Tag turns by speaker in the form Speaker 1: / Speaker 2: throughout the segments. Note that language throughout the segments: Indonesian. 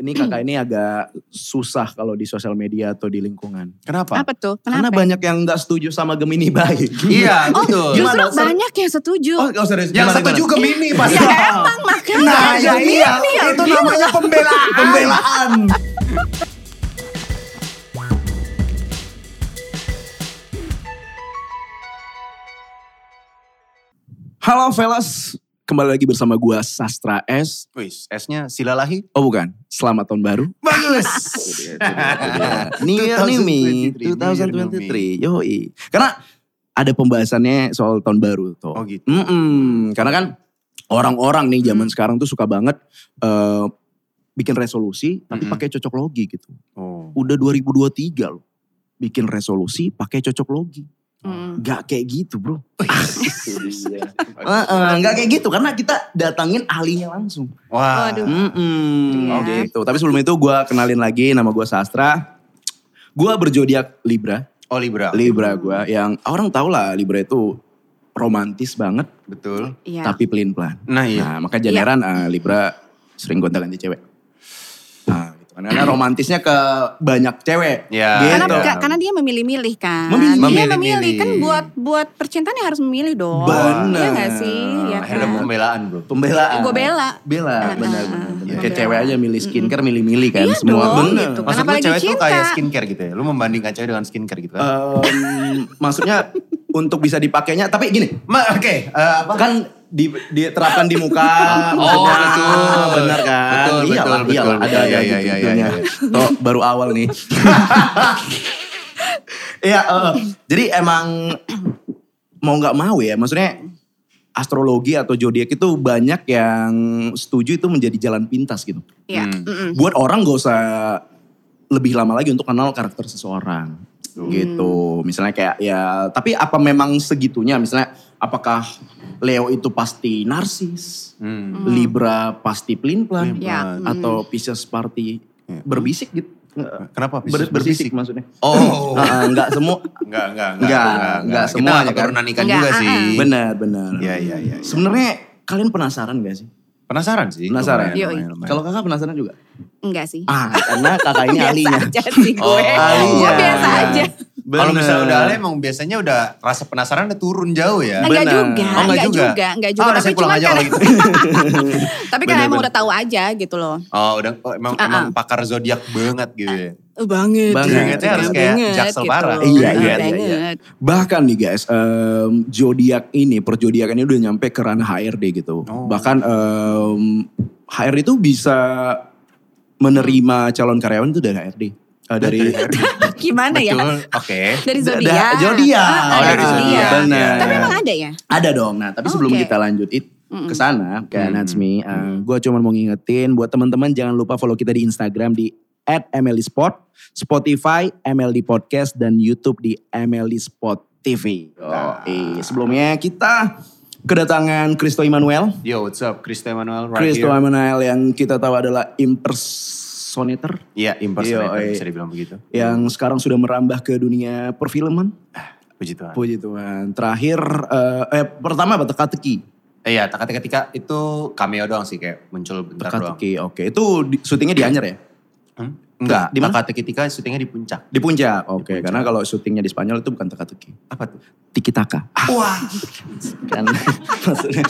Speaker 1: ini kakak ini agak susah kalau di sosial media atau di lingkungan. Kenapa?
Speaker 2: Apa tuh?
Speaker 1: Karena
Speaker 2: Kenapa?
Speaker 3: ya?
Speaker 2: ya?
Speaker 1: banyak yang nggak setuju sama Gemini baik.
Speaker 3: Iya
Speaker 2: Oh,
Speaker 3: betul.
Speaker 2: justru
Speaker 1: Gimana? Ser-
Speaker 2: banyak yang setuju.
Speaker 1: Oh, nggak usah serius.
Speaker 3: Yang
Speaker 1: Gimana, Iya.
Speaker 3: satu
Speaker 1: gimana?
Speaker 3: juga mini pasti.
Speaker 2: ya emang makanya.
Speaker 3: Nah, ya
Speaker 2: Gemini
Speaker 3: iya,
Speaker 2: ya,
Speaker 3: itu
Speaker 2: gimana?
Speaker 3: namanya pembelaan. pembelaan.
Speaker 1: Halo Velas, kembali lagi bersama gua Sastra S.
Speaker 3: Wis, S-nya silalahi.
Speaker 1: Oh bukan, selamat tahun baru.
Speaker 3: Bagus.
Speaker 1: Nah, New Year New Me 2023.
Speaker 3: 2023.
Speaker 1: Yoi. Karena ada pembahasannya soal tahun baru tuh.
Speaker 3: Oh, gitu.
Speaker 1: Mm-mm. Karena kan orang-orang nih zaman sekarang tuh suka banget eh, bikin resolusi tapi
Speaker 3: Mm-mm.
Speaker 1: pakai cocok logi gitu.
Speaker 3: Oh.
Speaker 1: Udah 2023 loh. Bikin resolusi pakai cocok logi.
Speaker 2: Hmm.
Speaker 1: Gak kayak gitu bro. Heeh, Gak kayak gitu karena kita datangin ahlinya langsung.
Speaker 3: Wah.
Speaker 2: Waduh.
Speaker 1: Mm-mm,
Speaker 2: Iya.
Speaker 1: gitu. Tapi sebelum itu gue kenalin lagi nama gue Sastra. Gue berjodiak Libra.
Speaker 3: Oh Libra.
Speaker 1: Libra gue yang orang tau lah Libra itu romantis banget
Speaker 3: Betul.
Speaker 2: Iya.
Speaker 1: tapi pelin pelan.
Speaker 3: Nah iya.
Speaker 1: Nah maka generan eh, Libra sering gonta ganti cewek. Nah, gitu. kan. Karena romantisnya ke banyak cewek.
Speaker 3: Iya.
Speaker 2: Karena,
Speaker 1: Gitu.
Speaker 2: enggak- karena dia memilih-milih kan.
Speaker 1: Memilih.
Speaker 2: Dia
Speaker 3: Memilih-milih.
Speaker 2: memilih kan buat buat percintaan ya harus memilih dong.
Speaker 1: Bener.
Speaker 2: Iya gak sih? Iya
Speaker 3: Nah, Akhirnya
Speaker 2: kan?
Speaker 3: pembelaan bro.
Speaker 1: Pembelaan.
Speaker 2: Gue bela.
Speaker 1: Bela, benar
Speaker 2: Ah, ah,
Speaker 1: benar.
Speaker 2: ah,
Speaker 1: benar.
Speaker 2: pembela.
Speaker 1: Kayak cewek aja milih skincare, milih-milih kan
Speaker 2: Iya
Speaker 1: semua.
Speaker 2: dong,
Speaker 1: bener.
Speaker 2: gitu.
Speaker 3: Maksud gue
Speaker 2: Apalagi
Speaker 3: cewek tuh
Speaker 2: cinta.
Speaker 3: kayak skincare gitu ya. Lu membandingkan cewek dengan skincare gitu kan.
Speaker 1: Em, maksudnya untuk bisa dipakainya tapi gini
Speaker 3: Ma- Oke. eh, apa?
Speaker 1: kan di, diterapkan di muka
Speaker 3: Oh,
Speaker 1: maksudnya.
Speaker 3: betul.
Speaker 1: benar kan
Speaker 3: Betul,
Speaker 1: iyalah
Speaker 3: betul,
Speaker 1: iyalah
Speaker 3: betul.
Speaker 1: ada ada
Speaker 3: Iya,
Speaker 1: gitu
Speaker 3: iya, iya, iya,
Speaker 1: gitunya. Tuh, baru awal nih Iya, eh, jadi emang mau nggak mau ya, maksudnya astrologi atau zodiak itu banyak yang setuju itu menjadi jalan pintas gitu.
Speaker 2: Iya.
Speaker 3: Hmm.
Speaker 2: Mm-mm.
Speaker 1: Buat orang gak usah lebih lama lagi untuk kenal karakter seseorang. Gitu. Misalnya kayak ya, tapi apa memang segitunya? Misalnya apakah Leo itu pasti narsis?
Speaker 3: Hmm.
Speaker 1: Libra pasti pelin-pelan?
Speaker 3: Pelin-pelan.
Speaker 2: Iya.
Speaker 1: Atau Pisces party
Speaker 3: Iya.
Speaker 1: berbisik gitu?
Speaker 3: Kenapa?
Speaker 1: Ber- berbisik maksudnya.
Speaker 3: Oh.
Speaker 1: Heeh, enggak semua
Speaker 3: Enggak, enggak,
Speaker 1: Enggak, enggak
Speaker 3: Kita
Speaker 1: semuanya
Speaker 3: nggak
Speaker 1: kan.
Speaker 3: keturunan ikan
Speaker 2: Enggak,
Speaker 3: juga
Speaker 2: ah,
Speaker 3: sih.
Speaker 2: ah.
Speaker 1: benar benar.
Speaker 3: Iya, iya, iya. iya.
Speaker 1: Sebenarnya kalian penasaran gak sih?
Speaker 3: Penasaran sih.
Speaker 1: Penasaran.
Speaker 3: lumayan,
Speaker 2: Yoi.
Speaker 3: lumayan, lumayan.
Speaker 1: Kalau kakak penasaran juga?
Speaker 2: Enggak sih.
Speaker 1: Ah, karena kakak ini ahlinya.
Speaker 2: Biasa aja sih gue. gue
Speaker 1: ahlinya.
Speaker 2: biasa
Speaker 1: Iya.
Speaker 2: aja.
Speaker 3: Kalau
Speaker 1: Bener.
Speaker 3: misalnya udah Ale emang biasanya udah rasa penasaran udah turun jauh ya.
Speaker 2: Enggak
Speaker 1: Benar.
Speaker 2: juga,
Speaker 3: Oh, enggak
Speaker 2: enggak
Speaker 3: juga?
Speaker 2: juga, enggak juga.
Speaker 3: Ah, udah
Speaker 2: tapi
Speaker 3: saya pulang
Speaker 2: cuma
Speaker 3: aja
Speaker 2: karena,
Speaker 3: kalau
Speaker 2: tapi
Speaker 3: gitu.
Speaker 2: karena emang
Speaker 1: Bener-bener.
Speaker 2: udah tahu aja gitu loh.
Speaker 3: Oh udah oh, emang,
Speaker 2: Ah,
Speaker 3: emang pakar zodiak banget gitu ya.
Speaker 2: Banget.
Speaker 1: Banget.
Speaker 3: Ingatnya harus
Speaker 2: iya.
Speaker 3: kayak jaksel
Speaker 2: gitu
Speaker 3: parah.
Speaker 1: Iya, iya, iya,
Speaker 2: Banget.
Speaker 1: Bahkan nih guys, em, zodiak ini, perjodiakan ini udah nyampe ke ranah HRD gitu.
Speaker 3: Oh.
Speaker 1: Bahkan em, HRD itu bisa menerima calon karyawan itu dari HRD. Eh, dari
Speaker 2: Gimana ya?
Speaker 3: Betul. Oke.
Speaker 2: Dari
Speaker 1: Da- da-
Speaker 2: zodiak.
Speaker 1: zodiak.
Speaker 2: Ah, ah,
Speaker 3: Oh, dari
Speaker 2: dari
Speaker 3: zodiak.
Speaker 2: zodiak.
Speaker 1: Benar.
Speaker 2: Tapi emang ada ya?
Speaker 1: Ada dong. Nah, tapi
Speaker 2: Oh,
Speaker 1: sebelum
Speaker 2: oke.
Speaker 1: kita lanjut it
Speaker 2: Mm-mm.
Speaker 1: ke sana ke
Speaker 3: Mm-mm.
Speaker 1: Natsmi, gue cuma mau ngingetin buat teman-teman jangan lupa follow kita di Instagram di @mldspot, E Spotify MLD Podcast dan YouTube di MLD Spot TV. Oh,
Speaker 3: Nah.
Speaker 1: sebelumnya kita kedatangan Kristo Immanuel.
Speaker 3: Yo, what's up? Christo Emmanuel right
Speaker 1: Kristo
Speaker 3: here.
Speaker 1: Immanuel yang kita tahu adalah impersonator
Speaker 3: Iya,
Speaker 1: Yo,
Speaker 3: impersonator
Speaker 1: eh.
Speaker 3: bisa dibilang begitu.
Speaker 1: yang sekarang sudah merambah ke dunia perfilman.
Speaker 3: Nah. Puji Tuhan.
Speaker 1: Puji Tuhan. Terakhir eh, eh pertama apa teka-teki?
Speaker 3: Eh, Iya, teka-teka itu cameo doang sih kayak muncul bentar doang.
Speaker 1: Teka-teki. Oke, itu di- syutingnya di Anyer ya?
Speaker 3: Hmm? Enggak,
Speaker 1: Di mana?
Speaker 3: teka-teka syutingnya di puncak.
Speaker 1: Di puncak. Oke,
Speaker 3: Di puncak.
Speaker 1: karena kalau syutingnya di Spanyol itu bukan teka-teki.
Speaker 3: Apa tuh?
Speaker 1: Tiki taka.
Speaker 3: Wah,
Speaker 1: Kan maksudnya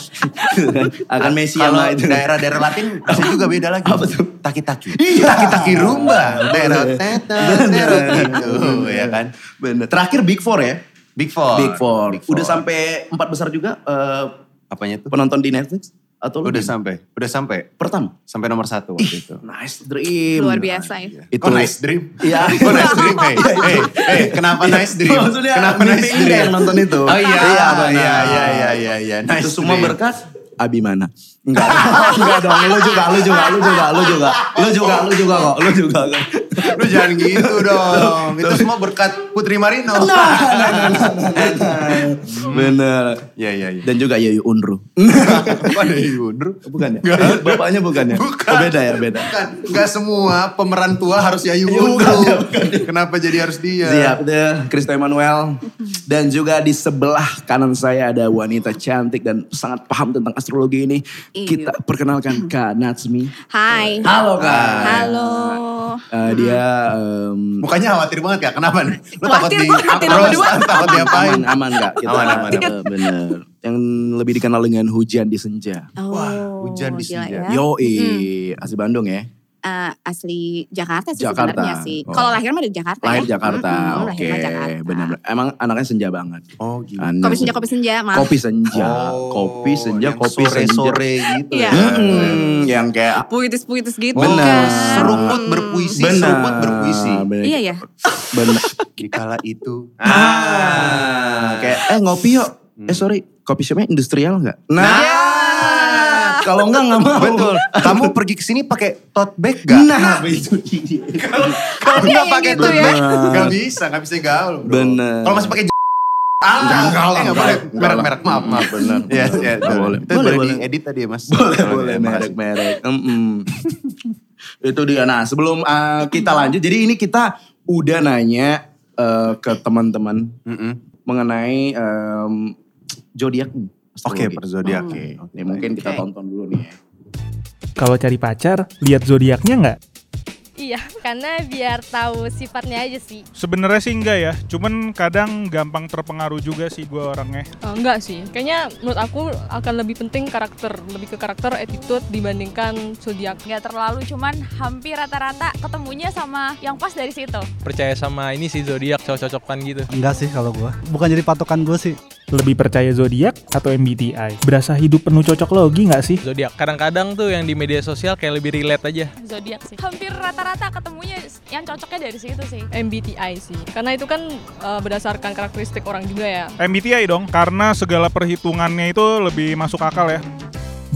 Speaker 1: akan Messi
Speaker 3: Ah, kalau
Speaker 1: sama itu.
Speaker 3: daerah-daerah Latin bisa juga beda lagi.
Speaker 1: Apa tuh? Iya.
Speaker 3: Taki-taki. Taki-taki rumba. Daerah teta, daerah gitu. ya kan.
Speaker 1: Bener. Terakhir Big Four ya?
Speaker 3: Big Four.
Speaker 1: Big Four. Udah
Speaker 3: Udah sampai.
Speaker 1: sampai empat besar juga eh,
Speaker 3: Apanya tuh?
Speaker 1: penonton di Netflix? Atau
Speaker 3: Udah
Speaker 1: lebih?
Speaker 3: sampai. Udah sampai.
Speaker 1: Pertama.
Speaker 3: Sampai nomor satu waktu itu.
Speaker 1: Nice dream.
Speaker 2: Luar biasa ya.
Speaker 1: Itu
Speaker 3: Kok nice dream?
Speaker 1: Iya.
Speaker 3: Kok nice dream? Hey, hey, hey, kenapa nice dream?
Speaker 1: Maksudnya
Speaker 3: kenapa nice
Speaker 1: mimpi Indah
Speaker 3: dream?
Speaker 1: yang nonton itu.
Speaker 3: Oh iya, iya,
Speaker 1: benar.
Speaker 3: iya, iya, iya, iya, iya. Nice
Speaker 1: Nah, itu semua
Speaker 3: dream.
Speaker 1: berkat Abimana. Enggak, enggak dong. Lu juga, lu juga, lu juga, lu juga, lu juga, lu juga kok, lu juga kok.
Speaker 3: Lu jangan gitu dong. Itu semua berkat Putri Marino.
Speaker 1: Bener.
Speaker 3: Iya, iya, iya.
Speaker 1: Dan juga Yayu Hmm? Unru.
Speaker 3: Kok ada Yunru?
Speaker 1: Bukan ya? Bapaknya bukan ya? Oh, beda ya, beda.
Speaker 3: Bukan. Nggak semua pemeran tua harus Yayu Unru. Kenapa jadi harus dia?
Speaker 1: Siap deh, Kristo Emmanuel. Dan juga di sebelah kanan saya ada wanita cantik dan sangat paham tentang astrologi ini.
Speaker 2: Iya.
Speaker 1: Kita perkenalkan Kak Natsmi.
Speaker 3: iya.
Speaker 2: Hai.
Speaker 1: Halo Kak.
Speaker 3: Ah.
Speaker 2: Halo.
Speaker 1: Eh, dia em,
Speaker 3: Mukanya khawatir banget ya, kenapa nih? Lu takut
Speaker 2: Khawatir
Speaker 3: di
Speaker 2: kok, hati nomor
Speaker 3: approach,
Speaker 2: dua.
Speaker 3: takut diapain?
Speaker 1: aman aman nggak kita
Speaker 3: Aman, aman,
Speaker 1: Eh, bener yang lebih dikenal dengan hujan di senja
Speaker 2: Oh,
Speaker 3: Wah, hujan di
Speaker 2: gila
Speaker 3: sini.
Speaker 2: ya.
Speaker 1: yo eh asli Bandung ya
Speaker 2: Eh, asli Jakarta sih
Speaker 1: Jakarta.
Speaker 2: sebenarnya sih.
Speaker 1: Oh.
Speaker 2: Kalau lahir mah di Jakarta
Speaker 1: lahir
Speaker 2: ya. Mm-mm,
Speaker 1: Jakarta
Speaker 2: lahir
Speaker 1: oke
Speaker 2: mah Jakarta.
Speaker 1: bener emang anaknya senja banget
Speaker 3: Oh gitu.
Speaker 1: Anak-
Speaker 2: Kopi senja, kopi senja, maaf.
Speaker 1: kopi senja kopi senja
Speaker 3: Oh, yang
Speaker 1: kopi senja
Speaker 3: sore-sore gitu.
Speaker 2: Iya.
Speaker 1: Mm-mm, yang kayak
Speaker 2: Puitis-puitis gitu
Speaker 1: Bener.
Speaker 2: kan.
Speaker 3: Seruput berpuisi, seruput berpuisi.
Speaker 1: bener.
Speaker 2: Iya ya.
Speaker 1: bener.
Speaker 3: Di kala itu.
Speaker 1: Ah, kayak eh ngopi yuk. Eh
Speaker 3: Hmm.
Speaker 1: sorry, kopi shopnya industrial nggak? Nah,
Speaker 3: Ya.
Speaker 1: kalau nggak nggak mau.
Speaker 3: Betul. Kamu pergi ke sini pakai tote bag gak?
Speaker 1: Nah.
Speaker 3: itu dia. Kalau kalau
Speaker 2: Ada
Speaker 3: nggak
Speaker 2: yang
Speaker 3: pakai
Speaker 2: gitu
Speaker 3: tote
Speaker 2: ya.
Speaker 3: bag, nggak bisa, nggak bisa gaul. Bro.
Speaker 1: Bener.
Speaker 3: Kalau masih pakai j-
Speaker 1: Enggak,
Speaker 3: ah,
Speaker 1: enggak lah,
Speaker 3: eh, nggak
Speaker 1: enggak lah,
Speaker 3: boleh.
Speaker 1: enggak lah.
Speaker 3: Merek-merek, maaf, maaf.
Speaker 1: Bener,
Speaker 3: Iya,
Speaker 1: bener.
Speaker 3: iya,
Speaker 1: Nggak boleh.
Speaker 3: Itu boleh,
Speaker 1: Boleh,
Speaker 3: boleh.
Speaker 1: boleh.
Speaker 3: diedit tadi ya, Mas.
Speaker 1: boleh
Speaker 3: Kalau
Speaker 1: boleh
Speaker 3: ya, makasih.
Speaker 1: merek-merek. Mm-mm. Itu dia. Nah, sebelum uh, kita lanjut, jadi ini kita udah nanya uh, ke teman-teman
Speaker 3: Mm-mm.
Speaker 1: mengenai um, zodiak nih.
Speaker 3: Oke,
Speaker 1: astrologi.
Speaker 3: per zodiak.
Speaker 1: Oke. Nih, mungkin kita
Speaker 2: Oke.
Speaker 1: tonton dulu nih ya.
Speaker 4: Kalau cari pacar, lihat zodiaknya nggak?
Speaker 5: Iya, karena biar tahu sifatnya aja sih.
Speaker 6: Sebenarnya sih enggak ya, cuman kadang gampang terpengaruh juga sih gue orangnya.
Speaker 7: Eh, enggak sih, kayaknya menurut aku akan lebih penting karakter, lebih ke karakter attitude dibandingkan zodiak.
Speaker 8: nggak terlalu cuman hampir rata-rata ketemunya sama yang pas dari situ
Speaker 9: percaya sama ini sih zodiak cocok-cocokan gitu.
Speaker 10: Enggak sih kalau gua. Bukan jadi patokan gua sih.
Speaker 4: Lebih percaya zodiak atau MBTI? Berasa hidup penuh cocok logi nggak sih?
Speaker 9: Zodiak kadang-kadang tuh yang di media sosial kayak lebih relate aja.
Speaker 7: Zodiak sih.
Speaker 8: hampir rata-rata ketemunya yang cocoknya dari situ sih
Speaker 7: MBTI sih. Karena itu kan eh, berdasarkan karakteristik orang juga ya.
Speaker 6: MBTI dong, karena segala perhitungannya itu lebih masuk akal ya.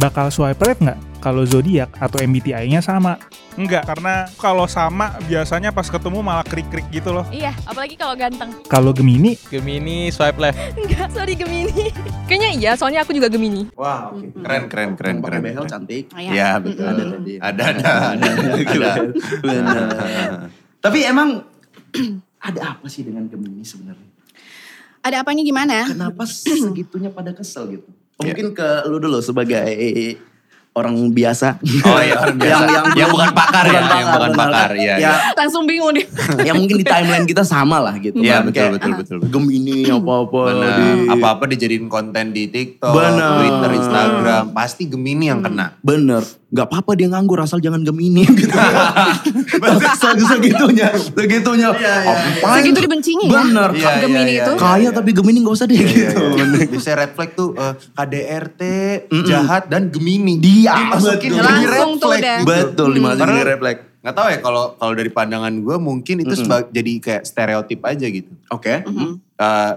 Speaker 4: Bakal swipe right nggak kalau zodiak atau MBTI-nya sama?
Speaker 6: Enggak, karena kalau sama biasanya pas ketemu malah krik-krik gitu loh.
Speaker 8: iya apalagi kalau ganteng
Speaker 4: Kalau Gemini,
Speaker 9: Gemini swipe left.
Speaker 7: Enggak, sorry Gemini. kayaknya iya, soalnya aku juga Gemini.
Speaker 3: Wah, oke. Keren, keren,
Speaker 1: Yang
Speaker 3: keren, keren.
Speaker 1: pakai behel cantik.
Speaker 2: Oh, ya.
Speaker 3: Iya, betul.
Speaker 1: Ada tadi.
Speaker 3: Ada, ada, ada. ada.
Speaker 1: Benar. Tapi emang ada apa sih dengan Gemini sebenarnya?
Speaker 2: Ada apanya gimana?
Speaker 1: Kenapa segitunya pada kesel gitu?
Speaker 3: Iya.
Speaker 1: Mungkin ke lu dulu sebagai orang biasa.
Speaker 3: Oh iya, orang biasa.
Speaker 1: Yang- yang belum-
Speaker 3: bukan pakar ya,
Speaker 1: bukan pakar,
Speaker 3: yang bukan
Speaker 1: benar.
Speaker 3: pakar. Iya,
Speaker 1: ya,
Speaker 3: iya.
Speaker 2: Langsung bingung dia.
Speaker 1: yang mungkin di timeline kita sama lah gitu.
Speaker 3: Iya,
Speaker 1: kan.
Speaker 3: betul,
Speaker 1: Kayak
Speaker 3: betul, betul.
Speaker 1: Gemini apa-apa.
Speaker 3: Benar.
Speaker 1: di-
Speaker 3: Apa-apa dijadiin konten di TikTok,
Speaker 1: Benar. Hmm.
Speaker 3: Twitter, Instagram. Pasti Gemini yang kena.
Speaker 1: Bener, gak apa-apa dia nganggur asal jangan Gemini gitu. Betul, segitunya, segitunya. Oh, Apaan?
Speaker 2: Segitu dibencinya ya.
Speaker 1: Bener,
Speaker 3: Iya, iya,
Speaker 2: Gemini
Speaker 3: iya,
Speaker 2: itu.
Speaker 3: iya,
Speaker 1: kaya
Speaker 3: iya.
Speaker 1: tapi Gemini gak usah deh
Speaker 3: Iya,
Speaker 1: gitu.
Speaker 3: iya, iya. Bisa red flag tuh eh, KDRT, jahat dan Gemini.
Speaker 1: Dia,
Speaker 3: dimasukin
Speaker 1: betul.
Speaker 3: jadi red
Speaker 2: Langsung tuh
Speaker 3: flag.
Speaker 2: udah.
Speaker 1: Betul, dimasukin
Speaker 3: Karena-
Speaker 1: jadi red flag.
Speaker 3: Nggak tahu ya kalau kalau dari pandangan gue mungkin itu seba- jadi kayak stereotip aja gitu.
Speaker 1: Oke.
Speaker 3: Eh,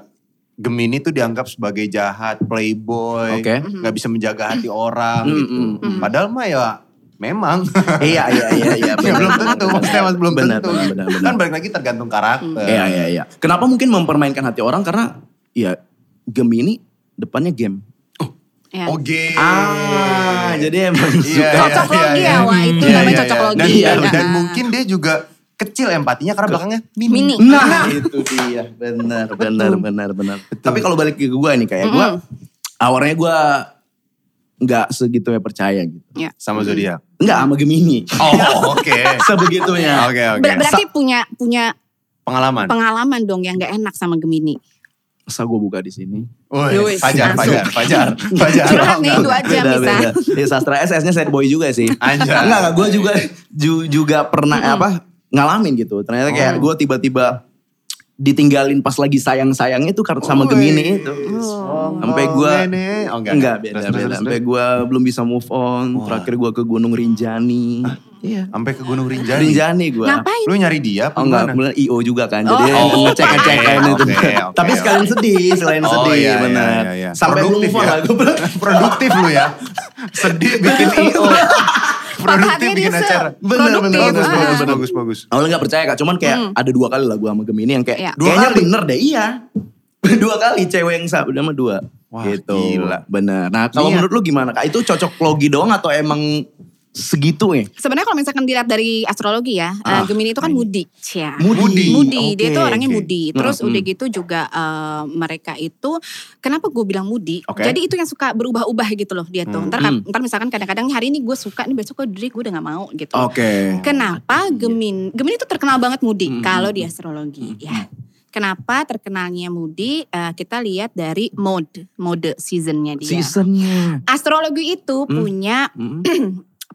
Speaker 3: Gemini tuh dianggap sebagai jahat, playboy,
Speaker 1: Oke.
Speaker 3: nggak bisa menjaga hati orang
Speaker 1: Mm,
Speaker 3: gitu.
Speaker 1: mm,
Speaker 3: Padahal mah ya memang.
Speaker 1: iya iya iya iya
Speaker 3: Ya, belum tentu, maksudnya mas belum
Speaker 1: benar,
Speaker 3: tentu.
Speaker 1: benar, benar, benar.
Speaker 3: Kan balik lagi tergantung karakter.
Speaker 1: iya iya iya kenapa mungkin mempermainkan hati orang karena ya Gemini depannya game
Speaker 2: Ya.
Speaker 3: Oke.
Speaker 1: ah jadi emang
Speaker 3: Iya,
Speaker 1: suka
Speaker 2: Cocok
Speaker 3: iya,
Speaker 2: logi
Speaker 3: iya.
Speaker 2: ya, Wah. Itu
Speaker 3: Iya,
Speaker 2: namanya
Speaker 3: iya,
Speaker 2: cocok
Speaker 3: iya.
Speaker 2: logi.
Speaker 3: Dan,
Speaker 1: Iya,
Speaker 3: dan- dan
Speaker 2: Nah.
Speaker 3: mungkin dia juga kecil empatinya karena belakangnya mini.
Speaker 2: Mini.
Speaker 1: Nah, itu dia. Benar, benar, benar, benar. Tapi kalau balik ke gue nih kayak gue, awalnya gue nggak segitu ya percaya gitu.
Speaker 2: Ya.
Speaker 3: Sama zodiak.
Speaker 1: Nggak sama Gemini.
Speaker 3: Oh oke.
Speaker 1: Sebegitunya.
Speaker 3: Oke oke.
Speaker 2: Ber- berarti punya punya
Speaker 3: Pengalaman.
Speaker 2: pengalaman dong yang gak enak sama Gemini.
Speaker 1: Masa gue buka di sini.
Speaker 3: Woi,
Speaker 2: Yowis,
Speaker 3: Fajar,
Speaker 2: langsung.
Speaker 3: Fajar, Fajar, Fajar.
Speaker 1: Iya.
Speaker 2: Curhat nih dua jam bisa.
Speaker 1: Beda, beda. Ya sastra SS-nya sad boy juga sih.
Speaker 3: Anjay.
Speaker 1: Enggak, enggak. Gue juga ju- juga pernah apa ngalamin gitu. Ternyata kayak
Speaker 3: Oh.
Speaker 1: gue tiba-tiba ditinggalin pas lagi sayang-sayangnya itu karena sama
Speaker 3: Woi.
Speaker 1: Gemini itu. Sampai gue
Speaker 3: iya. Oh, Nene. Oh,
Speaker 1: enggak
Speaker 3: enggak, enggak.
Speaker 1: beda,
Speaker 3: Terus, terus,
Speaker 1: beda.
Speaker 3: terus,
Speaker 1: Sampai gue belum bisa move on. Terakhir gue ke Gunung Rinjani. Iya.
Speaker 3: Sampai ke Gunung Ah, Rinjani.
Speaker 1: Rinjani gue.
Speaker 2: Ngapain?
Speaker 3: Lu nyari dia apa
Speaker 1: Oh enggak,
Speaker 3: gimana?
Speaker 1: kemudian IO juga kan. Jadi
Speaker 3: Oh,
Speaker 1: ngecek ngecek
Speaker 3: oke,
Speaker 1: kan itu.
Speaker 3: oke, oke,
Speaker 1: Tapi
Speaker 3: oke.
Speaker 1: sekalian sedih, selain
Speaker 3: Oh,
Speaker 1: sedih
Speaker 3: iya, iya,
Speaker 1: benar.
Speaker 3: iya, iya.
Speaker 1: Sampai belum
Speaker 3: Produktif
Speaker 1: move on
Speaker 3: ya.
Speaker 1: lah gue.
Speaker 3: Produktif lu ya. Sedih bikin IO. Produktif
Speaker 2: Patahannya
Speaker 3: bikin
Speaker 2: dia se- Ah,
Speaker 3: acara.
Speaker 1: Oh. Bener, bener,
Speaker 3: Bagus,
Speaker 1: bener,
Speaker 3: bagus,
Speaker 1: bener.
Speaker 3: bagus, bagus.
Speaker 1: Awalnya gak percaya kak, cuman kayak ada dua kali lah gue sama Gemini yang kayak
Speaker 2: Hmm. Iya.
Speaker 3: Dua
Speaker 1: kayaknya
Speaker 3: kali?
Speaker 1: bener deh, iya. dua kali cewek yang sama, udah sama dua.
Speaker 3: Wah,
Speaker 1: gitu.
Speaker 3: gila.
Speaker 1: Bener. Nah kalau
Speaker 3: Niat.
Speaker 1: menurut lu gimana kak? Itu cocok logi doang atau emang segitu ya?
Speaker 2: Sebenarnya kalau misalkan dilihat dari astrologi ya,
Speaker 1: Ah,
Speaker 2: eh, Gemini itu kan
Speaker 1: ini.
Speaker 2: mudi, cia.
Speaker 1: Mudi.
Speaker 2: Mudi,
Speaker 1: Oke,
Speaker 2: dia itu orangnya
Speaker 1: oke.
Speaker 2: mudi. Terus
Speaker 1: Hmm,
Speaker 2: udah
Speaker 1: hmm.
Speaker 2: gitu juga eh, mereka itu, kenapa gue bilang mudi?
Speaker 1: Oke.
Speaker 2: Jadi itu yang suka berubah-ubah gitu loh dia tuh.
Speaker 1: Hmm.
Speaker 2: Ntar, kap-
Speaker 1: Hmm.
Speaker 2: ntar misalkan kadang-kadang hari ini gue suka, nih besok gue diri gue udah gak mau gitu.
Speaker 1: Oke. Iya.
Speaker 2: Kenapa Gemini, Gemini itu terkenal banget mudi
Speaker 1: Hmm.
Speaker 2: kalau di astrologi
Speaker 1: Hmm.
Speaker 2: ya. Kenapa terkenalnya mudi? Eh, kita lihat dari mode, mode seasonnya dia.
Speaker 1: Seasonnya.
Speaker 2: Astrologi itu
Speaker 1: Hmm.
Speaker 2: punya
Speaker 1: Hmm,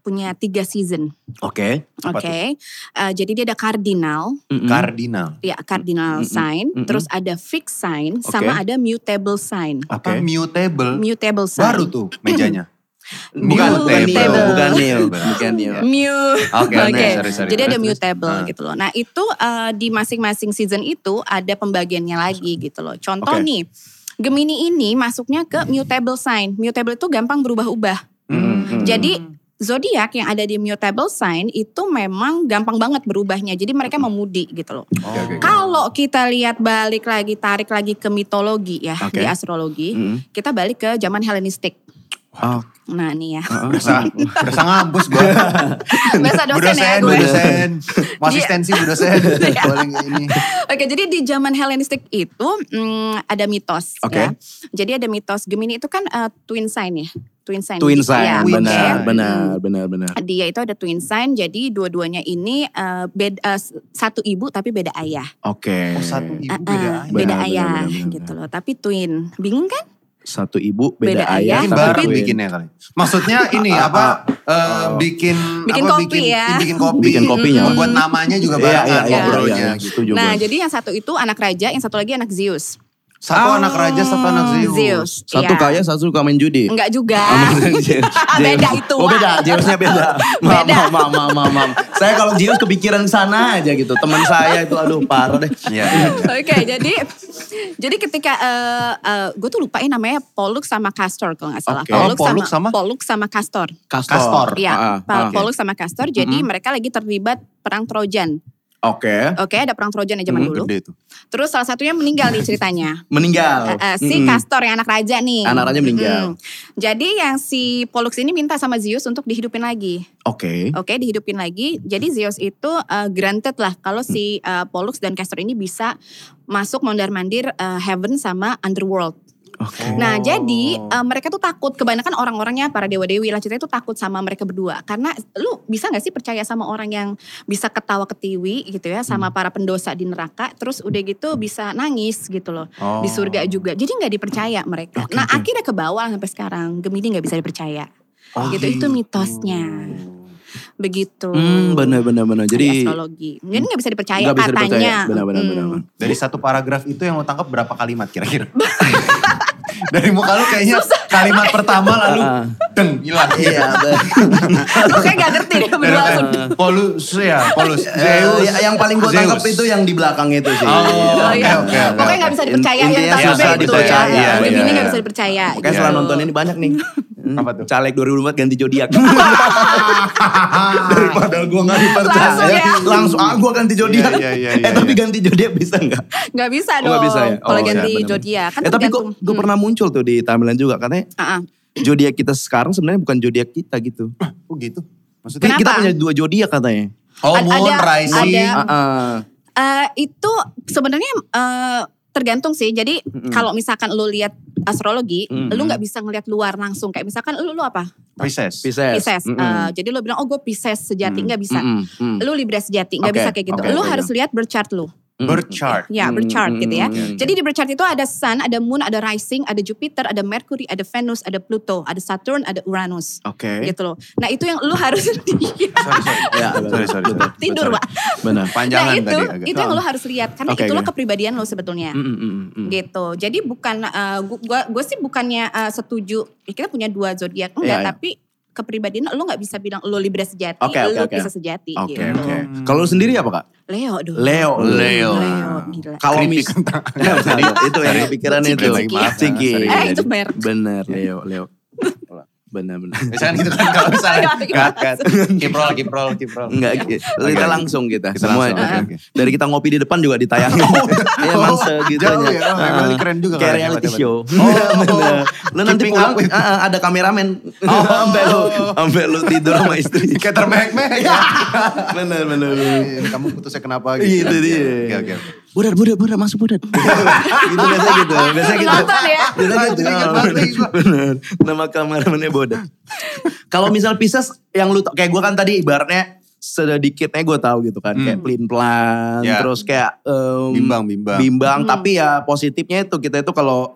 Speaker 2: punya tiga season,
Speaker 1: Oke.
Speaker 2: oke?
Speaker 3: Apa tuh?
Speaker 2: Eh, jadi dia ada cardinal,
Speaker 1: Mm-mm.
Speaker 3: Kardinal.
Speaker 2: ya cardinal
Speaker 1: Mm-mm.
Speaker 2: sign,
Speaker 1: Mm-mm.
Speaker 2: terus ada fixed sign,
Speaker 1: Oke.
Speaker 2: sama ada mutable sign.
Speaker 3: Apa
Speaker 1: Oke.
Speaker 3: mutable?
Speaker 2: Mutable sign.
Speaker 3: Baru tuh mejanya.
Speaker 1: Bukan, bukan
Speaker 2: Mutable.
Speaker 1: Neo, bukan Neo, bukan Neo.
Speaker 2: Mu-
Speaker 3: Oke,
Speaker 2: Oke.
Speaker 3: oke, sorry, sorry.
Speaker 2: Jadi ada
Speaker 3: Terus, terus.
Speaker 2: mutable
Speaker 3: Ah.
Speaker 2: gitu loh. Nah itu eh, di masing-masing season itu ada pembagiannya lagi gitu loh.
Speaker 1: Oke.
Speaker 2: Contoh nih, Gemini ini masuknya ke mutable sign. Mutable itu gampang berubah-ubah.
Speaker 1: Hmm, hmm.
Speaker 2: Jadi zodiak yang ada di mutable sign itu memang gampang banget berubahnya. Jadi mereka memudi gitu loh.
Speaker 3: Oke, oke, oke.
Speaker 2: Kalau kita lihat balik lagi, tarik lagi ke mitologi ya
Speaker 1: Oke.
Speaker 2: di astrologi,
Speaker 1: Hmm.
Speaker 2: kita balik ke zaman Helenistik.
Speaker 1: Oh,
Speaker 2: Nah nih ya,
Speaker 3: Berasa, berasa ngabus gue.
Speaker 2: bahasa
Speaker 3: Bu
Speaker 2: dosen ya
Speaker 3: Bu
Speaker 2: gue.
Speaker 3: dosen. Mau asistensi bu dosen.
Speaker 2: Iya.
Speaker 3: Paling ini.
Speaker 2: Oke, jadi di zaman Helenistik itu mm, ada mitos
Speaker 1: Oke.
Speaker 2: ya. Jadi ada mitos Gemini itu kan eh, twin sign ya, twin sign.
Speaker 1: twin
Speaker 2: Iya,
Speaker 1: sign,
Speaker 2: oke.
Speaker 1: benar,
Speaker 2: Hmm.
Speaker 1: benar, benar, benar.
Speaker 2: Dia itu ada twin sign, jadi dua-duanya ini eh, bed- eh, satu ibu tapi beda ayah.
Speaker 1: Oke.
Speaker 3: Oh satu ibu beda
Speaker 2: Ah, ah,
Speaker 3: ayah.
Speaker 2: beda
Speaker 1: Benar, benar,
Speaker 2: ayah
Speaker 1: benar, benar,
Speaker 2: gitu loh. Tapi twin, bingung kan?
Speaker 1: Satu ibu beda,
Speaker 2: Beda
Speaker 1: ayah,
Speaker 2: ayah,
Speaker 3: Ini
Speaker 1: tapi
Speaker 3: baru
Speaker 1: twin.
Speaker 3: bikinnya kali. Maksudnya ini
Speaker 1: Ah,
Speaker 3: apa? eh, bikin
Speaker 2: Bikin
Speaker 3: apa,
Speaker 2: kopi ya.
Speaker 3: Bikin kopi.
Speaker 1: Bikin kopinya.
Speaker 3: Membuat namanya
Speaker 1: Iya,
Speaker 3: juga barengan ngobrolnya. gitu.
Speaker 1: setuju
Speaker 2: Nah,
Speaker 1: gue.
Speaker 2: jadi yang satu itu anak raja, yang satu lagi anak Zeus.
Speaker 3: Satu anak raja, satu anak Zeus.
Speaker 2: Oh, Zeus.
Speaker 1: satu kaya,
Speaker 2: iya.
Speaker 1: satu suka main judi.
Speaker 2: Enggak juga.
Speaker 1: beda
Speaker 2: Beda itu,
Speaker 1: Oh beda,
Speaker 2: Wak.
Speaker 1: Zeusnya beda. Mam,
Speaker 2: Beda.
Speaker 1: mam, mam, mam, mam. Saya kalau Zeus kepikiran sana aja gitu. Teman saya itu aduh parah deh.
Speaker 3: Iya. iya.
Speaker 2: Oke, jadi jadi ketika eh gue tuh lupain namanya Pollux sama Castor kalau nggak salah.
Speaker 1: Oke.
Speaker 2: Pollux,
Speaker 3: Oh, Pollux
Speaker 2: sama,
Speaker 3: sama?
Speaker 2: Pollux sama Castor.
Speaker 1: Kastor.
Speaker 3: Kastor.
Speaker 2: Iya,
Speaker 1: Ah, ah,
Speaker 2: Pa-
Speaker 1: oke. Mm-hmm.
Speaker 2: Pollux sama Castor. Jadi mereka lagi terlibat perang Trojan.
Speaker 1: Oke.
Speaker 2: Oke, ada perang Trojan ya zaman
Speaker 1: Mhm.
Speaker 2: dulu.
Speaker 3: Gede tuh.
Speaker 2: Terus salah satunya meninggal nih ceritanya.
Speaker 1: Meninggal.
Speaker 2: Eh, eh, si
Speaker 1: Mm-mm.
Speaker 2: Castor yang anak raja nih.
Speaker 1: Mm-hmm. Anak raja meninggal.
Speaker 2: Mm. Jadi yang si Pollux ini minta sama Zeus untuk dihidupin lagi.
Speaker 1: Oke.
Speaker 2: Oke, dihidupin lagi. Jadi Zeus itu eh, granted lah kalau si eh, Pollux dan Castor ini bisa masuk mondar-mandir eh, heaven sama underworld.
Speaker 1: Oke.
Speaker 2: Nah, jadi eh, mereka tuh takut kebanyakan orang-orangnya para dewa-dewi lah ceritanya tuh takut sama mereka berdua karena lu bisa nggak sih percaya sama orang yang bisa ketawa ketiwi gitu ya sama
Speaker 1: Hmm.
Speaker 2: para pendosa di neraka terus udah gitu bisa nangis gitu loh
Speaker 3: Oh.
Speaker 2: di surga juga. Jadi nggak dipercaya mereka.
Speaker 1: Oke,
Speaker 2: nah
Speaker 1: oke.
Speaker 2: akhirnya ke bawah sampai sekarang Gemini nggak bisa dipercaya.
Speaker 1: Ah,
Speaker 3: Oh,
Speaker 2: gitu, itu mitosnya. Begitu.
Speaker 1: Hmm, benar benar benar.
Speaker 2: Di
Speaker 1: Jadi
Speaker 2: astrologi. Jadi nggak bisa dipercaya
Speaker 1: nggak bisa
Speaker 2: Iya, katanya.
Speaker 1: dipercaya. Benar benar benar.
Speaker 2: Mm.
Speaker 1: benar.
Speaker 3: Dari satu paragraf itu yang lo tangkap berapa kalimat kira-kira? Dari muka lu kayaknya kalimat pertama lalu
Speaker 1: Ah.
Speaker 3: deng hilang.
Speaker 1: Iya. benar.
Speaker 2: Lu Ah, kayak nggak ngerti deh berdua langsung.
Speaker 3: Polus ya, Polus.
Speaker 1: Zeus. Eh,
Speaker 3: Zeus.
Speaker 1: Iya, ya, yang paling gue tangkap itu ya. yang di belakang itu sih.
Speaker 3: Oh,
Speaker 2: Oh,
Speaker 3: oke
Speaker 2: iya.
Speaker 3: oke. oke.
Speaker 2: Pokoknya nggak bisa
Speaker 1: Int-
Speaker 2: dipercaya yang
Speaker 1: intinya
Speaker 2: tadi
Speaker 1: susah
Speaker 2: itu.
Speaker 1: dipercaya,
Speaker 2: Cak.
Speaker 1: iya,
Speaker 2: Gemini
Speaker 1: iya.
Speaker 2: nggak bisa dipercaya.
Speaker 1: Makanya
Speaker 2: gitu.
Speaker 1: setelah nonton ini banyak nih.
Speaker 3: Iya. Apa tuh?
Speaker 1: Caleg 2004 ganti zodiak. Daripada gue gak dipercaya.
Speaker 2: Langsung ya?
Speaker 1: Langsung, ah gue ganti zodiak.
Speaker 3: Iya, iya, iya,
Speaker 1: eh tapi
Speaker 3: iya.
Speaker 1: ganti zodiak bisa gak?
Speaker 2: Nggak bisa
Speaker 1: Oh,
Speaker 2: dong.
Speaker 1: nggak bisa ya?
Speaker 2: Kalau
Speaker 1: Oh,
Speaker 2: ganti
Speaker 1: iya, benar-benar.
Speaker 2: zodiak kan
Speaker 1: eh tapi gue
Speaker 2: tergantung.
Speaker 1: gue
Speaker 2: Hmm.
Speaker 1: pernah muncul tuh di timeline juga. Katanya
Speaker 2: Ah, ah.
Speaker 1: zodiak kita sekarang sebenarnya bukan zodiak kita gitu.
Speaker 3: Oh gitu. Maksudnya
Speaker 1: Kita
Speaker 2: Kenapa?
Speaker 1: punya dua zodiak katanya.
Speaker 3: Oh,
Speaker 2: Ada-
Speaker 3: moon
Speaker 2: ada-
Speaker 3: rising.
Speaker 2: ada-
Speaker 1: Ah, ah.
Speaker 2: Eh, itu sebenarnya eh, tergantung sih. Jadi
Speaker 1: Mm-mm.
Speaker 2: kalau misalkan lu lihat astrologi,
Speaker 1: Mm-mm.
Speaker 2: lu nggak bisa ngelihat luar langsung. Kayak misalkan lu lu apa?
Speaker 3: Pisces.
Speaker 1: Pisces.
Speaker 2: Pisces.
Speaker 1: Mm-mm.
Speaker 2: Eh, jadi lu bilang oh gue Pisces sejati
Speaker 1: Mm-mm.
Speaker 2: nggak bisa.
Speaker 1: Mm-mm. Mm-mm.
Speaker 2: Lu Libra sejati nggak
Speaker 1: Hmm. Oke,
Speaker 2: bisa kayak gitu.
Speaker 1: oke, iya, Hmm,
Speaker 2: lu
Speaker 1: oke.
Speaker 2: harus lihat birth chart lu.
Speaker 1: Mm-mm.
Speaker 3: Birth chart.
Speaker 2: Ya, birth chart
Speaker 1: Mm-mm.
Speaker 2: gitu ya.
Speaker 1: Mm-mm.
Speaker 2: Jadi di birth chart itu ada sun, ada moon, ada rising, ada Jupiter, ada Mercury, ada Venus, ada Pluto, ada Saturn, ada Uranus.
Speaker 1: Oke.
Speaker 2: Gitu loh. Nah, itu yang lu harus
Speaker 3: Sorry, sorry.
Speaker 1: Ya,
Speaker 2: Gitu.
Speaker 3: sorry, sorry, sorry.
Speaker 2: tidur,
Speaker 3: Sorry.
Speaker 2: Pak.
Speaker 1: Benar.
Speaker 2: Nah,
Speaker 3: Panjangan
Speaker 2: itu
Speaker 3: tadi agak.
Speaker 2: itu yang lu harus lihat karena
Speaker 1: Oh. Oke,
Speaker 2: itulah
Speaker 1: oke. Hmm.
Speaker 2: kepribadian lu sebetulnya.
Speaker 1: Mm-mm, mm-mm, mm-mm.
Speaker 2: gitu. Jadi bukan eh, gue gue sih bukannya eh, setuju ya, kita punya dua zodiak enggak,
Speaker 1: Iya, iya.
Speaker 2: tapi kepribadian lo nggak bisa bilang lo Libra sejati,
Speaker 1: Oke, oke,
Speaker 2: lo
Speaker 1: oke.
Speaker 2: bisa sejati.
Speaker 1: Oke,
Speaker 2: gitu.
Speaker 1: oke. Kalau lu sendiri apa, Kak?
Speaker 2: Leo dong. Hmm,
Speaker 1: Leo.
Speaker 3: Leo.
Speaker 2: Leo, gila.
Speaker 1: Kalau mis,
Speaker 3: Ya,
Speaker 1: Tadi itu yang kepikiran
Speaker 2: Ciki,
Speaker 1: itu.
Speaker 2: ciki.
Speaker 1: Ciki.
Speaker 2: Eh, itu merek.
Speaker 1: Bener, Leo, Leo. benar-benar.
Speaker 3: Misalkan gitu kan kalau misalnya cut, cut. Kiprol, kiprol, kiprol.
Speaker 1: Enggak,
Speaker 3: Oke,
Speaker 1: kita
Speaker 3: oke.
Speaker 1: langsung kita,
Speaker 3: Kita
Speaker 1: semua.
Speaker 3: langsung, oke, oke.
Speaker 1: Dari kita ngopi di depan juga ditayangin. ya, emang
Speaker 3: Oh, jauh
Speaker 1: segitunya.
Speaker 3: ya, oh,
Speaker 1: Heeh.
Speaker 3: emang keren juga
Speaker 1: Ah, Kayak
Speaker 3: kalau
Speaker 1: reality
Speaker 3: hebat-hebat.
Speaker 1: show.
Speaker 3: Oh.
Speaker 1: Bener. Lu nanti
Speaker 3: Keeping
Speaker 1: pulang
Speaker 3: up Oh. with-
Speaker 1: heeh, ada kameramen. Sampai lu sampai lu tidur sama istri.
Speaker 3: Kayak termehek-mehek ya.
Speaker 1: Bener bener.
Speaker 3: Eh, Kamu putusnya kenapa gitu.
Speaker 1: Gitu dia.
Speaker 3: Oke, oke. oke.
Speaker 1: Budak budak budak masuk budak. gitu biasa gitu. Biasa gitu.
Speaker 8: Nonton ya.
Speaker 1: Biasa gitu.
Speaker 3: Anjing, ingat banget nih gua.
Speaker 1: Bener. Nama kameramennya bodoh. Kalau misal Pisces yang lu kayak gue kan tadi ibaratnya sedikitnya gue tahu gitu kan kayak pelin pelan
Speaker 3: Hmm. Ya.
Speaker 1: terus kayak em,
Speaker 3: Bimbang, bimbang. Hmm.
Speaker 1: bimbang tapi ya positifnya itu kita itu kalau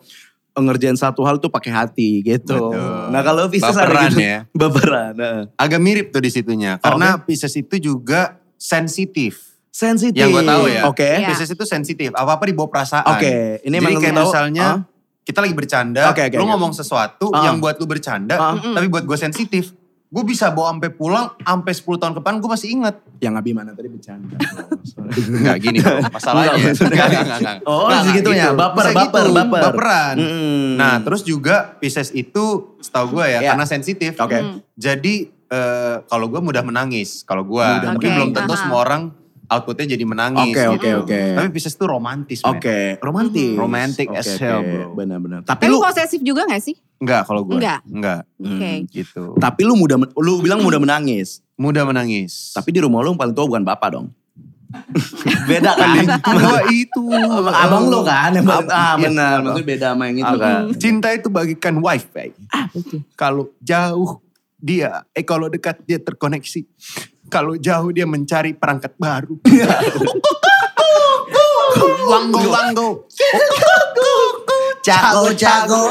Speaker 1: ngerjain satu hal tuh pakai hati gitu.
Speaker 3: Betul.
Speaker 1: Nah kalau Pisces
Speaker 3: Baperan
Speaker 1: ada gitu.
Speaker 3: ya.
Speaker 1: Baperan. nah. heeh.
Speaker 3: Agak mirip tuh di situnya. Karena Pisces itu juga sensitif.
Speaker 1: Sensitif.
Speaker 3: Yang gue tahu ya.
Speaker 1: Oke.
Speaker 2: Iya.
Speaker 3: Pisces itu sensitif. Apa-apa dibawa perasaan.
Speaker 1: Oke. Ini
Speaker 3: Jadi
Speaker 1: emang
Speaker 3: kayak
Speaker 1: tahu,
Speaker 3: misalnya
Speaker 1: ah?
Speaker 3: kita lagi bercanda,
Speaker 1: Oke, oke,
Speaker 3: lu
Speaker 1: oke.
Speaker 3: ngomong sesuatu
Speaker 1: Ah.
Speaker 3: yang buat lu bercanda,
Speaker 1: Ah.
Speaker 3: tapi buat gue sensitif. Gue bisa bawa sampai pulang, sampai 10 tahun ke depan gue masih inget.
Speaker 1: yang Abi mana tadi bercanda. Oh, sorry.
Speaker 3: Enggak gini, masalahnya.
Speaker 1: Enggak, maksudnya.
Speaker 3: Enggak, enggak, enggak.
Speaker 1: Oh,
Speaker 3: Enggak, enggak
Speaker 1: segitunya. Baper,
Speaker 3: Nah, Bisa
Speaker 1: baper, baper.
Speaker 3: gitu. Baperan.
Speaker 1: Mm.
Speaker 3: Nah, terus juga Pisces itu setahu gue ya,
Speaker 1: Iya.
Speaker 3: karena sensitif.
Speaker 1: Oke.
Speaker 3: Jadi eh, kalau gue mudah menangis, kalau gue.
Speaker 1: Mudah
Speaker 3: Tapi
Speaker 2: menangis.
Speaker 3: belum tentu
Speaker 2: Aha.
Speaker 3: semua orang outputnya jadi menangis.
Speaker 1: Oke, oke,
Speaker 3: gitu.
Speaker 1: oke.
Speaker 3: Tapi Pisces tuh romantis, men.
Speaker 1: Oke, romantis.
Speaker 3: Romantic
Speaker 1: Oke,
Speaker 3: as
Speaker 1: oke.
Speaker 3: hell, bro.
Speaker 1: Benar-benar. Tapi
Speaker 2: Tapi
Speaker 1: lu
Speaker 2: Kan
Speaker 1: Hmm.
Speaker 2: posesif juga gak sih?
Speaker 3: Enggak kalau gue.
Speaker 2: Enggak.
Speaker 3: Enggak.
Speaker 2: Oke.
Speaker 3: Gitu.
Speaker 1: tapi lu mudah men- lu bilang mudah menangis.
Speaker 3: Mudah menangis.
Speaker 1: Tapi di rumah lu yang paling tua bukan bapak dong. beda kan?
Speaker 3: Gua itu.
Speaker 1: Abang, abang lu kan yang paling- ah
Speaker 3: Iya,
Speaker 1: benar,
Speaker 3: abang.
Speaker 1: maksudnya beda sama yang itu
Speaker 3: Apa?
Speaker 1: kan.
Speaker 3: gitu Cinta itu bagikan wifi.
Speaker 1: Ah,
Speaker 3: Kalau jauh dia, eh kalau dekat dia terkoneksi. Kalau jauh dia mencari perangkat baru.
Speaker 1: Iya.
Speaker 3: Wanggo, wanggo.
Speaker 1: Cago, cago.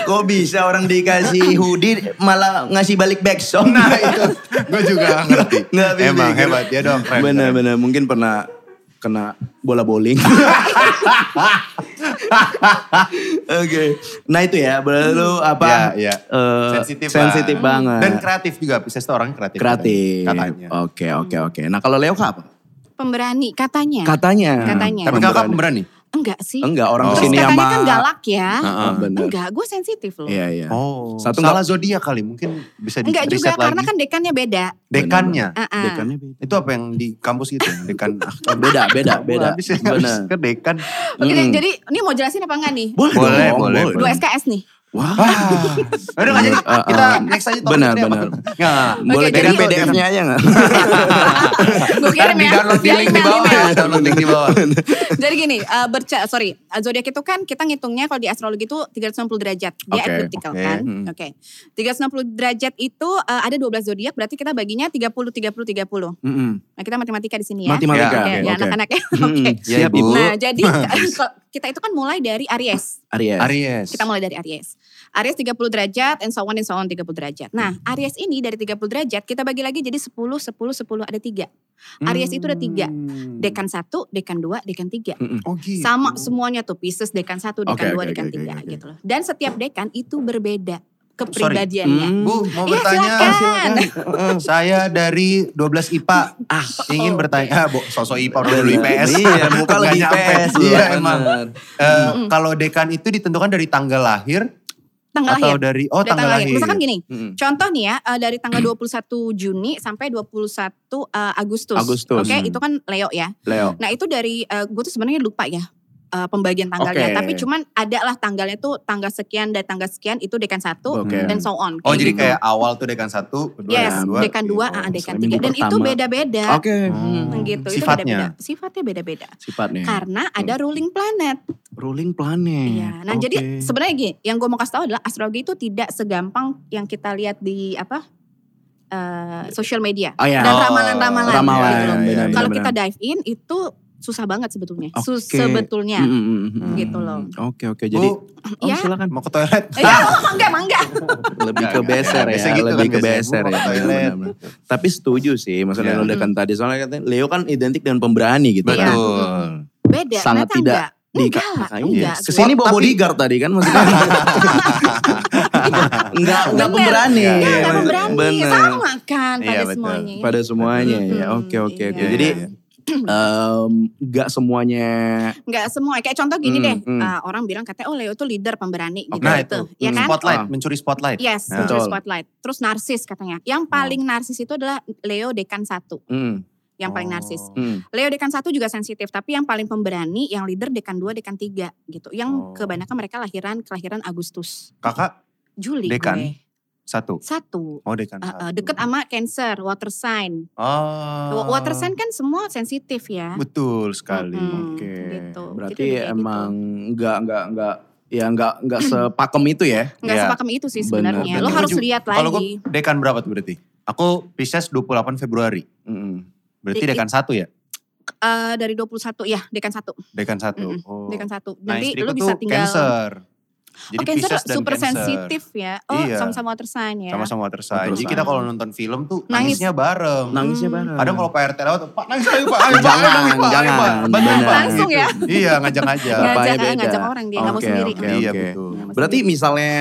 Speaker 1: Kok bisa orang dikasih hoodie malah ngasih balik gitu? backsound?
Speaker 3: Nah itu, gue juga nggak ngerti.
Speaker 1: Nggak bisa
Speaker 3: Emang
Speaker 1: dikira.
Speaker 3: hebat ya dong. keren, keren.
Speaker 1: Benar-benar mungkin pernah kena bola bowling. Oke. Nah itu ya, berarti lu apa?
Speaker 3: Ya, ya.
Speaker 1: eh,
Speaker 3: Sensitif lah.
Speaker 1: sensitif banget.
Speaker 3: Dan kreatif juga, Pisces tuh orang kreatif.
Speaker 1: kreatif. Oh.
Speaker 3: Katanya.
Speaker 1: Oke, oke, oke. Nah kalau Leo apa?
Speaker 2: Pemberani katanya.
Speaker 1: Katanya.
Speaker 2: Katanya.
Speaker 3: Tapi kakak pemberani?
Speaker 2: Enggak sih.
Speaker 1: Enggak, orang
Speaker 3: Oh.
Speaker 2: Terus
Speaker 1: kesini
Speaker 2: katanya
Speaker 1: sama.
Speaker 2: kan galak ya.
Speaker 1: Ah, bener.
Speaker 2: Enggak, gue sensitif loh.
Speaker 1: Iya, iya.
Speaker 3: Oh,
Speaker 1: Satu
Speaker 3: salah zodiak kali mungkin bisa di
Speaker 2: Enggak
Speaker 3: riset
Speaker 2: juga,
Speaker 3: lagi.
Speaker 2: karena kan dekannya beda.
Speaker 3: dekannya.
Speaker 2: Ah-ah.
Speaker 1: Dekannya beda.
Speaker 3: Itu apa yang di kampus gitu, dekan. Ah,
Speaker 1: Beda, beda, beda.
Speaker 3: Habis ya, habis
Speaker 1: Benar.
Speaker 3: ke dekan.
Speaker 2: Oke,
Speaker 1: Mm-mm.
Speaker 2: jadi ini mau jelasin apa enggak nih?
Speaker 1: Hmm. Boleh,
Speaker 3: Boleh,
Speaker 1: dong,
Speaker 3: boleh,
Speaker 2: Dua SKS nih.
Speaker 1: Wah.
Speaker 3: Ah, udah nggak jadi.
Speaker 1: Ah, ah.
Speaker 3: Kita next aja. topik
Speaker 1: Benar,
Speaker 3: tadi apa?
Speaker 1: benar.
Speaker 3: Nggak.
Speaker 1: Boleh
Speaker 2: jadi-
Speaker 1: kirim PDF-nya aja gak?
Speaker 2: Gue kirim
Speaker 3: Di
Speaker 2: ya.
Speaker 3: download di
Speaker 2: Via
Speaker 3: link di
Speaker 2: email,
Speaker 3: bawah ya.
Speaker 2: email.
Speaker 3: Download link di bawah.
Speaker 2: Jadi gini, eh berca sorry, eh, zodiak itu kan kita ngitungnya kalau di astrologi itu 360 derajat, dia
Speaker 1: Oke,
Speaker 2: ekliptikal
Speaker 3: oke.
Speaker 2: kan.
Speaker 1: Hmm.
Speaker 2: Oke. 360 derajat itu eh, ada 12 zodiak, berarti kita baginya 30 30 30.
Speaker 1: Mm-mm.
Speaker 2: Nah, kita matematika di sini ya.
Speaker 1: Matematika. Oke,
Speaker 2: Oke,
Speaker 1: Hmm.
Speaker 2: ya
Speaker 1: oke.
Speaker 2: anak-anak ya.
Speaker 1: Mm-mm.
Speaker 2: Oke.
Speaker 1: Siap,
Speaker 3: Iya, Bu.
Speaker 1: Ibu.
Speaker 2: Nah, jadi kalau kita itu kan mulai dari Aries.
Speaker 1: Aries.
Speaker 3: Aries.
Speaker 2: Kita mulai dari Aries. Aries 30 derajat, and so on, and so on 30 derajat. Nah, Aries ini dari 30 derajat, kita bagi lagi jadi 10, 10, 10, ada 3. Aries itu ada 3.
Speaker 3: Mm.
Speaker 2: Dekan 1, dekan 2, dekan 3.
Speaker 3: Oh gitu.
Speaker 2: Sama semuanya tuh Pisces dekan 1, dekan
Speaker 1: Oke,
Speaker 2: 2,
Speaker 1: oke,
Speaker 2: dekan
Speaker 1: oke,
Speaker 2: 3
Speaker 1: oke, oke.
Speaker 2: gitu loh. Dan setiap dekan itu berbeda kepribadiannya.
Speaker 1: Mm.
Speaker 3: Bu, mau
Speaker 2: Iya,
Speaker 3: bertanya.
Speaker 2: silakan.
Speaker 3: Silakan. Saya dari 12 IPA. Ah, ingin
Speaker 2: oh,
Speaker 3: bertanya. Ah, Bu, sosok IPA udah dulu IPS.
Speaker 1: Iya, muka
Speaker 3: Nggak
Speaker 1: lagi
Speaker 3: nyampe.
Speaker 1: IPS. Bu.
Speaker 3: Iya, emang.
Speaker 1: Bener.
Speaker 3: Eh, Kalau dekan itu ditentukan dari tanggal lahir
Speaker 2: Tanggal
Speaker 3: atau
Speaker 2: lahir. kan
Speaker 3: dari oh
Speaker 2: Dari
Speaker 3: tanggal, lahir.
Speaker 2: Misalkan
Speaker 1: gitu.
Speaker 2: gini,
Speaker 1: Mm-mm.
Speaker 2: contoh nih ya eh, dari
Speaker 1: Hmm.
Speaker 2: tanggal 21 Juni sampai 21 eh, Agustus.
Speaker 1: Agustus.
Speaker 2: Oke,
Speaker 1: Hmm.
Speaker 2: itu kan Leo ya.
Speaker 1: Leo.
Speaker 2: Nah, itu dari gue tuh sebenarnya lupa ya. eh, pembagian tanggalnya,
Speaker 1: Oke.
Speaker 2: tapi cuman ada lah tanggalnya tuh tanggal sekian dan tanggal sekian itu dekan satu
Speaker 1: Oke.
Speaker 2: dan so on.
Speaker 3: Oh jadi
Speaker 2: gitu.
Speaker 3: kayak awal tuh dekan satu, kedua,
Speaker 1: dekan
Speaker 2: yes,
Speaker 3: dua,
Speaker 2: dekan dua,
Speaker 3: gitu.
Speaker 2: ah, dekan
Speaker 1: oh, minggu
Speaker 2: tiga dan itu
Speaker 1: pertama. Oh,
Speaker 2: beda-beda.
Speaker 1: Oke.
Speaker 3: Hmm.
Speaker 2: Hmm, gitu.
Speaker 3: Sifatnya?
Speaker 2: Itu beda-beda. Sifatnya beda-beda.
Speaker 1: Sifatnya.
Speaker 2: Karena ada ruling planet.
Speaker 1: Ruling planet.
Speaker 2: Iya. Nah, jadi
Speaker 1: Hmm. Oke.
Speaker 2: sebenarnya gini, yang gue mau kasih tahu adalah astrologi itu tidak segampang yang kita lihat di apa? eh social media
Speaker 1: Oh, iya.
Speaker 2: dan
Speaker 3: Oh,
Speaker 2: ramalan-ramalan.
Speaker 1: ramalan,
Speaker 2: gitu loh.
Speaker 1: iya, iya,
Speaker 2: Kalau
Speaker 1: benar.
Speaker 2: kita dive in itu susah banget sebetulnya.
Speaker 1: Oke.
Speaker 2: Sus- sebetulnya
Speaker 1: Mm, mm, mm, mm.
Speaker 2: gitu loh.
Speaker 1: Oke oke
Speaker 3: Bu,
Speaker 1: jadi oh,
Speaker 2: Iya.
Speaker 1: silakan
Speaker 3: mau ke toilet?
Speaker 2: Eh, Ya,
Speaker 1: Ah.
Speaker 2: oh, enggak, emang enggak.
Speaker 1: lebih
Speaker 3: Nggak,
Speaker 1: ke
Speaker 3: nggak,
Speaker 1: beser
Speaker 3: nggak.
Speaker 1: ya
Speaker 3: Biasanya gitu
Speaker 1: lebih
Speaker 3: kan,
Speaker 1: ke
Speaker 3: biasanya.
Speaker 1: beser
Speaker 3: Gua
Speaker 1: ya
Speaker 3: ke toilet.
Speaker 1: benar-benar. tapi setuju sih maksudnya
Speaker 3: Iya.
Speaker 1: lo dekan tadi soalnya katanya Leo kan identik dengan pemberani gitu
Speaker 2: Iya.
Speaker 1: kan
Speaker 3: Betul.
Speaker 2: Beda.
Speaker 1: sangat
Speaker 2: ternyata
Speaker 1: tidak
Speaker 2: enggak.
Speaker 1: di-
Speaker 2: Enggak,
Speaker 1: makanya.
Speaker 2: enggak.
Speaker 1: ya. Kesini bawa
Speaker 3: Tapi-
Speaker 1: bodyguard tadi kan maksudnya. enggak, enggak
Speaker 2: Bener.
Speaker 1: pemberani.
Speaker 2: Enggak,
Speaker 3: Iya,
Speaker 2: enggak
Speaker 3: bener.
Speaker 2: pemberani.
Speaker 1: Bener.
Speaker 2: Sama kan pada
Speaker 3: Iya, betul.
Speaker 2: semuanya. ya.
Speaker 1: Pada semuanya ya.
Speaker 2: Mm-mm.
Speaker 1: Oke, oke, oke.
Speaker 2: Iya,
Speaker 1: Jadi
Speaker 3: iya,
Speaker 1: Em, nggak semuanya
Speaker 2: Nggak semua. Kayak contoh gini
Speaker 1: Hmm,
Speaker 2: deh,
Speaker 1: hmm.
Speaker 2: ah, orang bilang katanya oh Leo tuh leader pemberani gitu.
Speaker 3: Nah,
Speaker 2: gitu.
Speaker 3: itu.
Speaker 2: Ya kan? Iya,
Speaker 3: Spotlight,
Speaker 1: Ah.
Speaker 3: mencuri spotlight.
Speaker 2: Yes,
Speaker 3: Nah. Hmm.
Speaker 2: mencuri
Speaker 1: Betul.
Speaker 2: spotlight. Terus narsis katanya. Yang paling narsis itu adalah Leo dekan satu,
Speaker 1: mm,
Speaker 2: yang paling
Speaker 3: Oh.
Speaker 2: narsis.
Speaker 1: mm.
Speaker 2: Leo dekan satu juga sensitif, tapi yang paling pemberani, yang leader dekan dua, dekan tiga gitu.
Speaker 3: Oh.
Speaker 2: Yang kebanyakan mereka lahiran kelahiran Agustus,
Speaker 3: Kakak
Speaker 2: Juli.
Speaker 3: Dekan?
Speaker 2: gue.
Speaker 3: satu.
Speaker 2: Satu.
Speaker 3: Oh dekan
Speaker 2: Uh, uh,
Speaker 3: satu.
Speaker 2: deket sama Cancer, Water Sign.
Speaker 3: Oh.
Speaker 2: Water Sign kan semua sensitif ya.
Speaker 3: Betul sekali.
Speaker 2: Mm-mm.
Speaker 1: Oke.
Speaker 2: gitu.
Speaker 1: Berarti
Speaker 2: Jadi udah kayak
Speaker 1: emang nggak nggak nggak ya nggak nggak sepakem itu ya.
Speaker 2: Nggak
Speaker 3: Iya.
Speaker 2: sepakem itu sih
Speaker 1: Benar,
Speaker 2: sebenarnya.
Speaker 1: benar.
Speaker 2: Lo harus
Speaker 3: Gua
Speaker 2: lihat
Speaker 3: Kalau gue
Speaker 2: lagi.
Speaker 3: dekan berapa tuh berarti? Aku Pisces 28 Februari.
Speaker 1: Mm-mm.
Speaker 3: Berarti
Speaker 2: Di-
Speaker 3: dekan satu ya?
Speaker 2: Eh, dari 21 ya, dekan satu,
Speaker 3: Dekan satu.
Speaker 2: Mm-mm.
Speaker 3: Oh.
Speaker 2: dekan satu.
Speaker 3: Nah,
Speaker 2: Nanti
Speaker 3: istriku
Speaker 2: lo bisa
Speaker 3: tuh
Speaker 2: tinggal
Speaker 3: Cancer.
Speaker 2: Oh,
Speaker 3: Jadi
Speaker 2: Cancer
Speaker 3: Pisces dan
Speaker 2: super
Speaker 3: Cancer.
Speaker 2: sensitif ya. Oh,
Speaker 3: Iya.
Speaker 2: sama-sama water sign ya.
Speaker 3: Sama-sama water sign.
Speaker 1: Water
Speaker 3: Jadi
Speaker 1: sign.
Speaker 3: kita kalau nonton film tuh
Speaker 2: Nangis.
Speaker 3: nangisnya bareng.
Speaker 1: Nangisnya
Speaker 2: Hmm.
Speaker 1: bareng.
Speaker 3: Kadang kalau Pak RT lewat, Pak nangis ayo Pak, ayo Pak, ayo
Speaker 1: jangan
Speaker 3: nangis Pak, ayo,
Speaker 1: jangan.
Speaker 3: Pak." Bantuin,
Speaker 1: benar.
Speaker 3: Pak.
Speaker 2: Langsung ya.
Speaker 3: Iya, ngajak
Speaker 1: Nggak
Speaker 3: aja.
Speaker 2: ngajak,
Speaker 1: bapaknya beda.
Speaker 2: ngajak orang dia, nggak mau
Speaker 1: Oke,
Speaker 2: sendiri.
Speaker 1: oke,
Speaker 3: Iya,
Speaker 1: oke.
Speaker 3: betul.
Speaker 2: Nggak mau
Speaker 1: Berarti
Speaker 2: sendiri.
Speaker 1: misalnya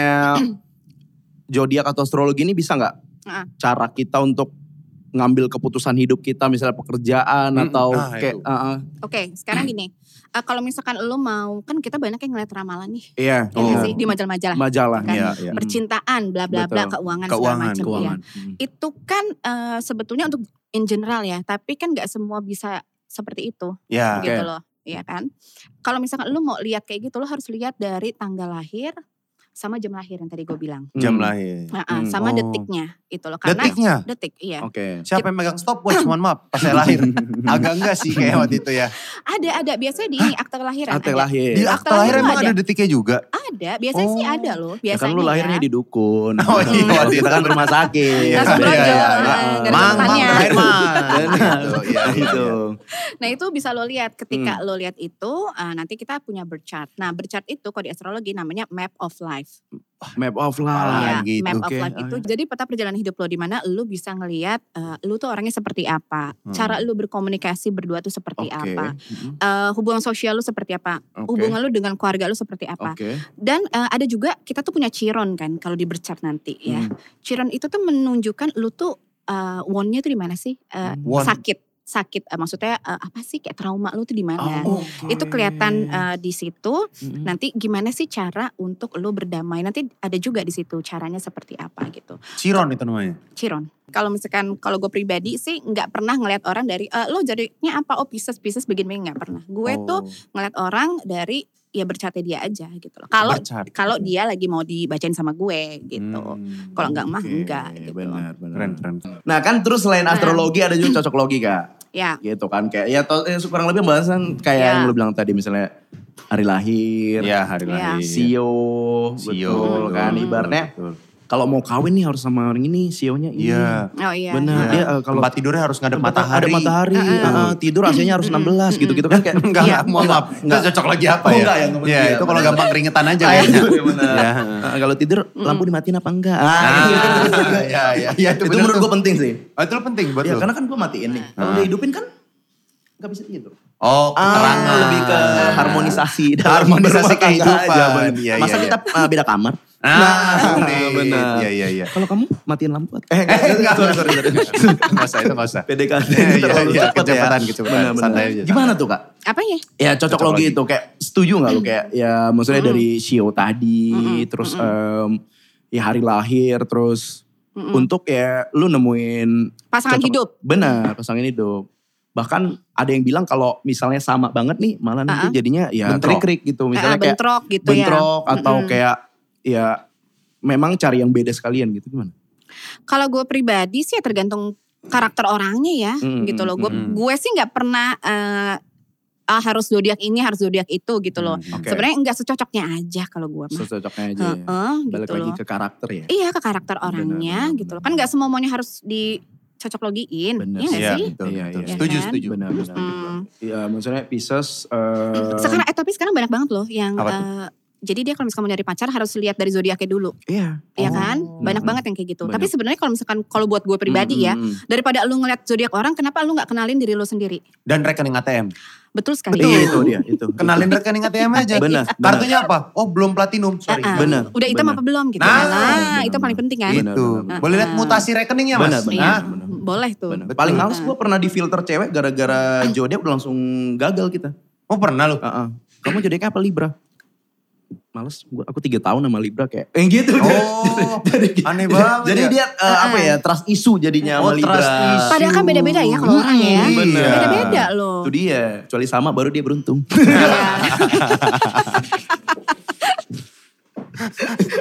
Speaker 1: zodiak atau astrologi ini bisa nggak
Speaker 2: Ah.
Speaker 1: cara kita untuk ngambil keputusan hidup kita misalnya pekerjaan
Speaker 3: Mm-mm.
Speaker 1: atau
Speaker 3: Nah,
Speaker 1: kayak
Speaker 3: itu.
Speaker 1: ah, ah.
Speaker 2: Oke, sekarang gini. Eh, kalau misalkan lo mau, kan kita banyak yang ngeliat ramalan nih.
Speaker 1: iya
Speaker 2: ya nggak
Speaker 1: iya.
Speaker 2: sih? Di majalah-majalah.
Speaker 1: majalah
Speaker 2: Kan.
Speaker 3: Iya, iya.
Speaker 2: Percintaan, bla bla bla,
Speaker 1: Betul.
Speaker 2: keuangan, segala
Speaker 3: Keuangan,
Speaker 2: macam.
Speaker 1: keuangan Mm.
Speaker 2: Itu kan eh, sebetulnya untuk in general ya. Tapi kan nggak semua bisa seperti itu.
Speaker 3: Iya.
Speaker 1: Oke.
Speaker 2: gitu loh, ya kan? Kalau misalkan lu mau lihat kayak gitu, lu harus lihat dari tanggal lahir sama jam lahir yang tadi gue bilang,
Speaker 3: Jam
Speaker 1: Mm.
Speaker 3: lahir.
Speaker 2: Nah,
Speaker 1: Hmm, Oh.
Speaker 2: sama
Speaker 3: oh.
Speaker 2: detiknya, itu loh. Karena
Speaker 3: Detiknya.
Speaker 2: detik, iya.
Speaker 1: oke
Speaker 3: Siapa yang megang stopwatch? Mohon maaf, pas saya lahir. Agak enggak sih kayak waktu itu ya.
Speaker 2: Ada, ada. Biasanya di ini akte kelahiran.
Speaker 1: akte
Speaker 2: ada.
Speaker 1: lahir
Speaker 3: Di
Speaker 2: Iya.
Speaker 3: akta lahir
Speaker 2: Akta
Speaker 3: emang
Speaker 2: lahir
Speaker 3: ada detiknya juga.
Speaker 2: Ada, biasanya sih
Speaker 3: Oh.
Speaker 2: ada loh.
Speaker 1: Ya
Speaker 2: Biasanya
Speaker 1: kan lu lahirnya
Speaker 2: ya.
Speaker 1: di dukun.
Speaker 3: Oh, iya.
Speaker 1: Kalau kita kan rumah sakit.
Speaker 3: Iya,
Speaker 2: Langsung
Speaker 1: Beda.
Speaker 2: blonjol,
Speaker 3: iya,
Speaker 2: eh,
Speaker 3: iya.
Speaker 2: garis
Speaker 3: Mang, mang,
Speaker 2: depannya.
Speaker 3: lahir mang.
Speaker 1: Gitu,
Speaker 3: Iya,
Speaker 1: ya,
Speaker 3: iya,
Speaker 1: gitu.
Speaker 3: iya.
Speaker 2: Nah itu bisa lo lihat
Speaker 1: Hmm.
Speaker 2: ketika lo lihat itu, eh, nanti kita punya birth chart. Nah birth chart itu kalau di astrologi namanya map of life.
Speaker 1: Map of life.
Speaker 3: Ah,
Speaker 2: Iya,
Speaker 3: gitu.
Speaker 2: map of
Speaker 1: Oke,
Speaker 2: life
Speaker 1: ah,
Speaker 2: itu jadi peta perjalanan hidup lo di mana lo bisa ngelihat eh, lo tuh orangnya seperti apa,
Speaker 3: Hmm.
Speaker 2: cara lo berkomunikasi berdua tuh seperti
Speaker 1: Oke.
Speaker 2: apa,
Speaker 1: Mm-mm.
Speaker 2: Eh, hubungan sosial lo seperti apa,
Speaker 1: Oke.
Speaker 2: hubungan lo dengan keluarga lo seperti apa.
Speaker 1: Oke.
Speaker 2: Dan eh, ada juga kita tuh punya chiron kan kalau di bercat nanti ya.
Speaker 1: Hmm.
Speaker 2: Chiron itu tuh menunjukkan lo tuh eh, wound-nya tuh di mana sih? Eh,
Speaker 1: Hmm.
Speaker 3: Wound.
Speaker 2: sakit, sakit Eh, maksudnya eh, apa sih kayak trauma lo tuh di mana?
Speaker 1: Oh,
Speaker 2: Itu kelihatan eh, di situ.
Speaker 1: Mm-mm.
Speaker 2: Nanti gimana sih cara untuk lo berdamai? Nanti ada juga di situ caranya seperti apa gitu.
Speaker 3: Ciron itu namanya.
Speaker 2: Chiron. Kalau misalkan kalau gue pribadi sih nggak pernah ngelihat orang dari "Eh, lo jadinya apa oh Pisces Pisces begini nggak pernah. Gue
Speaker 1: Oh.
Speaker 3: Oh,
Speaker 2: tuh ngelihat orang dari ya bercatnya dia aja gitu loh. Kalau kalau dia lagi mau dibacain sama gue gitu.
Speaker 1: Hmm.
Speaker 2: Kalau nggak mah
Speaker 1: Oke,
Speaker 2: enggak gitu.
Speaker 1: Benar, benar.
Speaker 3: Hmm, keren keren.
Speaker 1: Nah kan terus selain
Speaker 2: Nah.
Speaker 1: astrologi ada juga cocoklogi kak.
Speaker 2: Ya.
Speaker 1: Gitu kan kayak ya to- eh, kurang lebih bahasan kayak
Speaker 2: Ya.
Speaker 1: yang lu bilang tadi misalnya hari lahir.
Speaker 3: Iya, hari
Speaker 2: Iya.
Speaker 3: lahir.
Speaker 1: Sio,
Speaker 3: Sio,
Speaker 1: betul
Speaker 3: betul,
Speaker 1: kan
Speaker 3: betul,
Speaker 1: ibaratnya
Speaker 3: betul.
Speaker 1: kalau mau kawin nih harus sama orang ini, sionya ini.
Speaker 3: Iya.
Speaker 2: Oh iya.
Speaker 1: Benar.
Speaker 3: Iya.
Speaker 1: Dia eh, kalau
Speaker 3: Tempat tidurnya harus ngadep matahari.
Speaker 1: Ada matahari.
Speaker 2: Heeh.
Speaker 1: Heeh, tidur AC-nya harus 16 gitu-gitu kan kayak
Speaker 3: Enggak,
Speaker 2: Iya.
Speaker 3: enggak, mohon maaf. Enggak cocok lagi apa
Speaker 1: Oh,
Speaker 3: ya?
Speaker 1: enggak ya, temen
Speaker 3: Iya,
Speaker 1: dia.
Speaker 3: itu kalau gampang keringetan aja
Speaker 1: Ah,
Speaker 3: kayaknya.
Speaker 1: iya, benar.
Speaker 3: Iya.
Speaker 1: Heeh, kalau tidur lampu dimatiin apa enggak? Ah, gitu.
Speaker 3: Ah, Iya, iya, iya.
Speaker 1: itu menurut gue penting sih.
Speaker 3: Oh, itu penting buat
Speaker 1: Iya,
Speaker 3: lu.
Speaker 1: karena kan gue matiin nih. Kalau
Speaker 3: Ah.
Speaker 1: dia hidupin kan nggak bisa tidur.
Speaker 3: Oh,
Speaker 1: Ah,
Speaker 3: penerangan.
Speaker 1: lebih ke harmonisasi dalam
Speaker 3: Harmonisasi
Speaker 1: berumah tangga
Speaker 3: kehidupan.
Speaker 1: aja, bener.
Speaker 3: Iya,
Speaker 1: Masa
Speaker 3: iya,
Speaker 1: kita uh, beda kamar?
Speaker 3: Nah,
Speaker 1: benar.
Speaker 3: Iya, iya, iya.
Speaker 1: Kalau kamu matiin lampu? Eh,
Speaker 3: Eh, enggak, sorry, sorry, sorry. Enggak usah, itu enggak usah.
Speaker 1: PDKT
Speaker 3: Iya, iya,
Speaker 1: terlalu
Speaker 3: iya,
Speaker 1: cepat ya.
Speaker 3: kecepatan, kecepatan.
Speaker 1: Benar-benar.
Speaker 3: Santai aja,
Speaker 1: Gimana tuh kak?
Speaker 2: Apa ya?
Speaker 1: Ya cocok
Speaker 3: Cocok
Speaker 1: logi
Speaker 3: logi.
Speaker 1: itu kayak setuju nggak lu kayak ya maksudnya dari Shio tadi
Speaker 2: Mm-mm.
Speaker 1: terus em,
Speaker 2: Mm-mm.
Speaker 1: ya hari lahir terus
Speaker 3: Mm.
Speaker 2: Mm-mm.
Speaker 1: untuk ya lu nemuin
Speaker 2: Pasangan
Speaker 1: cocok-
Speaker 2: hidup.
Speaker 1: Benar, pasangan hidup. Bahkan ada yang bilang kalau misalnya sama banget nih malah nanti
Speaker 2: Ah-ah.
Speaker 1: jadinya ya
Speaker 3: Bentrok.
Speaker 1: krik-krik gitu. Misalnya
Speaker 2: Ah,
Speaker 1: kayak
Speaker 2: bentrok gitu ya.
Speaker 1: bentrok atau
Speaker 2: Mm-mm.
Speaker 1: kayak ya memang cari yang beda sekalian gitu gimana?
Speaker 2: Kalau gue pribadi sih ya tergantung karakter orangnya ya,
Speaker 1: Mm,
Speaker 2: gitu loh. Gue
Speaker 3: mm, mm.
Speaker 2: gue sih nggak pernah eh, ah, harus zodiak ini harus zodiak itu gitu loh.
Speaker 1: Mm,
Speaker 3: Hmm.
Speaker 1: Oke.
Speaker 2: Sebenarnya nggak secocoknya aja kalau gue mah.
Speaker 1: Cocoknya aja. ya.
Speaker 2: Heeh,
Speaker 1: Balik
Speaker 2: gitu
Speaker 1: lagi
Speaker 2: loh.
Speaker 1: ke karakter ya.
Speaker 2: Iya ke karakter
Speaker 1: Benar,
Speaker 2: orangnya
Speaker 1: benar,
Speaker 2: gitu loh.
Speaker 1: benar.
Speaker 2: Kan nggak semua maunya harus dicocok logiin,
Speaker 1: Benar
Speaker 2: iya nggak
Speaker 3: Iya,
Speaker 2: sih?
Speaker 3: betul,
Speaker 1: Iya,
Speaker 3: betul.
Speaker 1: iya.
Speaker 3: Setuju,
Speaker 2: Kan?
Speaker 3: setuju.
Speaker 1: Benar, benar.
Speaker 2: Mm.
Speaker 1: Iya, maksudnya Pisces eh,
Speaker 2: Sekarang eh tapi sekarang banyak banget loh yang
Speaker 3: Apa
Speaker 2: eh, jadi dia kalau misalkan mau nyari pacar harus lihat dari zodiaknya dulu,
Speaker 1: Iya.
Speaker 2: ya kan?
Speaker 1: Oh.
Speaker 2: Banyak banget yang kayak gitu.
Speaker 1: Banyak.
Speaker 2: Tapi sebenarnya kalau misalkan kalau buat gue pribadi ya,
Speaker 1: Mm, mm, mm.
Speaker 2: daripada lu ngeliat zodiak orang, kenapa lu nggak kenalin diri lu sendiri?
Speaker 3: Dan rekening ATM.
Speaker 2: Betul sekali.
Speaker 1: Iya, itu dia, itu.
Speaker 3: Kenalin rekening ATM aja.
Speaker 1: Benar,
Speaker 3: Kartunya apa? Oh, belum platinum. Sorry.
Speaker 2: Ah, ah.
Speaker 1: Benar. Iya.
Speaker 2: Udah hitam
Speaker 1: benar.
Speaker 2: apa belum gitu.
Speaker 3: Nah,
Speaker 2: Nah,
Speaker 1: benar,
Speaker 2: itu
Speaker 1: benar.
Speaker 2: paling penting kan.
Speaker 1: Benar,
Speaker 3: Itu.
Speaker 1: benar, benar.
Speaker 3: Boleh lihat mutasi rekeningnya, Mas.
Speaker 1: Benar, benar.
Speaker 2: Iya,
Speaker 3: Nah,
Speaker 1: benar.
Speaker 2: Boleh tuh.
Speaker 1: Benar. Paling
Speaker 3: Betul.
Speaker 1: males gue pernah di filter cewek gara-gara zodiak langsung gagal kita.
Speaker 3: Oh pernah lu?
Speaker 1: Heeh. Kamu zodiaknya apa Libra? Males, gua, aku tiga tahun sama Libra kayak, eh gitu.
Speaker 3: Oh, aneh banget
Speaker 1: Jadi
Speaker 3: ya.
Speaker 1: dia eh, apa ya, trust issue jadinya
Speaker 3: Oh,
Speaker 1: sama Libra.
Speaker 3: trust issue.
Speaker 2: Padahal kan beda-beda ya kalau orang ya.
Speaker 3: Hmm,
Speaker 1: Bener.
Speaker 3: iya.
Speaker 2: Beda-beda loh.
Speaker 1: Itu dia, kecuali sama baru dia beruntung.
Speaker 2: Iya.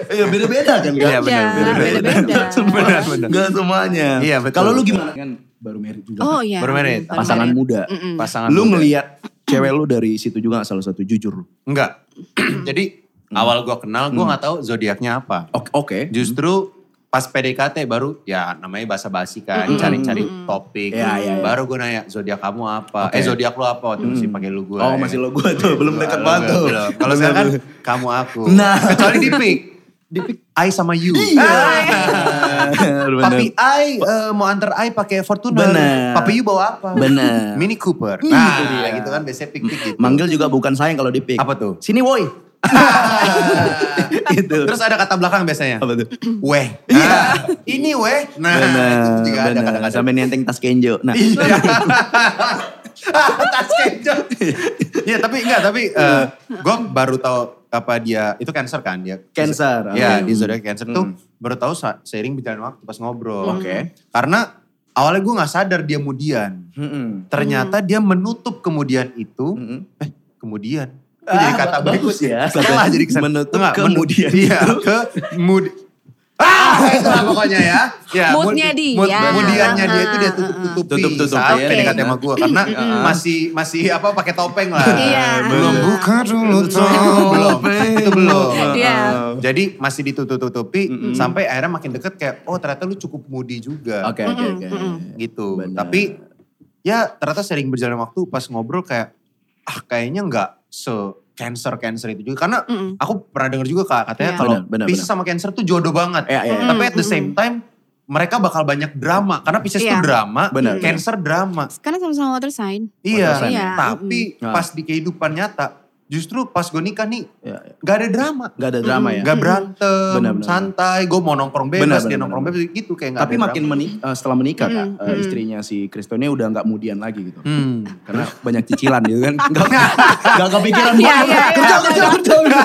Speaker 1: Iya beda-beda kan
Speaker 3: Iya, benar,
Speaker 2: Iya,
Speaker 3: benar, benar.
Speaker 2: beda-beda.
Speaker 3: Benar, benar.
Speaker 1: Gak semuanya.
Speaker 3: Iya, betul.
Speaker 1: Kalau lu gimana? Kan baru married juga.
Speaker 2: Oh iya.
Speaker 3: Baru married.
Speaker 2: Baru
Speaker 1: Pasangan
Speaker 2: married.
Speaker 1: muda.
Speaker 2: Mm-mm.
Speaker 3: Pasangan
Speaker 1: Lu
Speaker 3: muda.
Speaker 1: ngeliat cewek lu dari situ juga gak salah satu jujur lu.
Speaker 3: Enggak. Jadi awal gua kenal gua nggak tahu zodiaknya apa.
Speaker 1: Hmm. Oke. oke.
Speaker 3: Justru pas PDKT baru ya namanya basa-basi
Speaker 2: Hmm.
Speaker 3: kan,
Speaker 1: Mm-mm.
Speaker 3: cari-cari topik.
Speaker 1: Iya, iya, iya.
Speaker 3: Baru gua nanya zodiak kamu apa?
Speaker 1: Oke.
Speaker 3: Eh zodiak lu apa? Waktu masih pakai lu gua.
Speaker 1: Oh
Speaker 3: ya.
Speaker 1: masih lo gue tuh, belum
Speaker 3: Gua,
Speaker 1: deket
Speaker 3: lu,
Speaker 1: banget
Speaker 3: gua,
Speaker 1: tuh.
Speaker 3: lu. Kalau
Speaker 1: Belum,
Speaker 3: sekarang kan
Speaker 1: belum.
Speaker 3: kamu aku.
Speaker 1: Nah. Iya.
Speaker 3: Kecuali di pick. Di pick I sama you.
Speaker 1: Bener.
Speaker 3: Tapi I eh, mau antar I pakai Fortuner.
Speaker 1: Bener.
Speaker 3: Papi you bawa apa?
Speaker 1: Bener.
Speaker 3: Mini Cooper.
Speaker 1: Iya.
Speaker 3: Nah, gitu kan biasanya pick-pick gitu.
Speaker 1: Manggil juga bukan sayang kalau di pick.
Speaker 3: Apa tuh?
Speaker 1: Sini woi. Gitu.
Speaker 3: Terus ada kata belakang biasanya.
Speaker 1: Apa tuh?
Speaker 3: Weh. Nah, ini weh. Nah, itu juga
Speaker 1: Iya.
Speaker 3: ada
Speaker 1: Benar,
Speaker 3: kadang-kadang.
Speaker 1: sampai nenteng tas kenjo. Nah,
Speaker 3: Iya. Tas kencok. Iya, tapi enggak, tapi gue baru tahu apa dia itu cancer kan dia.
Speaker 1: Cancer,
Speaker 3: Iya,
Speaker 1: oke.
Speaker 3: di zodiak cancer tuh
Speaker 1: Hmm.
Speaker 3: baru tahu sa- seiring berjalan waktu pas ngobrol.
Speaker 1: Oke.
Speaker 3: Karena awalnya gue nggak sadar dia kemudian.
Speaker 1: Mm-mm. Hmm.
Speaker 3: Ternyata dia menutup kemudian itu.
Speaker 1: Mm-mm.
Speaker 3: Eh, kemudian. Itu jadi kata
Speaker 1: ba- Hmm. bagus
Speaker 3: berikut.
Speaker 1: ya.
Speaker 3: Setelah jadi kesan.
Speaker 1: Menutup
Speaker 3: Enggak, menu-
Speaker 1: kemudian.
Speaker 3: Iya, kemudi. Ah, itulah pokoknya ya. ya
Speaker 2: Moodnya
Speaker 3: mood-
Speaker 2: dia. Ah,
Speaker 3: mood- Kemudiannya dia itu dia tutup-tutupi.
Speaker 1: Tutup-tutupi,
Speaker 3: Saat
Speaker 1: ya.
Speaker 3: PDKT sama gue. Karena masih masih apa pakai topeng lah.
Speaker 2: Iya.
Speaker 3: Belum buka dulu
Speaker 1: Iya.
Speaker 3: tuh. belum. Itu belum.
Speaker 2: Iya.
Speaker 3: Jadi masih ditutup-tutupi sampai akhirnya makin deket kayak oh ternyata lu cukup mudi juga
Speaker 1: Oke, oke, oke.
Speaker 3: gitu.
Speaker 1: Benar.
Speaker 3: Tapi ya ternyata sering berjalan waktu pas ngobrol kayak ah kayaknya nggak se cancer cancer itu juga karena
Speaker 2: Mm-mm.
Speaker 3: aku pernah dengar juga kak katanya
Speaker 2: Iya.
Speaker 3: kalau
Speaker 1: Benar, benar,
Speaker 3: Pisces sama cancer tuh jodoh banget.
Speaker 1: Iya, iya, iya.
Speaker 3: Tapi at the same time mereka bakal banyak drama karena Pisces
Speaker 2: Iya.
Speaker 3: tuh drama,
Speaker 1: Benar.
Speaker 3: cancer drama.
Speaker 2: Karena sama-sama water sign.
Speaker 3: Iya.
Speaker 1: sign,
Speaker 2: iya.
Speaker 3: Tapi
Speaker 1: Mm-mm.
Speaker 3: pas di kehidupan nyata justru pas gue nikah nih
Speaker 1: Iya,
Speaker 3: nggak ada drama.
Speaker 1: Gak ada drama ya.
Speaker 3: Gak berantem,
Speaker 1: Benar, benar.
Speaker 3: santai, gue mau nongkrong bebas,
Speaker 1: Benar,
Speaker 3: dia
Speaker 1: benar,
Speaker 3: nongkrong
Speaker 1: benar.
Speaker 3: bebas gitu kayak nggak
Speaker 1: Tapi
Speaker 3: ada
Speaker 1: makin
Speaker 3: drama.
Speaker 1: meni- eh, setelah menikah kak,
Speaker 2: Mm-mm. Mm.
Speaker 1: eh, istrinya si Kristone udah nggak mudian lagi gitu.
Speaker 3: Hmm.
Speaker 1: Karena banyak cicilan gitu kan. Gak, gak kepikiran buat
Speaker 2: Iya, iya, iya.
Speaker 1: kerja, kerja, kerja.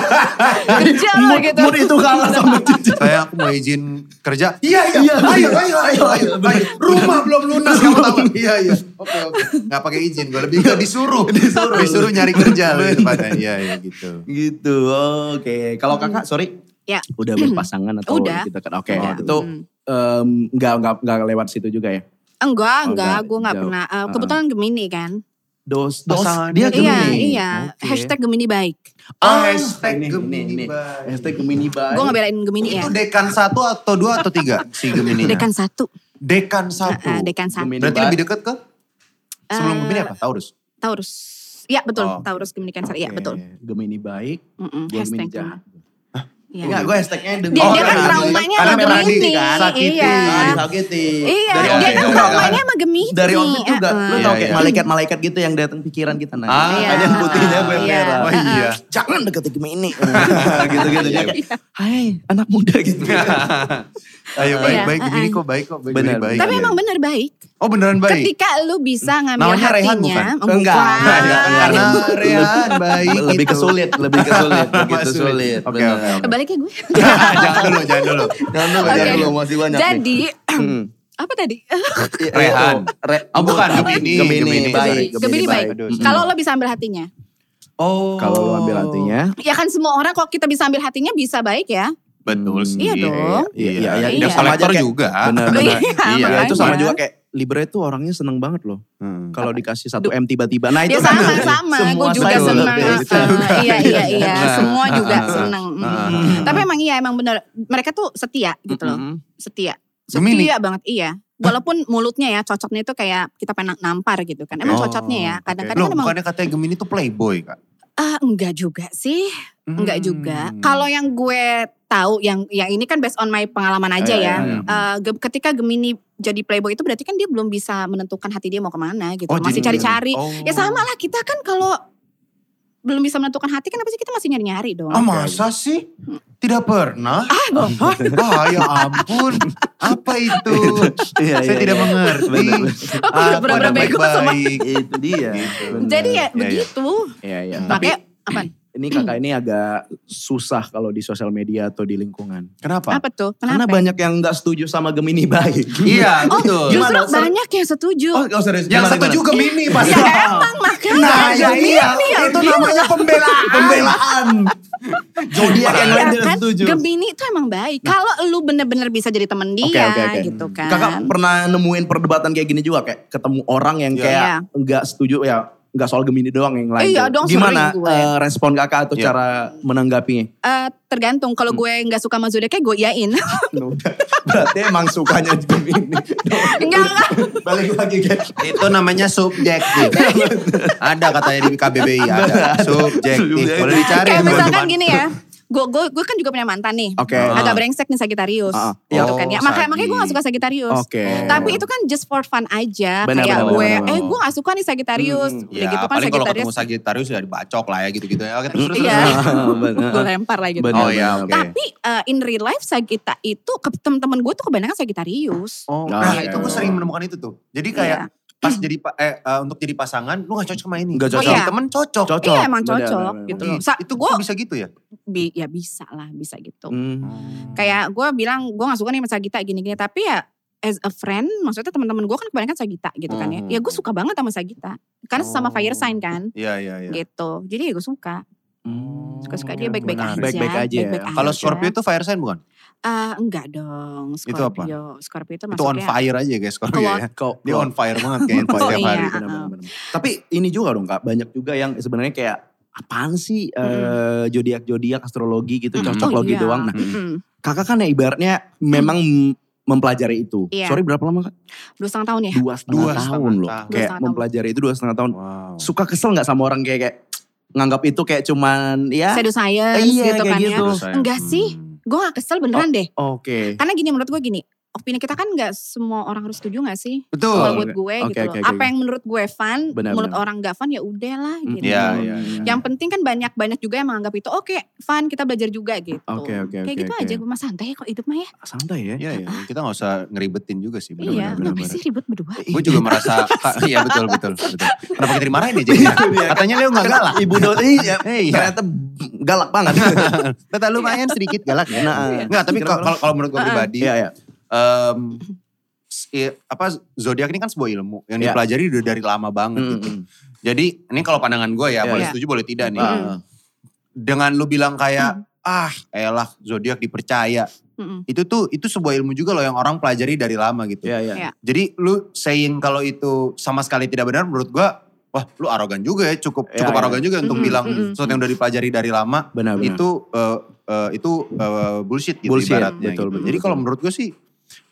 Speaker 2: Kerja lo
Speaker 1: Nah, Mood-
Speaker 2: gitu.
Speaker 1: Mood itu kalah sama cicilan.
Speaker 3: saya aku mau izin kerja. Iya,
Speaker 1: Iya,
Speaker 3: ayo,
Speaker 1: iya.
Speaker 3: ayo, ayo, ayo, ayo. Rumah belum lunas kamu tahu. nggak? Iya, iya. Oke, oke. Gak pakai izin, gue lebih gak disuruh. disuruh. disuruh nyari kerja lebih tepatnya. Iya, iya gitu.
Speaker 1: Gitu, oke. Kalau kakak, sorry.
Speaker 2: Ya.
Speaker 1: Udah berpasangan atau
Speaker 2: Udah.
Speaker 1: kita kan? Oke,
Speaker 2: Udah.
Speaker 1: itu em, nggak nggak nggak lewat situ juga ya. Oh,
Speaker 2: Enggak, enggak.
Speaker 1: enggak,
Speaker 2: Gue enggak
Speaker 1: jauh.
Speaker 2: pernah. Eh,
Speaker 1: Ah.
Speaker 2: kebetulan Gemini kan.
Speaker 1: Dos, dos.
Speaker 3: Pasangan
Speaker 1: Dia
Speaker 3: dia
Speaker 2: Iya,
Speaker 1: Gemini.
Speaker 2: iya. Hashtag Gemini baik.
Speaker 1: Ah,
Speaker 3: Hashtag
Speaker 1: ini, ini,
Speaker 3: Gemini
Speaker 1: ini.
Speaker 3: baik.
Speaker 1: Hashtag Gemini baik.
Speaker 2: Gue ngebelain Gemini ya.
Speaker 3: Itu dekan satu atau dua atau tiga si Gemini?
Speaker 2: Dekan satu.
Speaker 3: Dekan satu.
Speaker 2: Ah, ah, dekan satu.
Speaker 1: Gemini
Speaker 3: Berarti
Speaker 1: baik.
Speaker 3: lebih dekat ke? Sebelum Gemini apa? Taurus.
Speaker 2: Taurus. Iya betul.
Speaker 3: Oh.
Speaker 2: Taurus Gemini Cancer. Iya
Speaker 1: Oke,
Speaker 2: betul.
Speaker 1: Gemini baik,
Speaker 2: Mm-mm,
Speaker 1: gue Gemini
Speaker 2: hashtag
Speaker 1: jahat.
Speaker 2: Iya.
Speaker 1: Enggak, gue hashtagnya Gemini.
Speaker 2: Dia, dia
Speaker 3: Oh,
Speaker 2: kan
Speaker 1: iya.
Speaker 3: karena-
Speaker 2: traumanya
Speaker 3: karena
Speaker 2: sama
Speaker 3: memang
Speaker 2: Gemini.
Speaker 3: dia kan sakiti.
Speaker 2: Iya.
Speaker 1: Ah, disakiti.
Speaker 2: Iya,
Speaker 1: Dari
Speaker 2: dia
Speaker 3: Om Fit
Speaker 2: kan
Speaker 3: juga
Speaker 2: traumanya eh. sama Gemini.
Speaker 1: Dari Om Fit juga, lu
Speaker 2: Heeh.
Speaker 1: tau
Speaker 3: Iya,
Speaker 1: kayak
Speaker 3: iya.
Speaker 1: malaikat-malaikat gitu yang datang pikiran kita nah.
Speaker 3: Ah,
Speaker 2: Iya.
Speaker 1: Ada yang putihnya gue
Speaker 2: Iya.
Speaker 1: merah.
Speaker 3: Oh iya.
Speaker 1: Jangan deket Gemini. Gitu-gitu. Dia
Speaker 2: Iya.
Speaker 1: kayak, hai anak muda gitu.
Speaker 2: Iya,
Speaker 3: Ayo baik-baik,
Speaker 2: ah,
Speaker 3: Gemini
Speaker 2: ah.
Speaker 3: kok baik kok. Gemini
Speaker 1: Benar.
Speaker 3: baik.
Speaker 2: Tapi
Speaker 3: Iya.
Speaker 2: emang bener baik.
Speaker 3: Oh beneran baik?
Speaker 2: Ketika lu bisa ngambil
Speaker 3: Namanya
Speaker 2: hatinya.
Speaker 3: Rehan bukan?
Speaker 2: Oh,
Speaker 1: Enggak,
Speaker 2: bukan.
Speaker 3: Nah, ya, karena Rehan baik
Speaker 1: lebih
Speaker 3: gitu.
Speaker 1: kesulit, lebih kesulit, begitu
Speaker 3: Masuk.
Speaker 1: sulit.
Speaker 3: Oke,
Speaker 1: benar.
Speaker 3: oke, oke.
Speaker 2: Kebaliknya ya gue.
Speaker 3: jangan dulu, jangan dulu.
Speaker 1: Jangan dulu,
Speaker 2: Oke.
Speaker 1: jangan dulu, masih banyak. nih.
Speaker 2: Jadi,
Speaker 1: Mm.
Speaker 2: apa tadi?
Speaker 1: Iya,
Speaker 3: Rehan.
Speaker 1: itu, Re-
Speaker 3: Oh, bukan, Gemini.
Speaker 1: Gemini,
Speaker 3: Gemini,
Speaker 1: baik.
Speaker 3: sorry.
Speaker 2: Gemini baik.
Speaker 3: baik.
Speaker 1: Mm-mm.
Speaker 2: Kalau lo bisa ambil hatinya.
Speaker 3: Oh.
Speaker 1: kalau lu ambil hatinya,
Speaker 2: Ya kan semua orang kalau kita bisa ambil hatinya bisa baik ya.
Speaker 3: Betul sih.
Speaker 2: Iya dong.
Speaker 1: Iya, iya, iya.
Speaker 2: Iya.
Speaker 3: Sama aja
Speaker 1: Kolektor
Speaker 3: kayak- juga.
Speaker 1: benar-benar.
Speaker 2: Iya,
Speaker 1: Ya, itu sama
Speaker 2: makanya.
Speaker 1: juga kayak Libra itu orangnya seneng banget loh.
Speaker 3: Hmm.
Speaker 1: Kalau dikasih satu M tiba-tiba. Nah itu
Speaker 2: Ya
Speaker 1: kan-
Speaker 2: sama-sama, gue
Speaker 1: Semua
Speaker 2: juga
Speaker 1: sayur.
Speaker 2: senang.
Speaker 1: Gitu.
Speaker 2: Uh, iya, iya, iya.
Speaker 1: Nah,
Speaker 2: Semua juga
Speaker 3: Ah, ah,
Speaker 2: senang. Mm. Tapi emang iya, emang bener. Mereka tuh setia gitu loh.
Speaker 1: Mm-mm.
Speaker 2: Setia.
Speaker 3: Gemini.
Speaker 2: Setia banget, iya. Walaupun mulutnya ya, cocoknya itu kayak kita pengen nampar gitu kan. Emang cocoknya ya, kadang-kadang
Speaker 3: Oh, Loh,
Speaker 2: kan emang
Speaker 3: bukannya katanya Gemini tuh playboy, Kak.
Speaker 2: Ah, enggak juga sih, enggak
Speaker 3: Hmm.
Speaker 2: juga. Kalau yang gue tahu, yang yang ini kan based on my pengalaman aja
Speaker 1: Iya,
Speaker 2: ya.
Speaker 1: iya,
Speaker 3: iya.
Speaker 2: Eh, ge- ketika Gemini jadi playboy itu berarti kan dia belum bisa menentukan hati dia mau kemana gitu,
Speaker 3: Oh,
Speaker 2: masih
Speaker 3: jadi-
Speaker 2: cari-cari.
Speaker 3: Oh.
Speaker 2: Ya sama lah kita kan kalau belum bisa menentukan hati kan apa sih kita masih nyari-nyari dong.
Speaker 3: Ah masa sih? Tidak pernah?
Speaker 2: Ah, bohong.
Speaker 3: Ah ya ampun. Apa itu?
Speaker 1: Iya,
Speaker 3: Saya
Speaker 1: iya,
Speaker 3: tidak
Speaker 1: iya.
Speaker 3: mengerti.
Speaker 1: Benar,
Speaker 3: Ah,
Speaker 1: benar.
Speaker 2: Aku udah pernah bego sama.
Speaker 1: Itu dia. benar.
Speaker 2: Jadi ya
Speaker 3: Iya, iya.
Speaker 2: begitu.
Speaker 1: Iya, iya. Tapi
Speaker 2: Makanya apa?
Speaker 1: ini kakak ini agak susah kalau di sosial media atau di lingkungan.
Speaker 3: Kenapa?
Speaker 2: Apa tuh?
Speaker 1: Karena
Speaker 2: Kenapa?
Speaker 1: banyak yang nggak setuju sama Gemini baik.
Speaker 3: Iya
Speaker 2: Oh,
Speaker 3: betul.
Speaker 1: Gimana,
Speaker 2: justru
Speaker 1: Sar?
Speaker 2: banyak yang setuju.
Speaker 1: Oh, oh serius.
Speaker 3: Yang
Speaker 1: Gimana,
Speaker 3: satu
Speaker 1: gimana?
Speaker 3: juga Mimi pasti.
Speaker 2: ya emang makanya.
Speaker 3: Nah, ya
Speaker 2: Jadi
Speaker 3: iya,
Speaker 2: ini yang
Speaker 3: itu
Speaker 2: bilang.
Speaker 3: namanya pembelaan. pembelaan. Zodiak yang lain
Speaker 2: Iya
Speaker 3: tidak
Speaker 2: kan?
Speaker 3: setuju. Nah.
Speaker 2: Gemini itu emang baik. Kalau lu bener-bener bisa jadi temen dia
Speaker 1: Oke, oke, oke.
Speaker 2: gitu
Speaker 3: Hmm.
Speaker 2: kan.
Speaker 1: Kakak pernah nemuin perdebatan kayak gini juga kayak ketemu orang yang
Speaker 3: Iya.
Speaker 1: kayak nggak setuju ya nggak soal Gemini doang yang lain.
Speaker 2: Iya
Speaker 1: tuh.
Speaker 2: dong,
Speaker 1: Gimana
Speaker 2: sering gue.
Speaker 1: eh, respon kakak atau
Speaker 3: Iya.
Speaker 1: cara menanggapinya?
Speaker 2: Eh, tergantung
Speaker 3: Hmm.
Speaker 2: kalau gue nggak suka sama zodiaknya gue yain.
Speaker 1: Udah. Berarti emang sukanya Gemini.
Speaker 2: Enggak enggak.
Speaker 1: Balik lagi guys.
Speaker 3: Itu namanya subjektif. ada katanya di KBBI ada. Iya, Subjektif. Boleh dicari.
Speaker 2: Kayak misalkan
Speaker 3: teman-teman.
Speaker 2: gini ya. Gue gue gue kan juga punya mantan nih.
Speaker 1: Oke.
Speaker 3: Ah,
Speaker 2: Agak brengsek nih Sagittarius.
Speaker 1: Ah, ah.
Speaker 2: Gitu
Speaker 3: Oh,
Speaker 2: kan ya. Makanya makanya gue gak suka
Speaker 3: Sagi.
Speaker 2: Sagittarius.
Speaker 1: Oke.
Speaker 2: Tapi itu kan just for fun aja.
Speaker 1: Benar,
Speaker 2: kayak
Speaker 1: benar,
Speaker 2: gue,
Speaker 1: benar, benar.
Speaker 2: eh gue gak suka nih Sagittarius. Udah
Speaker 3: Ya,
Speaker 2: gitu kan
Speaker 3: paling kalau ketemu
Speaker 2: Sagittarius.
Speaker 3: Sagittarius ya dibacok lah ya gitu-gitu. ya. Oke, terus, terus,
Speaker 2: Iya.
Speaker 3: terus.
Speaker 2: gue lempar lah gitu.
Speaker 1: Benar.
Speaker 3: Oh iya, oke.
Speaker 2: Tapi eh, in real life Sagita itu ke- temen-temen gue tuh kebanyakan Sagittarius.
Speaker 3: Oh,
Speaker 1: Nah,
Speaker 3: nah,
Speaker 1: iya.
Speaker 3: itu gue sering menemukan itu tuh. Jadi
Speaker 2: Iya.
Speaker 3: kayak pas jadi pa- eh, eh, untuk jadi pasangan lu gak cocok sama ini.
Speaker 1: Nggak
Speaker 3: Oh,
Speaker 2: cocok.
Speaker 3: jadi temen cocok.
Speaker 1: Cocok.
Speaker 2: Iya emang
Speaker 1: Benar,
Speaker 2: cocok
Speaker 1: benar, benar.
Speaker 2: gitu
Speaker 3: Ih,
Speaker 2: loh. Sa-
Speaker 3: itu
Speaker 2: gue
Speaker 3: kok bisa gitu ya?
Speaker 2: bi- ya bisa lah bisa gitu.
Speaker 1: Hmm.
Speaker 2: Kayak gue bilang gue gak suka nih sama Sagita gini-gini. Tapi ya as a friend maksudnya teman-teman gue kan kebanyakan Sagita gitu kan ya.
Speaker 3: Hmm.
Speaker 2: Ya gue suka banget sama Sagita. Karena sama
Speaker 3: Oh.
Speaker 2: fire sign kan
Speaker 3: Iya, iya, iya.
Speaker 2: gitu. Jadi ya gue suka. Suka-suka dia baik-baik aja.
Speaker 3: Menarik.
Speaker 1: Hmm. Baik-baik aja ya.
Speaker 2: baik-baik
Speaker 3: Kalau
Speaker 2: aja.
Speaker 3: Scorpio itu fire sign bukan?
Speaker 2: Ah, enggak dong. Scorpio.
Speaker 3: Itu apa?
Speaker 2: Scorpio itu
Speaker 3: Itu on
Speaker 2: masuknya.
Speaker 3: fire aja guys Scorpio
Speaker 2: Keluar.
Speaker 3: ya.
Speaker 1: Kau,
Speaker 3: Dia on fire banget kayaknya
Speaker 2: ya. Oh,
Speaker 3: setiap
Speaker 2: iya.
Speaker 3: hari.
Speaker 1: Benar, benar, benar. Tapi ini juga dong kak, banyak juga yang sebenarnya kayak apaan sih eh, zodiak-zodiak astrologi gitu,
Speaker 2: Mm-mm.
Speaker 1: cocok
Speaker 2: Hmm. Oh,
Speaker 1: logi
Speaker 2: iya.
Speaker 1: doang. Nah,
Speaker 2: Mm-mm.
Speaker 1: kakak kan ya ibaratnya memang mempelajari itu.
Speaker 2: Hmm. Iya.
Speaker 1: Sorry berapa lama kak?
Speaker 2: Dua setengah tahun ya.
Speaker 1: Dua setengah
Speaker 3: Dua
Speaker 1: tahun
Speaker 3: setengah
Speaker 1: loh.
Speaker 3: tahun.
Speaker 2: Dua
Speaker 1: Kayak
Speaker 2: setengah Oh. tahun.
Speaker 1: mempelajari itu dua setengah tahun.
Speaker 3: Wow.
Speaker 1: Suka kesel nggak sama orang kayak kayak nganggap itu kayak cuman ya?
Speaker 2: Pseudo science
Speaker 1: Eh, iya,
Speaker 2: gitu
Speaker 1: kayak
Speaker 2: kan ya.
Speaker 1: gitu.
Speaker 2: Enggak sih.
Speaker 3: Hmm.
Speaker 2: Gue gak kesel beneran deh.
Speaker 1: Oke.
Speaker 2: Karena gini menurut gue gini, opini kita kan nggak semua orang harus setuju nggak sih?
Speaker 3: Betul.
Speaker 2: Kalau buat gue
Speaker 1: Oke,
Speaker 2: gitu
Speaker 1: oke,
Speaker 2: loh.
Speaker 1: oke,
Speaker 2: Apa
Speaker 1: oke.
Speaker 2: yang menurut gue fun,
Speaker 1: Benar,
Speaker 2: menurut
Speaker 1: benar.
Speaker 2: orang nggak fun ya udahlah
Speaker 1: Mm,
Speaker 2: gitu.
Speaker 3: Iya, iya, iya.
Speaker 2: Yang penting kan banyak-banyak juga yang menganggap itu oke fun kita belajar juga gitu.
Speaker 1: Oke, oke,
Speaker 2: Kayak
Speaker 1: oke,
Speaker 2: gitu
Speaker 1: oke.
Speaker 2: aja gue mah santai kok hidup mah ya.
Speaker 1: Santai ya.
Speaker 3: Iya, iya. Kita gak usah ngeribetin juga
Speaker 2: iya,
Speaker 3: sih. benar-benar,
Speaker 2: kenapa
Speaker 3: benar-benar.
Speaker 2: sih ribet berdua?
Speaker 1: Iya.
Speaker 3: Gue juga merasa, Kak, iya betul, betul, betul. Kenapa kita dimarahin ya jadinya? Katanya Leo gak galak.
Speaker 1: Iya, Ibu Dodi ya,
Speaker 3: Iya.
Speaker 1: ternyata galak banget. Iya,
Speaker 3: Tata
Speaker 2: Iya.
Speaker 3: lumayan sedikit galak ya.
Speaker 1: Nah, iya.
Speaker 3: Enggak, tapi
Speaker 1: Kenapa?
Speaker 3: kalau kalau menurut gue pribadi,
Speaker 1: Iya, iya.
Speaker 3: em, s- i- apa zodiak ini kan sebuah ilmu yang
Speaker 1: Iya.
Speaker 3: dipelajari udah dari lama banget. gitu.
Speaker 1: Mm-mm.
Speaker 3: Jadi ini kalau pandangan gue ya,
Speaker 1: Iya.
Speaker 3: boleh
Speaker 2: Iya.
Speaker 3: setuju boleh tidak nih.
Speaker 1: Ah.
Speaker 3: Dengan lu bilang
Speaker 2: Mm.
Speaker 3: kayak ah elah zodiak dipercaya.
Speaker 2: Mm-mm.
Speaker 3: Itu tuh itu sebuah ilmu juga loh yang orang pelajari dari lama gitu.
Speaker 1: Iya, iya.
Speaker 2: Iya.
Speaker 3: Jadi lu saying kalau itu sama sekali tidak benar menurut gue wah lu arogan juga ya cukup
Speaker 1: Iya,
Speaker 3: cukup
Speaker 1: iya.
Speaker 3: arogan juga
Speaker 2: Mm-mm,
Speaker 3: untuk bilang
Speaker 2: mm-mm.
Speaker 3: sesuatu yang udah dipelajari dari lama
Speaker 1: Benar, benar.
Speaker 3: itu eh, eh, itu eh, bullshit gitu
Speaker 1: Bullshit,
Speaker 3: ibaratnya
Speaker 1: betul,
Speaker 3: gitu.
Speaker 1: betul,
Speaker 3: Jadi
Speaker 1: betul.
Speaker 3: kalau menurut gue sih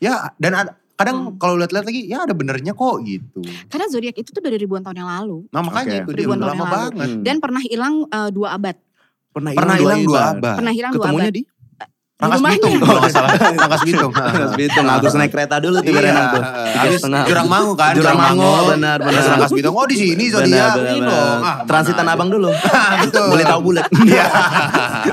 Speaker 3: ya dan ada-
Speaker 2: Hmm.
Speaker 3: kadang kalau lihat-lihat lagi ya ada benernya kok gitu.
Speaker 2: Karena zodiak itu tuh dari ribuan tahun yang lalu
Speaker 1: Hmm.
Speaker 3: Nah makanya
Speaker 1: Oke.
Speaker 3: itu dia
Speaker 2: Ribuan
Speaker 3: udah
Speaker 2: tahun
Speaker 3: lama
Speaker 2: yang lalu.
Speaker 3: banget.
Speaker 1: Hmm.
Speaker 2: dan pernah hilang eh, dua abad.
Speaker 3: Pernah hilang gitu. dua abad.
Speaker 2: Pernah hilang dua
Speaker 1: Ah, Ketemunya
Speaker 2: abad.
Speaker 1: di Oh,
Speaker 3: Rangkas
Speaker 2: Rumahnya.
Speaker 3: Bitung kalau nggak salah. Rangkas Bitung.
Speaker 1: Rangkas Bitung. Harus naik kereta dulu tuh
Speaker 3: Iya,
Speaker 1: berenang tuh.
Speaker 3: habis
Speaker 1: setengah.
Speaker 3: Jurang Mangu kan.
Speaker 1: Jurang Mangu, benar, benar.
Speaker 3: Terus Rangkas Bitung, oh di sini
Speaker 1: Benar,
Speaker 3: Zodiak.
Speaker 1: benar,
Speaker 3: ini
Speaker 1: benar.
Speaker 3: dong. Ah, kemana
Speaker 1: Transitan
Speaker 3: aja.
Speaker 1: abang dulu.
Speaker 3: Betul.
Speaker 1: Boleh tahu bulat.
Speaker 3: Iya.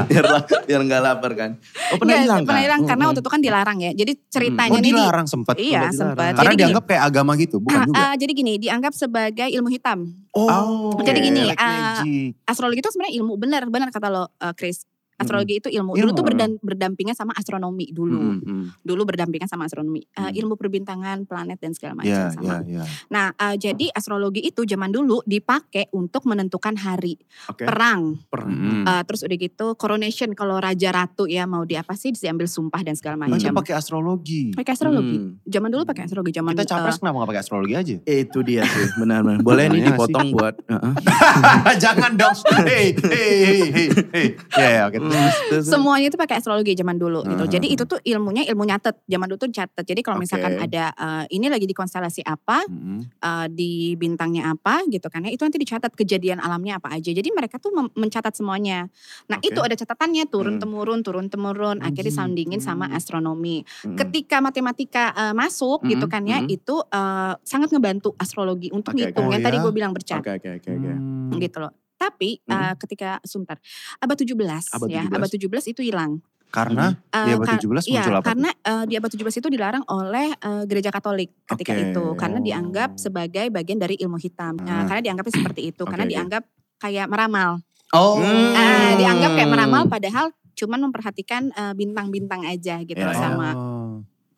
Speaker 1: biar biar nggak lapar kan. Oh pernah
Speaker 2: Nggak,
Speaker 1: hilang kan?
Speaker 2: Iya, Pernah hilang karena
Speaker 1: Mm-mm.
Speaker 2: waktu itu kan dilarang ya. Jadi ceritanya
Speaker 3: Oh
Speaker 2: nih di-
Speaker 3: dilarang sempat.
Speaker 2: Iya
Speaker 1: dilarang.
Speaker 2: sempat.
Speaker 3: Karena
Speaker 2: Jadi gini,
Speaker 3: dianggap kayak agama gitu, bukan juga.
Speaker 2: Ah, jadi gini, dianggap sebagai ilmu hitam.
Speaker 3: Oh,
Speaker 2: Jadi
Speaker 3: oke.
Speaker 2: gini,
Speaker 3: Black
Speaker 2: ah,
Speaker 3: magic.
Speaker 2: Astrologi itu sebenarnya ilmu benar, benar kata lo eh, Chris. Astrologi itu ilmu. Dulu
Speaker 3: Ilmu,
Speaker 2: tuh berdan- berdampingan sama astronomi dulu. Dulu berdampingan sama astronomi. Eh,
Speaker 3: Hmm.
Speaker 2: ilmu perbintangan, planet dan segala macam
Speaker 3: Iya,
Speaker 2: sama.
Speaker 3: iya, iya.
Speaker 2: Nah, eh, jadi astrologi itu zaman dulu dipakai untuk menentukan hari
Speaker 1: Oke.
Speaker 2: perang.
Speaker 3: Mm.
Speaker 2: Eh, terus udah gitu coronation kalau raja ratu ya mau di apa sih diambil sumpah dan segala
Speaker 3: Itu
Speaker 2: macam.
Speaker 3: pakai astrologi.
Speaker 2: Pakai astrologi. Zaman dulu pakai astrologi zaman
Speaker 3: Kita capres
Speaker 2: eh,
Speaker 3: kenapa gak pakai astrologi aja?
Speaker 1: Itu dia sih, benar-benar. Boleh nih
Speaker 3: Iya nggak sih?
Speaker 1: dipotong buat. Heeh.
Speaker 3: Jangan dong. Hei, hei, hei, hei, hei. Ya, ya, oke.
Speaker 2: Hmm.
Speaker 1: Terus, terus, terus.
Speaker 2: Semuanya itu pakai astrologi zaman dulu
Speaker 1: Ah.
Speaker 2: gitu. Jadi itu tuh ilmunya ilmu nyatet. Zaman dulu tuh catet. Jadi kalau misalkan
Speaker 1: Oke.
Speaker 2: ada eh, ini lagi di konstelasi apa,
Speaker 3: Mm.
Speaker 2: eh, di bintangnya apa gitu kan ya. Itu nanti dicatat kejadian alamnya apa aja. Jadi mereka tuh mem- mencatat semuanya. Nah,
Speaker 1: Oke.
Speaker 2: itu ada catatannya
Speaker 1: Hmm.
Speaker 2: turun temurun, turun temurun, akhirnya soundingin sama astronomi.
Speaker 1: Mm-mm.
Speaker 2: Ketika matematika eh, masuk gitu
Speaker 1: Mm-mm,
Speaker 2: kan ya,
Speaker 1: mm-mm.
Speaker 2: itu eh, sangat ngebantu astrologi untuk
Speaker 1: Hmm. Oke, oke.
Speaker 2: ngitung
Speaker 3: Oh,
Speaker 2: yang tadi
Speaker 3: ya?
Speaker 2: gue bilang bercatat
Speaker 1: Oke, Hmm. oke, oke, oke.
Speaker 2: gitu loh. Tapi eh,
Speaker 3: Mm.
Speaker 2: ketika sebentar abad 17
Speaker 1: Abad
Speaker 2: ya,
Speaker 1: 17.
Speaker 2: abad 17 itu hilang.
Speaker 3: Karena
Speaker 2: Eh,
Speaker 3: di abad
Speaker 2: kar-
Speaker 3: 17
Speaker 2: Iya,
Speaker 3: muncul apa? tuh?
Speaker 2: karena eh, di abad 17 itu dilarang oleh eh, gereja Katolik ketika
Speaker 3: Oke.
Speaker 2: itu karena
Speaker 3: Oh.
Speaker 2: dianggap sebagai bagian dari ilmu hitam. Nah,
Speaker 3: Ah.
Speaker 2: karena dianggapnya seperti itu, karena
Speaker 3: Oke, oke.
Speaker 2: dianggap kayak meramal.
Speaker 3: Oh.
Speaker 2: Ah, dianggap
Speaker 3: Hmm.
Speaker 2: kayak meramal padahal cuman memperhatikan eh, bintang-bintang aja gitu
Speaker 3: Ya, ya.
Speaker 2: sama
Speaker 3: Oh.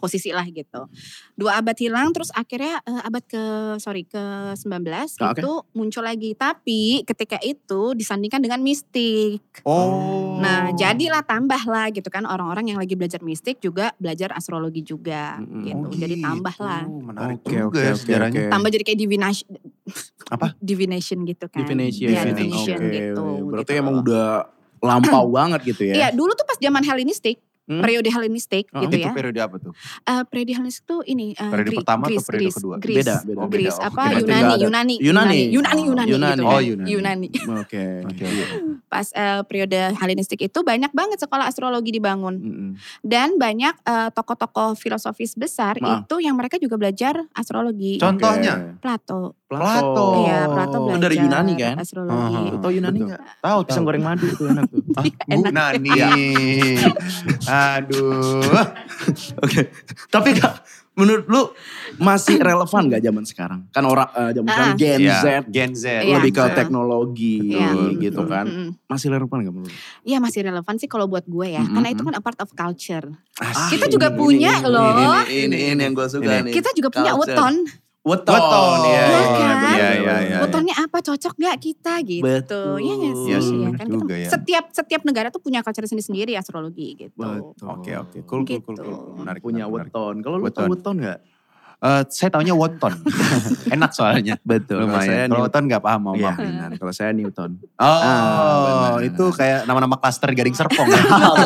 Speaker 2: posisi lah gitu. Dua abad hilang terus akhirnya eh, abad ke sorry ke 19
Speaker 1: Ah, oke.
Speaker 2: itu muncul lagi tapi ketika itu disandingkan dengan mistik.
Speaker 3: Oh.
Speaker 2: Nah, jadilah tambahlah gitu kan orang-orang yang lagi belajar mistik juga belajar astrologi juga
Speaker 1: Mm-mm. Oh,
Speaker 2: gitu. Jadi tambahlah.
Speaker 3: Menarik
Speaker 1: Oke,
Speaker 3: juga
Speaker 1: oke,
Speaker 3: ya
Speaker 1: oke,
Speaker 3: sejarahnya.
Speaker 1: oke.
Speaker 2: Tambah jadi kayak divination
Speaker 3: Apa?
Speaker 2: Divination gitu kan.
Speaker 1: Divination.
Speaker 2: Iya,
Speaker 3: Divination,
Speaker 2: divination
Speaker 1: Oke.
Speaker 2: gitu.
Speaker 1: Berarti
Speaker 2: gitu
Speaker 1: emang
Speaker 2: loh.
Speaker 1: udah lampau banget gitu ya.
Speaker 2: Iya, dulu tuh pas zaman Helenistik,
Speaker 1: Hmm.
Speaker 2: periode Helenistik
Speaker 1: Oh,
Speaker 2: gitu
Speaker 3: Itu
Speaker 2: ya.
Speaker 3: periode apa tuh?
Speaker 2: Eh, periode Helenistik tuh ini eh,
Speaker 3: Periode
Speaker 2: Gri-
Speaker 3: pertama atau
Speaker 2: Greece,
Speaker 3: periode
Speaker 2: Greece,
Speaker 3: kedua?
Speaker 2: Greece.
Speaker 1: Beda,
Speaker 3: beda. Oh, beda.
Speaker 2: Greece
Speaker 3: Oh,
Speaker 2: apa
Speaker 3: berarti
Speaker 1: nggak
Speaker 2: Yunani,
Speaker 1: ada.
Speaker 2: Yunani,
Speaker 1: Yunani.
Speaker 2: Yunani,
Speaker 1: Oh,
Speaker 2: Yunani,
Speaker 1: Yunani.
Speaker 2: gitu
Speaker 3: Oh,
Speaker 2: kan.
Speaker 3: Yunani.
Speaker 2: Yunani.
Speaker 1: Oke.
Speaker 3: Oke.
Speaker 1: Iya.
Speaker 2: Pas eh, periode Helenistik itu banyak banget sekolah astrologi dibangun.
Speaker 1: Mm-mm.
Speaker 2: dan banyak eh, tokoh-tokoh filosofis besar
Speaker 1: Maaf.
Speaker 2: itu yang mereka juga belajar astrologi.
Speaker 3: Contohnya?
Speaker 2: Plato.
Speaker 1: Plato.
Speaker 3: Oh.
Speaker 2: Iya, Plato
Speaker 1: Itu
Speaker 2: belajar
Speaker 1: dari Yunani kan?
Speaker 2: Astrologi.
Speaker 3: Aha.
Speaker 1: Tau Yunani
Speaker 3: Betul.
Speaker 1: nggak? Oh,
Speaker 3: Tahu
Speaker 1: Pisang goreng madu itu enak tuh.
Speaker 3: Ah,
Speaker 2: Iya,
Speaker 3: Bu Nani. Aduh.
Speaker 1: Oke. Tapi Kak, menurut lu masih relevan gak zaman sekarang? Kan orang eh, zaman
Speaker 2: Ah.
Speaker 1: sekarang Gen
Speaker 3: Ya,
Speaker 1: Z
Speaker 3: Gen Z.
Speaker 2: Iya.
Speaker 1: lebih ke
Speaker 2: Betul.
Speaker 1: teknologi
Speaker 2: Iya,
Speaker 1: gitu kan.
Speaker 2: mm-mm.
Speaker 1: Masih relevan gak menurut lu?
Speaker 2: Iya masih relevan sih kalau buat gue ya,
Speaker 1: Mm-mm.
Speaker 2: karena itu kan a part of culture.
Speaker 1: Ah,
Speaker 2: Kita
Speaker 1: ini,
Speaker 2: juga
Speaker 1: ini,
Speaker 2: punya
Speaker 1: ini,
Speaker 2: loh.
Speaker 1: Ini, Iya. ini, ini, ini yang gue suka
Speaker 3: Ini.
Speaker 1: nih.
Speaker 2: Kita juga punya
Speaker 1: Culture.
Speaker 2: weton,
Speaker 1: Weton.
Speaker 3: Weton, iya,
Speaker 2: Iya
Speaker 3: iya,
Speaker 2: kan?
Speaker 3: benar, iya, iya, iya.
Speaker 2: wetonnya apa cocok gak kita gitu.
Speaker 1: Betul.
Speaker 2: Iya nggak sih?
Speaker 3: Iya sih,
Speaker 2: Iya
Speaker 3: bener
Speaker 2: kan? Kita-
Speaker 3: juga ya.
Speaker 2: Setiap setiap negara tuh punya culture sendiri-sendiri astrologi gitu.
Speaker 1: Betul.
Speaker 3: Oke, oke. Cool, cool, cool, cool.
Speaker 2: Gitu.
Speaker 3: Menarik,
Speaker 1: Punya
Speaker 3: menarik, menarik.
Speaker 1: weton. Kalau lu
Speaker 3: Weton.
Speaker 1: tau weton gak?
Speaker 3: Eh, saya taunya wonton. Enak soalnya.
Speaker 1: Betul. Kalau saya
Speaker 3: Lumayan. Kalau
Speaker 1: Newton.
Speaker 3: wonton gak paham mau
Speaker 1: Iya
Speaker 3: apa.
Speaker 1: benar. Kalau saya Newton.
Speaker 3: Oh,
Speaker 1: Ah, benar.
Speaker 3: itu kayak nama-nama klaster Gading Serpong. ya?
Speaker 1: Oh,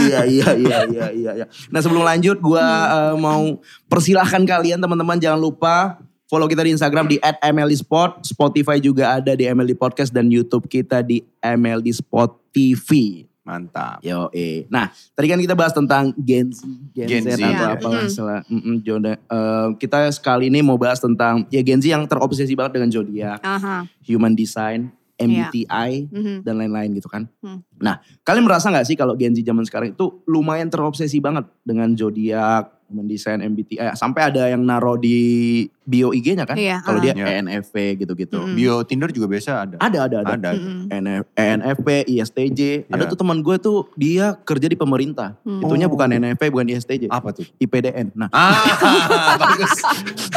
Speaker 1: iya iya iya iya iya. iya. Nah sebelum lanjut, gua eh, mau persilahkan kalian teman-teman jangan lupa follow kita di Instagram di @mldspot, Spotify juga ada di MLD Podcast dan YouTube kita di MLD Spot TV.
Speaker 3: Mantap.
Speaker 1: Yo, eh. Nah, tadi kan kita bahas tentang Gen Z, Gen,
Speaker 3: Gen
Speaker 1: Z,
Speaker 3: Z,
Speaker 1: atau
Speaker 2: ya.
Speaker 1: apalah
Speaker 2: Mm.
Speaker 1: salah. Mm-mm, Jonda. Eh, kita sekali ini mau bahas tentang ya Gen Z yang terobsesi banget dengan zodiak,
Speaker 2: Aha.
Speaker 1: human design, MBTI,
Speaker 2: mhm.
Speaker 1: dan lain-lain gitu kan.
Speaker 2: Hmm.
Speaker 1: Nah, kalian merasa nggak sih kalau Gen Z zaman sekarang itu lumayan terobsesi banget dengan zodiak, mendesain MBTI, eh, sampai ada yang naro di bio IG-nya kan?
Speaker 2: Iya, Hmm.
Speaker 1: kalau
Speaker 2: ah.
Speaker 1: dia
Speaker 3: Iya.
Speaker 1: ENFP gitu-gitu.
Speaker 2: Mm-mm.
Speaker 3: Bio Tinder juga biasa ada.
Speaker 1: Ada, ada, E ada.
Speaker 3: Ada.
Speaker 2: Mm-mm.
Speaker 1: NF, ENFP, ISTJ. Ada
Speaker 3: Iya.
Speaker 1: tuh teman gue tuh dia kerja di pemerintah.
Speaker 2: Hmm.
Speaker 1: Itunya bukan E NFP, bukan ISTJ.
Speaker 3: Apa tuh?
Speaker 1: IPDN. Nah,
Speaker 3: Ah, bagus.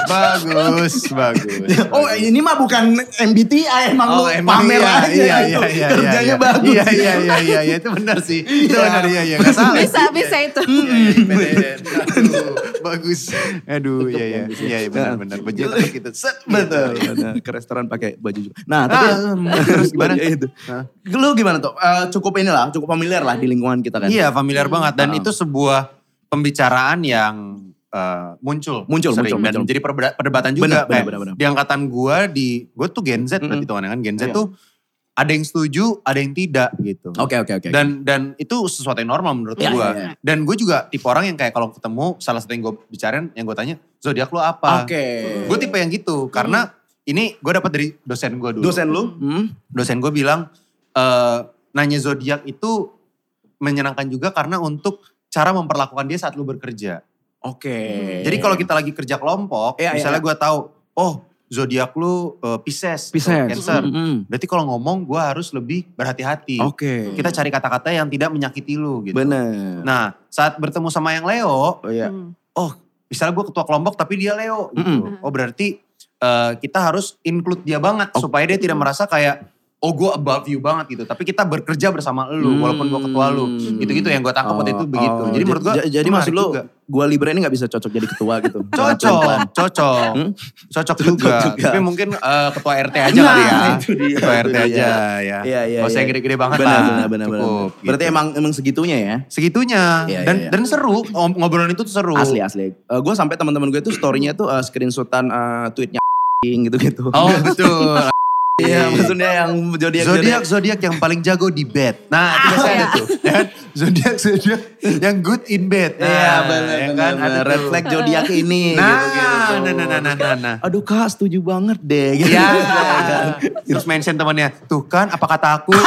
Speaker 3: bagus, bagus.
Speaker 1: oh ini mah bukan MBTI emang lu
Speaker 3: emang
Speaker 1: pamer
Speaker 3: iya,
Speaker 1: aja
Speaker 3: iya,
Speaker 1: gitu.
Speaker 3: iya, iya,
Speaker 1: Kerjanya
Speaker 3: iya.
Speaker 1: bagus.
Speaker 3: Iya, iya, iya, iya, iya, itu benar sih.
Speaker 1: Iya.
Speaker 3: Itu
Speaker 1: Hmm.
Speaker 3: benar, iya, iya, nggak salah.
Speaker 2: Bisa bisa itu.
Speaker 3: Iya, iya, IPDN. Aduh, bagus. Aduh, iya, iya,
Speaker 1: ya.
Speaker 3: iya, iya, benar, benar. Bejat gitu. Set,
Speaker 1: Betul.
Speaker 3: betul.
Speaker 1: Nah, ke restoran pakai baju juga. Nah, tapi
Speaker 3: Ah, terus gimana?
Speaker 1: Iya, itu. Lu gimana tuh? Eh, cukup inilah, cukup familiar lah di lingkungan kita kan.
Speaker 3: Iya, familiar banget dan
Speaker 1: Ah.
Speaker 3: itu sebuah pembicaraan yang eh, muncul,
Speaker 1: Muncul,
Speaker 3: sering.
Speaker 1: muncul,
Speaker 3: dan
Speaker 1: muncul.
Speaker 3: menjadi perbeda- perdebatan juga.
Speaker 1: Benar, benar,
Speaker 3: Kayak
Speaker 1: benar, benar.
Speaker 3: Di angkatan gua di gua tuh Gen Z berarti
Speaker 1: Mm-mm.
Speaker 3: hitungannya kan Gen Z
Speaker 1: Iya.
Speaker 3: tuh ada yang setuju, ada yang tidak gitu.
Speaker 1: Oke, oke, oke.
Speaker 3: Dan dan itu sesuatu yang normal menurut
Speaker 1: Iya,
Speaker 3: gua.
Speaker 1: iya, iya.
Speaker 3: Dan gue juga tipe orang yang kayak kalau ketemu salah satu yang gue bicarain, yang gue tanya zodiak lo apa?
Speaker 1: Oke.
Speaker 3: Gue tipe yang gitu karena ini gue dapat dari dosen gue dulu.
Speaker 1: Dosen lu? Hmm?
Speaker 3: dosen gue bilang eh nanya zodiak itu menyenangkan juga karena untuk cara memperlakukan dia saat lu bekerja.
Speaker 1: Oke.
Speaker 3: Jadi kalau kita lagi kerja kelompok,
Speaker 1: Iya, iya,
Speaker 3: misalnya
Speaker 1: iya.
Speaker 3: gue tahu, oh zodiak lu eh, Pisces,
Speaker 1: Pisces.
Speaker 3: atau Cancer.
Speaker 1: Mm-mm.
Speaker 3: Berarti kalau ngomong gue harus lebih berhati-hati.
Speaker 1: hmm. Oke.
Speaker 3: Kita cari kata-kata yang tidak menyakiti lu gitu.
Speaker 1: Bener.
Speaker 3: Nah saat bertemu sama yang Leo,
Speaker 1: Oh, iya.
Speaker 2: Hmm.
Speaker 3: misalnya gue ketua kelompok tapi dia Leo gitu.
Speaker 2: Mm-mm.
Speaker 3: Oh berarti eh, kita harus include dia banget
Speaker 1: Oh.
Speaker 3: supaya dia tidak merasa kayak oh gue above you banget gitu. Tapi kita bekerja bersama lu walaupun gue ketua lu.
Speaker 1: Hmm.
Speaker 3: Gitu-gitu yang gue tangkap waktu itu
Speaker 1: Mm. Oh,
Speaker 3: begitu.
Speaker 1: oh.
Speaker 3: Jadi menurut gue
Speaker 1: Ja- jadi maksud lu gue Libra ini gak bisa cocok jadi ketua gitu.
Speaker 3: cocok, cocok,
Speaker 1: Hmm?
Speaker 3: cocok
Speaker 1: Cocok
Speaker 3: juga.
Speaker 1: juga.
Speaker 3: Tapi mungkin eh, ketua RT aja
Speaker 1: Nah,
Speaker 3: kali ya.
Speaker 1: itu dia,
Speaker 3: Ketua
Speaker 1: itu
Speaker 3: RT
Speaker 1: dia.
Speaker 3: aja ya.
Speaker 1: Iya, iya,
Speaker 3: Gak usah
Speaker 1: iya.
Speaker 3: yang gede-gede banget
Speaker 1: Benar,
Speaker 3: lah.
Speaker 1: benar, benar, benar.
Speaker 3: Cukup,
Speaker 1: Berarti
Speaker 3: gitu.
Speaker 1: emang emang segitunya ya.
Speaker 3: segitunya
Speaker 1: Iya,
Speaker 3: dan
Speaker 1: iya, iya.
Speaker 3: dan seru Ngom- ngobrolan itu tuh seru.
Speaker 1: Asli ya. asli. gue sampai teman-teman gue tuh story-nya tuh eh, screenshotan eh, tweetnya eh, gitu-gitu.
Speaker 3: Oh betul.
Speaker 1: Iya, maksudnya yang zodiak
Speaker 3: Zodiak zodiak yang paling jago di bed. Nah, itu biasanya ada tuh. ya kan? Zodiak zodiak yang good in bed. Nah,
Speaker 1: Iya, benar
Speaker 3: ya
Speaker 1: kan ada
Speaker 3: tuh.
Speaker 1: red flag zodiak ini
Speaker 3: Nah,
Speaker 1: gitu-gitu.
Speaker 3: nah, nah, nah, nah, nah, nah.
Speaker 1: Aduh Kak, setuju banget deh gitu.
Speaker 3: Iya. Terus mention temannya, tuh kan apa kata aku?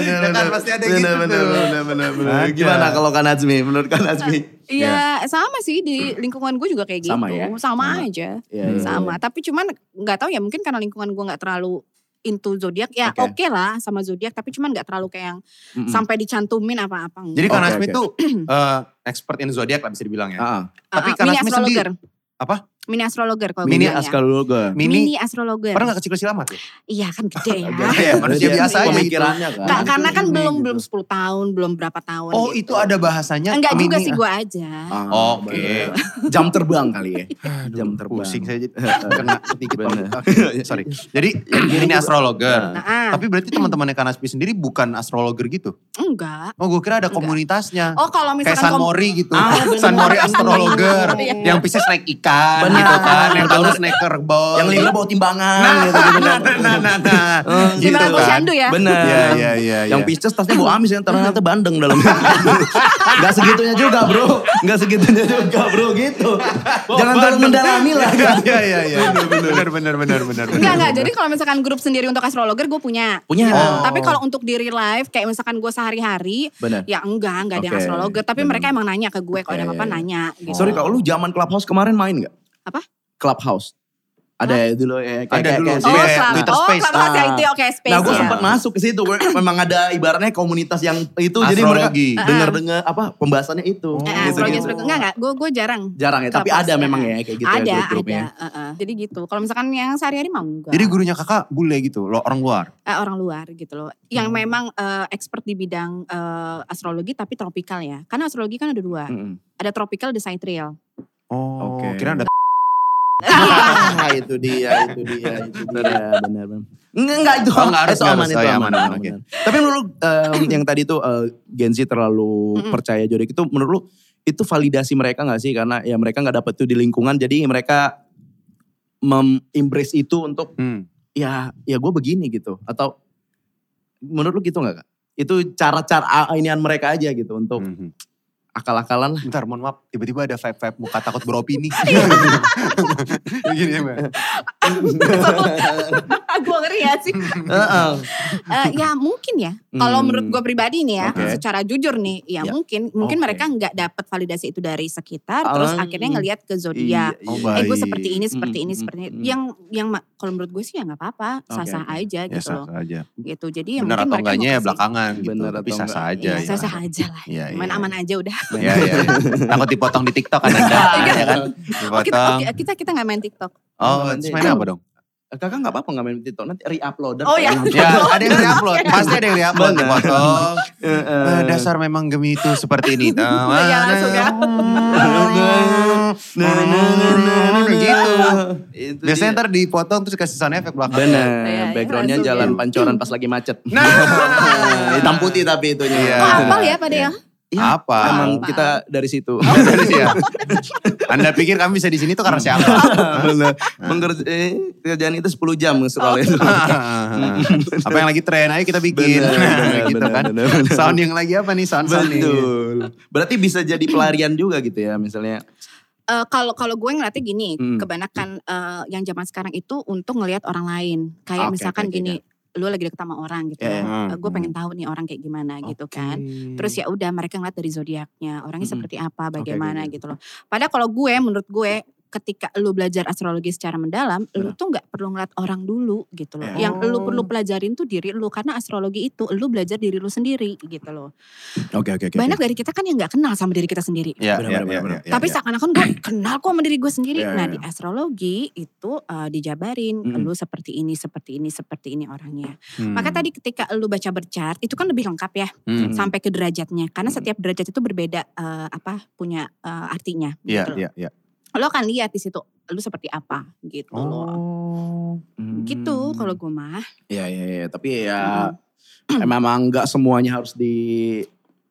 Speaker 1: Ya kan pasti ada gitu tuh.
Speaker 3: bener. Iya.
Speaker 1: Gimana kalau Kak Nazmi? Menurut Kak Nazmi?
Speaker 2: Iya
Speaker 3: Ya.
Speaker 2: sama sih di lingkungan gue juga kayak gitu.
Speaker 1: Sama ya?
Speaker 2: Sama,
Speaker 1: Sama.
Speaker 2: aja.
Speaker 1: Iya,
Speaker 3: Hmm.
Speaker 1: iya,
Speaker 2: sama. Tapi cuman nggak tahu ya mungkin karena lingkungan gue nggak terlalu into zodiak ya
Speaker 1: Oke.
Speaker 2: oke lah sama zodiak tapi cuman nggak terlalu kayak yang
Speaker 1: Mm-mm.
Speaker 2: sampai dicantumin apa-apa. enggak.
Speaker 3: Hmm. Jadi Kak
Speaker 1: Oke,
Speaker 3: Nasmi
Speaker 1: oke.
Speaker 3: tuh eh, expert in zodiak lah bisa dibilang ya.
Speaker 1: Ah,
Speaker 2: Ah, ah,
Speaker 3: tapi Kak
Speaker 2: mini
Speaker 3: Lasmi
Speaker 2: astrologer.
Speaker 3: Apa?
Speaker 2: Mini astrologer kalau
Speaker 1: mini
Speaker 2: gue bilang ya.
Speaker 1: astrologer.
Speaker 3: Mini,
Speaker 2: Mini astrologer.
Speaker 3: pernah gak kecil-kecil amat tuh?
Speaker 2: Iya kan gede ya.
Speaker 3: Gede ya, manusia
Speaker 1: Jadi
Speaker 3: biasa aja
Speaker 1: Pemikirannya kan.
Speaker 2: Ka- karena kan
Speaker 3: Ini
Speaker 2: belum
Speaker 3: gitu.
Speaker 2: belum 10 tahun, belum berapa tahun.
Speaker 3: Oh
Speaker 2: gitu.
Speaker 3: itu ada bahasanya
Speaker 2: Enggak juga
Speaker 3: mini-
Speaker 2: sih gue aja.
Speaker 1: Ah,
Speaker 3: Oh, Oke.
Speaker 1: bener. Jam terbang kali ya. Jam terbang.
Speaker 3: Pusing saya jadi kena sedikit
Speaker 1: Bener. Iya.
Speaker 3: Oke, Sorry. Jadi ini astrologer.
Speaker 2: Nah, ah,
Speaker 3: Tapi berarti teman-temannya Kak Nasmi sendiri bukan astrologer gitu?
Speaker 2: enggak.
Speaker 3: Oh gue kira ada
Speaker 2: Enggak.
Speaker 3: komunitasnya.
Speaker 2: Oh kalau
Speaker 3: Ah. Kayak
Speaker 2: misalkan
Speaker 3: San
Speaker 2: kom-
Speaker 3: Mori gitu.
Speaker 1: Ah, bener.
Speaker 3: San Mori astrologer.
Speaker 2: Iya.
Speaker 3: yang Pisces naik ikan
Speaker 1: Bener.
Speaker 3: gitu kan. Yang Taurus naik kerbau.
Speaker 1: Yang libra bawa timbangan
Speaker 3: Nah,
Speaker 1: gitu.
Speaker 3: nah, nah, nah, nah, nah.
Speaker 1: Gitu
Speaker 2: Timbangan
Speaker 1: kan.
Speaker 2: posyandu ya?
Speaker 1: Bener.
Speaker 3: Iya, iya, iya.
Speaker 1: Yang
Speaker 3: iya.
Speaker 1: Pisces tasnya bawa amis yang ternyata bandeng dalamnya. Gak segitunya juga bro. Gak segitunya juga bro gitu. Jangan terlalu mendalami lah.
Speaker 3: Iya, iya, iya. Bener, bener, bener, bener.
Speaker 2: Enggak, enggak. Jadi kalau misalkan grup sendiri untuk astrologer gue punya.
Speaker 1: Punya.
Speaker 2: Gitu.
Speaker 1: Oh.
Speaker 2: Tapi kalau untuk diri live kayak misalkan gue sehari-hari.
Speaker 1: Bener.
Speaker 2: Ya enggak, enggak ada yang
Speaker 1: Oke.
Speaker 2: astrologer. Tapi
Speaker 1: Bener.
Speaker 2: mereka emang nanya ke gue kalau ada
Speaker 1: Oke. Oh.
Speaker 2: apa-apa nanya. Gitu.
Speaker 1: Sorry kalau lu zaman Clubhouse kemarin main gak?
Speaker 2: Apa?
Speaker 1: Clubhouse. Ada ya dulu ya. kayak-
Speaker 3: Ada
Speaker 1: kayak-
Speaker 3: dulu.
Speaker 1: kayak-
Speaker 2: Oh,
Speaker 3: Space,
Speaker 2: selama,
Speaker 3: Twitter
Speaker 2: oh,
Speaker 3: Space.
Speaker 2: selama
Speaker 1: Ah.
Speaker 2: ya itu oke space.
Speaker 1: Nah gue
Speaker 2: ya.
Speaker 1: sempat masuk ke situ, gue- memang ada ibaratnya komunitas yang
Speaker 3: Oh,
Speaker 1: itu jadi mereka
Speaker 3: Astrologi.
Speaker 2: Ah.
Speaker 1: dengar-dengar apa pembahasannya itu.
Speaker 2: Eh,
Speaker 1: Gitu-gitu.
Speaker 2: astrologer, astrologer. enggak, enggak. Gue gue jarang.
Speaker 1: Jarang ya, tapi
Speaker 2: Clubhouse,
Speaker 1: ada
Speaker 2: ya.
Speaker 1: memang ya kayak gitu ya
Speaker 2: ada, ada.
Speaker 1: grup-grupnya.
Speaker 2: eh, eh. Jadi gitu. Kalau misalkan yang sehari-hari mau enggak.
Speaker 3: Jadi gurunya kakak bule gitu, lo orang luar.
Speaker 2: Eh, orang luar gitu loh. Yang
Speaker 1: Hmm.
Speaker 2: memang eh, expert di bidang eh, astrologi tapi tropikal ya. Karena astrologi kan ada dua.
Speaker 1: Mm-mm.
Speaker 2: Ada tropical, ada sidereal.
Speaker 3: Oh,
Speaker 1: Oke.
Speaker 3: kira ada
Speaker 1: Ah, itu dia, itu dia, itu dia. Benar, benar. Enggak, enggak itu.
Speaker 3: Oh, enggak harus,
Speaker 1: itu
Speaker 3: enggak
Speaker 1: aman,
Speaker 3: harus.
Speaker 1: itu
Speaker 3: Oh, ya,
Speaker 1: aman,
Speaker 3: aman,
Speaker 1: aman,
Speaker 3: aman, oke.
Speaker 1: aman. Tapi menurut lu, em, yang tadi tuh eh, Gen Z terlalu
Speaker 2: Mm-mm.
Speaker 1: percaya jodoh itu menurut lu itu validasi mereka nggak sih karena ya mereka nggak dapet tuh di lingkungan jadi mereka memembrace itu untuk
Speaker 3: Hmm.
Speaker 1: ya ya gue begini gitu atau menurut lu gitu nggak kak? Itu cara-cara inian mereka aja gitu untuk
Speaker 3: Mhm.
Speaker 1: akal-akalan lah.
Speaker 3: Bentar, mohon maaf. Tiba-tiba ada vibe-vibe muka takut beropini. Gini ya, Mbak.
Speaker 2: gue ngeri ya sih.
Speaker 1: Heeh.
Speaker 2: Eh, ya mungkin ya. Kalau
Speaker 1: Hmm.
Speaker 2: menurut gue pribadi nih ya,
Speaker 1: Oke.
Speaker 2: secara jujur nih, ya,
Speaker 1: Ya.
Speaker 2: mungkin mungkin
Speaker 1: Oke.
Speaker 2: mereka nggak dapat validasi itu dari sekitar, terus
Speaker 1: Ah.
Speaker 2: akhirnya ngelihat ke
Speaker 1: Iya,
Speaker 2: zodiak.
Speaker 3: Oh,
Speaker 1: iya.
Speaker 3: baik. Hmm,
Speaker 2: Eh gue seperti ini,
Speaker 1: Mm,
Speaker 2: seperti ini,
Speaker 1: mm,
Speaker 2: seperti ini.
Speaker 1: mm.
Speaker 2: Yang yang ma- kalau menurut gue sih ya nggak apa-apa,
Speaker 1: Oke,
Speaker 2: sah-sah
Speaker 1: oke.
Speaker 2: aja
Speaker 3: Ya
Speaker 2: gitu
Speaker 3: sah
Speaker 2: loh.
Speaker 3: aja.
Speaker 2: Gitu. Jadi ya
Speaker 3: Bener
Speaker 2: mungkin
Speaker 3: atau
Speaker 2: mereka
Speaker 3: enggaknya
Speaker 2: mau
Speaker 3: ya
Speaker 2: kasih-
Speaker 3: belakangan gitu.
Speaker 1: Bener
Speaker 3: Tapi
Speaker 1: atau
Speaker 3: sah sah
Speaker 1: enggak.
Speaker 3: aja.
Speaker 2: Iya,
Speaker 3: ya.
Speaker 2: sah-sah aja lah.
Speaker 3: Iya, iya.
Speaker 2: Main aman aja udah.
Speaker 3: Iya, iya. iya. Takut dipotong di TikTok kan Anda.
Speaker 1: Iya
Speaker 3: ya kan?
Speaker 2: Oh, kita,
Speaker 3: Dipotong.
Speaker 2: oke, kita kita nggak main TikTok.
Speaker 3: Oh, terus mainnya apa dong?
Speaker 1: Kakak nggak apa-apa nggak main TikTok nanti re-uploader.
Speaker 2: Oh, iya.
Speaker 3: Ya, ada yang diupload. Pasti ada yang diupload.
Speaker 1: Bener.
Speaker 3: Dipotong. Eh,
Speaker 1: Eh,
Speaker 3: dasar memang gemi itu seperti ini.
Speaker 2: Iya, langsung ya.
Speaker 1: Nah, nah, nah, nah, nah, nah.
Speaker 3: Begitu.
Speaker 1: Itu
Speaker 3: Biasanya
Speaker 1: dia.
Speaker 3: ntar dipotong terus kasih sound effect belakang.
Speaker 1: bener
Speaker 2: Iya,
Speaker 1: backgroundnya
Speaker 2: langsung
Speaker 1: jalan pancoran pas lagi macet.
Speaker 3: Nah.
Speaker 1: hitam putih tapi itunya.
Speaker 3: Iya.
Speaker 2: Oh, apal ya pada ya.
Speaker 3: Apa?
Speaker 1: Emang
Speaker 2: Apa?
Speaker 1: kita dari situ.
Speaker 3: Dari sini ya? Anda pikir kami bisa di sini tuh karena siapa?
Speaker 1: Bener. Mengerja, eh, kerjaan itu 10 jam
Speaker 2: Oh.
Speaker 1: soalnya itu.
Speaker 3: apa yang lagi tren ayo kita bikin
Speaker 1: Bener, bener,
Speaker 3: gitu
Speaker 1: bener,
Speaker 3: kan
Speaker 1: bener, bener.
Speaker 3: sound yang lagi apa nih sound sound nih
Speaker 1: Betul. Berarti bisa jadi pelarian juga gitu ya misalnya.
Speaker 2: Eh, kalau kalau gue ngeliatnya gini,
Speaker 1: Hmm.
Speaker 2: kebanyakan eh, yang zaman sekarang itu untuk ngelihat orang lain.
Speaker 1: Ah,
Speaker 2: Kayak
Speaker 1: Oke,
Speaker 2: misalkan
Speaker 1: oke, ya.
Speaker 2: gini, lu lagi deket sama orang gitu.
Speaker 1: Iya, iya.
Speaker 2: ya. Eh, gue pengen tahu nih orang kayak gimana gitu kan. Terus ya udah mereka ngeliat dari zodiaknya, orangnya
Speaker 1: Mm-mm.
Speaker 2: seperti apa, bagaimana gitu loh. Padahal kalau gue menurut gue ketika lu belajar astrologi secara mendalam, lu tuh nggak perlu ngeliat orang dulu gitu loh.
Speaker 1: Iya.
Speaker 2: Yang lu perlu pelajarin tuh diri lu karena astrologi itu lu belajar diri lu sendiri gitu loh.
Speaker 1: Oke oke oke.
Speaker 2: Banyak dari kita kan yang nggak kenal sama diri kita sendiri.
Speaker 3: ya,
Speaker 1: Bener,
Speaker 3: ya,
Speaker 1: bener,
Speaker 3: ya,
Speaker 1: bener.
Speaker 3: ya,
Speaker 2: Tapi
Speaker 3: ya.
Speaker 2: seakan-akan gue kenal kok sama diri gue sendiri.
Speaker 1: Iya,
Speaker 2: nah
Speaker 1: iya,
Speaker 2: di astrologi itu eh, dijabarin
Speaker 1: Mm-mm.
Speaker 2: lu seperti ini, seperti ini, seperti ini orangnya.
Speaker 3: Hmm.
Speaker 2: Maka tadi ketika lu baca berchart itu kan lebih lengkap ya
Speaker 3: Hmm.
Speaker 2: sampai ke derajatnya. Karena
Speaker 1: Mm-mm.
Speaker 2: setiap derajat itu berbeda eh, apa punya eh, artinya.
Speaker 3: Iya,
Speaker 2: gitu loh.
Speaker 3: iya, iya.
Speaker 2: Lu akan lihat di situ lu seperti apa gitu loh.
Speaker 3: Oh.
Speaker 2: Gitu kalau gue mah.
Speaker 1: Hmm, Iya iya iya, tapi ya memang nggak semuanya harus di